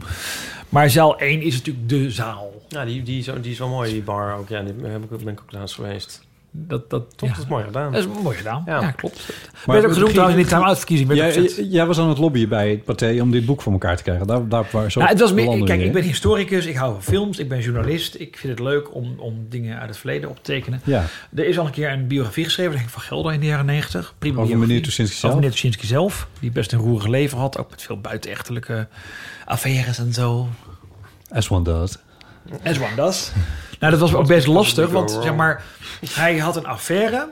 C: Maar zaal 1 is natuurlijk de zaal.
D: Ja, die, die, is, die is wel mooi, die bar ook. Ja, die heb ik, ben ik ook laatst geweest.
C: Dat, dat,
D: Toch,
C: ja. Eh,
D: dat is mooi gedaan.
C: Dat is mooi gedaan. Ja,
D: Ja.
C: klopt. Maar
B: Maar
C: werd ook
B: begin-
C: genoemd trouwens in de time-out-verkiezing.
B: Jij, jij- jij was aan het lobbyen bij het partij om dit boek voor elkaar te krijgen. Daar, daar waar zo
C: Nou, het was meer,
B: belanden
C: kijk,
B: we,
C: ik
B: hè?
C: ben historicus, ik hou van films, ik ben journalist. Ik vind het leuk om, om dingen uit het verleden op te tekenen.
B: Ja,
C: Er is al een keer een biografie geschreven, denk ik, van Gelder in de jaren 90. Prima
B: Over
C: biografie.
B: meneer Tuschinski zelf?
C: Over meneer Tuschinski zelf, die best een roerig leven had. Ook met veel buitenechtelijke affaires en zo.
B: as one does.
C: As one does. Nou, dat was ook best lastig, want zeg maar, hij had een affaire.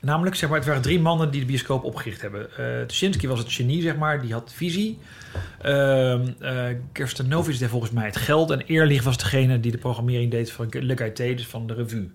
C: Namelijk, zeg maar, het waren drie mannen die de bioscoop opgericht hebben. Eh Tuschinski was het genie, zeg maar, die had visie. Ehm eh Kerstanovic deed volgens mij het geld. En Eerlich was degene die de programmering deed van Le Gaieté, dus van de revue.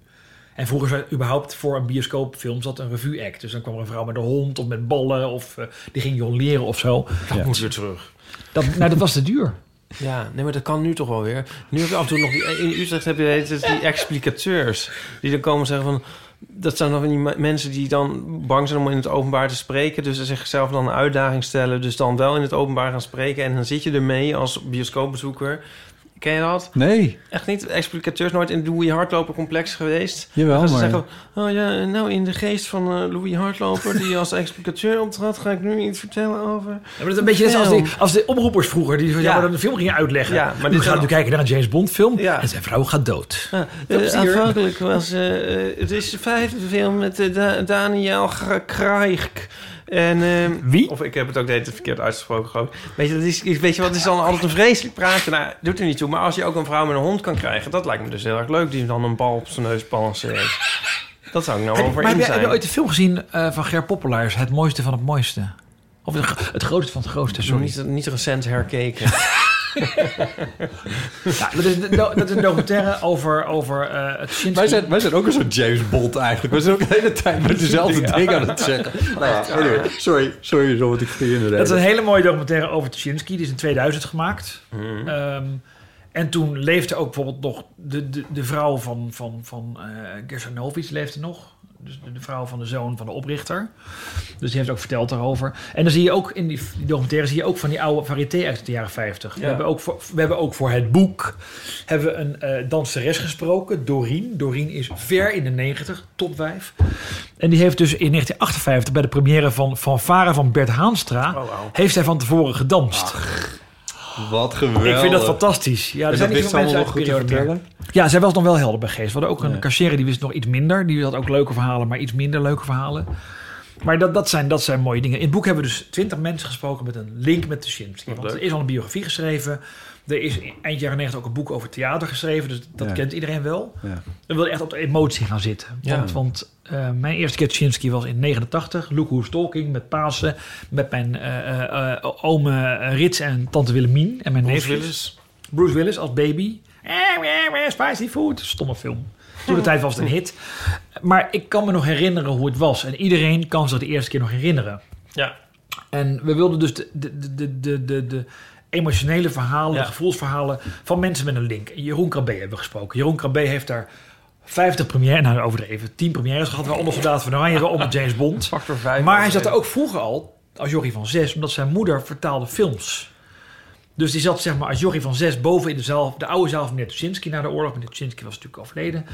C: En vroeger zat überhaupt voor een bioscoopfilm zat een revue act. Dus dan kwam er een vrouw met een hond of met ballen of eh, die ging jongleren of zo.
D: Dat moet weer terug.
C: Dat, nou, dat was te duur.
D: Ja, nee, maar dat kan nu toch wel weer. Nu heb je af en toe nog... die- In Utrecht heb je de hele tijd die explicateurs. Die dan komen zeggen van... Dat zijn dan van die me- mensen die dan bang zijn om in het openbaar te spreken. Dus ze zichzelf dan een uitdaging stellen. Dus dan wel in het openbaar gaan spreken. En dan zit je ermee als bioscoopbezoeker. Ken je dat?
E: Nee,
D: Echt niet explicateurs nooit in Louis Hardloper complex geweest.
E: Jawel,
D: Dan gaan
E: maar-
D: Ze zeggen, oh ja, nou in de geest van eh, Louis Hardloper, die als explicateur optrad, ga ik nu iets vertellen over.
C: Ja, maar dat is een beetje net als,
D: Film.
C: die, als de oproepers vroeger die van, ja.
D: Ja.
C: maar dan een film gingen uitleggen.
D: Ja,
C: Ja,
D: maar
C: maar
D: dit
C: nu gaan
D: dan-
C: we kijken naar een James Bond film
D: Ja.
C: en zijn vrouw gaat dood.
D: Ah,
C: Veel
D: eh,
C: plezier.
D: aanvankelijk was eh, eh, het is de vijfde film met eh, Da- Daniel G- Craig. En, ehm, (laughs)
C: Wie?
D: Of ik heb het ook de hele tijd verkeerd uitgesproken. geloof ik. Weet je, dat is, is- weet je wat, het is dan altijd een vreselijk praatje. Nou, doet er niet toe. Maar als je ook een vrouw met een hond kan krijgen, dat lijkt me dus heel erg leuk. Die dan een bal op zijn neus balanceert. Dat zou ik nou wel voor
C: maar heb
D: in
C: jij, heb
D: zijn.
C: je ooit de film gezien eh, van Ger Poppelaars, Het Mooiste van het Mooiste? Of het, gro- het grootste van het grootste, sorry.
D: Niet, niet recent herkeken.
C: Ja, dat, is, een do- dat is een documentaire over, over eh, het Shinski.
E: wij zijn, wij zijn ook een soort James Bond eigenlijk. We zijn ook de hele tijd met dezelfde dingen aan het
C: (laughs)
E: zeggen. Nou ja, anyway, sorry, sorry, zo wat ik je in de
C: Ah. Dat is
E: reden.
C: een hele mooie documentaire over Tuschinski. Die is in 2000 gemaakt. Ehm, en toen leefde ook bijvoorbeeld nog de, de, de vrouw van, van, van eh Gersanovic leefde nog. Dus de, de vrouw van de zoon van de oprichter. Dus die heeft ook verteld daarover. En dan zie je ook in die, die documentaire zie je ook van die oude variété uit de jaren 50. We,
D: Ja.
C: hebben ook voor, we hebben ook voor het boek hebben we een eh, danseres gesproken, Doreen. Doreen is ver in de 90, topwijf. En die heeft dus in 1958 bij de première van Fanfare van Bert Haanstra...
D: Oh,
C: heeft zij van tevoren
E: Ah,
C: gedanst.
E: Wat geweldig.
C: ik vind dat fantastisch. Ja, er
E: En
C: zijn
E: Dus dat
C: niet
E: wist ze
C: veel mensen
E: allemaal
C: uit
E: nog
C: die
E: goed te
C: periode meer.
E: vertellen.
C: Ja, zij was nog wel helder bij geest. We hadden ook een
E: Ja.
C: cashier die wist nog iets minder. Die had ook leuke verhalen, maar iets minder leuke verhalen. Maar dat, dat, zijn, dat zijn mooie dingen. In het boek hebben we dus twintig mensen gesproken met een link met de Shimsky. Want er is al een biografie geschreven. Er is eind jaren 90 ook een boek over theater geschreven. Dus dat
E: Ja.
C: kent iedereen wel.
E: Ja.
C: Dan wil je echt op de emotie gaan zitten.
D: Ja.
C: Want, want eh, mijn eerste keer Tuschinski was in 89. Look Who's Talking met Pasen. Met mijn eh eh, eh, ome Rits en tante Willemien. En mijn neef
D: Willis.
C: Bruce Willis als baby. Eh, eh, eh, Spicy food. Stomme film. Toen de tijd was het een hit. Maar ik kan me nog herinneren hoe het was. En iedereen kan zich de eerste keer nog herinneren.
D: Ja.
C: En we wilden dus de, de, de, de, de, de, de emotionele verhalen,
D: Ja.
C: de gevoelsverhalen van mensen met een link. En Jeroen Krabbe hebben we gesproken. Jeroen Krabbe heeft daar 50 premières, nou overdreven, 10 premières gehad. Waaronder Soldaat van Oranje, waaronder James Bond.
D: Factor 5.
C: Maar hij zat er ook vroeger al als Jorrie van Zes, omdat zijn moeder vertaalde films. Dus die zat zeg maar als Jorrie van Zes boven in de zaal, de oude zaal van meneer Tuschinski na de oorlog. Meneer Tuschinski was natuurlijk overleden.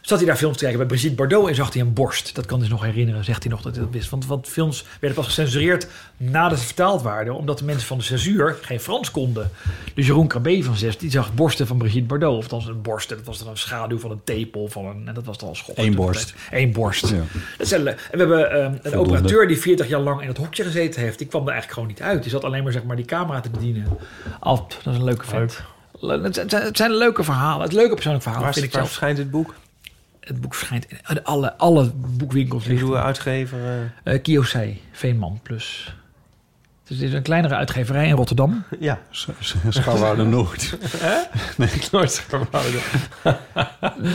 C: Zat hij daar films te kijken bij Brigitte Bardot en zag hij een borst. Dat kan hij zich nog herinneren, zegt hij nog dat hij dat wist. Want, want films werden pas gecensureerd nadat ze vertaald waren, omdat de mensen van de censuur geen Frans konden. Dus Jeroen Krabbe van Zes, die zag borsten van Brigitte Bardot. Of althans een borst, en dat was dan een schaduw van een tepel. Van een, en dat was dan al school.
E: Eén borst.
C: Eén borst.
E: Ja.
C: Dat zijn le- en we hebben ehm, een
E: Voldoende.
C: operateur die 40 jaar lang in het hokje gezeten heeft. Die kwam er eigenlijk gewoon niet uit. Die zat alleen maar zeg maar, die camera te bedienen. Alp, dat is een leuke vent. Le- Het zijn, het zijn leuke verhalen. Het leuke persoonlijke verhaal
D: Waar,
C: vind ik
D: waar
C: zelf.
D: verschijnt dit boek?
C: Het boek verschijnt in alle, alle boekwinkels.
D: Ik
C: ligt
D: doe uitgever. eh,
C: eh Kiosai, Veenman Plus. Dus dit is een kleinere uitgeverij in
D: (laughs)
C: Rotterdam.
D: ja.
E: (laughs)
C: (laughs)
E: Schouwhouden nooit.
D: Nooit verhouden.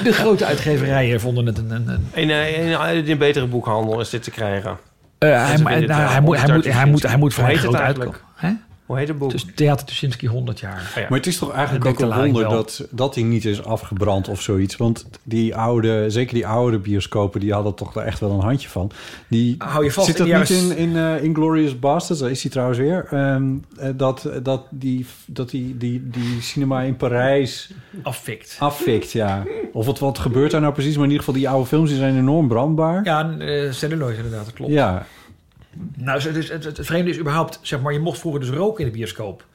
C: De grote uitgeverijen vonden het een... een, een-
D: In, eh, in, eh, in een betere boekhandel is dit te krijgen.
C: eh, hij,
D: ze
C: hij-
D: willen
C: nou,
D: het,
C: hij
D: eh,
C: moet, hij, moet, hij, moet, hij
D: Hoe
C: moet voor een
D: heet het
C: groot
D: eigenlijk?
C: uitkomen. Hè?
D: Hoe heet het boek?
C: Dus Theater Tuschinski 100 jaar.
D: Oh ja.
E: Maar het is toch eigenlijk
C: Dat
E: ook
C: dekt
E: een
C: de lading
E: wonder dat,
C: wel.
E: dat die niet is afgebrand of zoiets. Want die oude, zeker die oude bioscopen, die hadden toch daar echt wel een handje van. Die,
C: Hou je vast,
E: zit dat
C: in de
E: niet in,
C: jaren-
E: in eh, Inglourious Basterds? Daar is die trouwens weer. Ehm, eh, dat dat, die, dat die, die, die cinema in Parijs
C: Afvikt.
E: afvikt, ja. Of wat, wat gebeurt daar nou precies? Maar in ieder geval, die oude films die zijn enorm brandbaar.
C: Ja, en, eh celluloid inderdaad, dat klopt.
E: Ja,
C: Nou, het, is- het, het, het vreemde is überhaupt, zeg maar, je mocht vroeger dus roken in de bioscoop.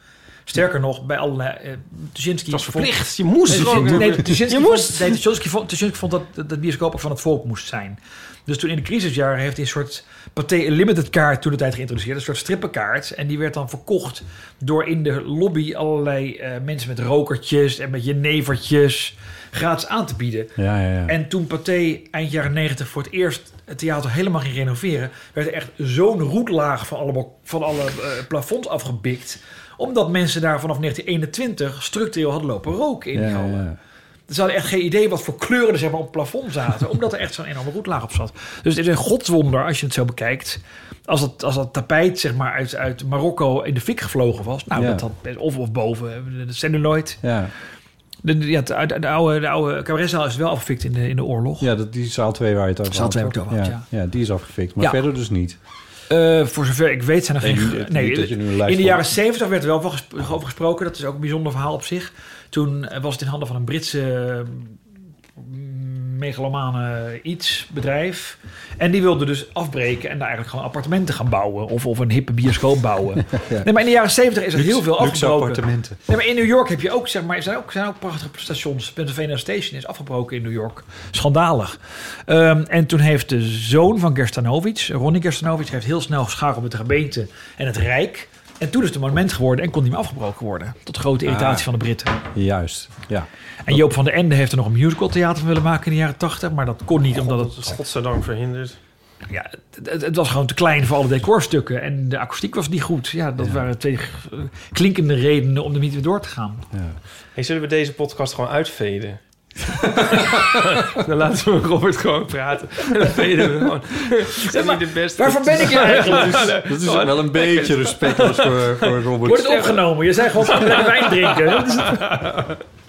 C: Sterker nog, bij allerlei... eh Tuschinski
D: Het was
C: vond-
D: verplicht. Je
B: Dus
D: moest
C: Nee,
D: roken.
C: Nee, Tuschinski
D: Je
C: vond,
D: moest.
C: nee, Tuschinski vond, Tuschinski vond dat, dat, dat bioscoop ook van het volk moest zijn. Dus toen in de crisisjaren heeft hij een soort Pathé Limited kaart toen de tijd geïntroduceerd. Een soort strippenkaart. En die werd dan verkocht door in de lobby allerlei eh, mensen met rokertjes en met jenevertjes gratis aan te bieden.
E: ja, ja. ja.
C: En toen Pathé eind jaren 90 voor het eerst het theater helemaal ging renoveren, werd er echt zo'n roetlaag van alle, bal- van alle eh, plafonds afgebikt. Omdat mensen daar vanaf 1921 structureel hadden lopen roken in
E: Ja,
C: die
E: ja,
C: hallen.
E: ja.
C: Dat Ze hadden echt geen idee wat voor kleuren er zeg maar, op het plafond zaten. omdat er echt zo'n enorme roetlaag op zat. Dus het is een godswonder als je het zo bekijkt. Als dat, als dat tapijt zeg maar, uit, uit Marokko in de fik gevlogen was. Nou,
B: Ja.
C: dat had, of, of boven eh, de- de celluloid.
B: Ja,
C: De, de- ja, het- de, de oude, de oude cabaretzaal is wel afgefikt in de, in de oorlog.
B: ja dat, die zaal 2 waar je het over
C: Zaal
B: had,
C: twee waar ik
B: toch?
C: het over had,
B: ja. die is afgefikt. Maar
C: Ja.
B: verder dus niet.
C: Eh, voor zover ik weet zijn er
B: Nee,
C: geen...
B: niet-
C: nee,
B: niet dat je nu een lijst
C: in de
B: van-
C: jaren 70 werd er wel van gesp- over gesproken. Dat is ook een bijzonder verhaal op zich. Toen eh, was het in handen van een Britse eh, megalomane iets bedrijf. En die wilde dus afbreken en daar eigenlijk gewoon appartementen gaan bouwen. Of, of een hippe bioscoop
B: (laughs)
C: bouwen. Nee, maar in de jaren 70 is er heel veel
B: Luxe
C: afgebroken.
B: appartementen.
C: Nee, maar in New York heb je ook, zeg maar, er zijn ook, zijn ook prachtige stations. Pennsylvania Station is afgebroken in New York. Schandalig. Ehm, en toen heeft de zoon van Gerstanovic, Ronnie Gerstanovic, heeft heel snel geschakeld met de gemeente en het Rijk. En toen is het een monument geworden en kon niet meer afgebroken worden. Tot grote irritatie van de Britten.
B: Juist, ja.
C: En Joop van der Ende heeft er nog een musical theater van willen maken in de jaren 80, Maar dat kon niet, omdat
D: Dat
C: het
D: is godzijdank verhinderd.
C: ja, het, het- het was gewoon te klein voor alle decorstukken. En de akoestiek was niet goed. Ja, dat waren twee eh, klinkende redenen om er niet weer door te gaan.
D: Hey, zullen we deze podcast gewoon uitveden? (laughs) dan laten we Robert gewoon praten. En dan veden we gewoon. Dat is niet de beste.
C: Waarvoor ben ik hier eigenlijk? (laughs)
B: Dat
D: Oh,
B: is
D: (laughs)
B: wel een beetje respectloos voor, voor Robert.
C: Wordt het opgenomen? Je zei gewoon van wijn drinken. Dat is het.
B: (laughs)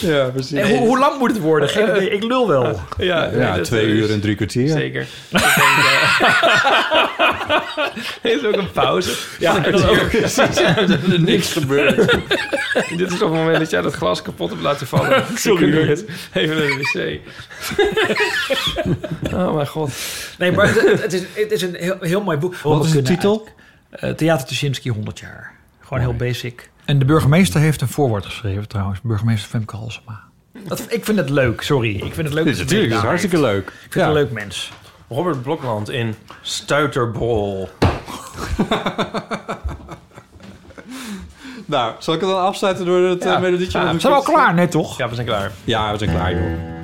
B: Ja, precies.
C: En hoe, hoe lang moet het worden? Geen idee. Ik lul wel.
D: Ja, nee,
B: Ja,
D: dat
B: twee
D: is-
B: uur en drie kwartier.
D: (laughs) Zeker. Ik denk, eh, Er is ook een pauze.
C: (laughs)
D: Ja, dat is ook precies. Er is niks gebeurd. Dit is op het moment dat jij dat glas kapot hebt laten vallen. (laughs) Sorry. Even naar de wc. (laughs) oh mijn god.
C: Nee, maar het, het is, het is een heel, heel mooi boek.
B: Wat is de titel?
C: Eh, Theater Tuschinski 100 jaar. Gewoon heel basic. En de burgemeester heeft een voorwoord geschreven trouwens. Burgemeester Femke Halsema. Dat, ik vind het leuk, sorry. Ik vind het leuk. dat
B: Natuurlijk,
C: ze
B: dat is
C: meegedaan
B: hartstikke
C: heeft.
B: leuk.
C: Ik vind het een leuk mens.
D: Robert Blokland in Stuiterbol.
B: Nou, zal ik het dan afsluiten door het
D: Ja.
B: eh, melodietje?
C: We
B: wat ik
C: zijn wel
B: net-
C: klaar, net toch?
D: Ja, we zijn klaar.
B: Ja, we zijn klaar, joh.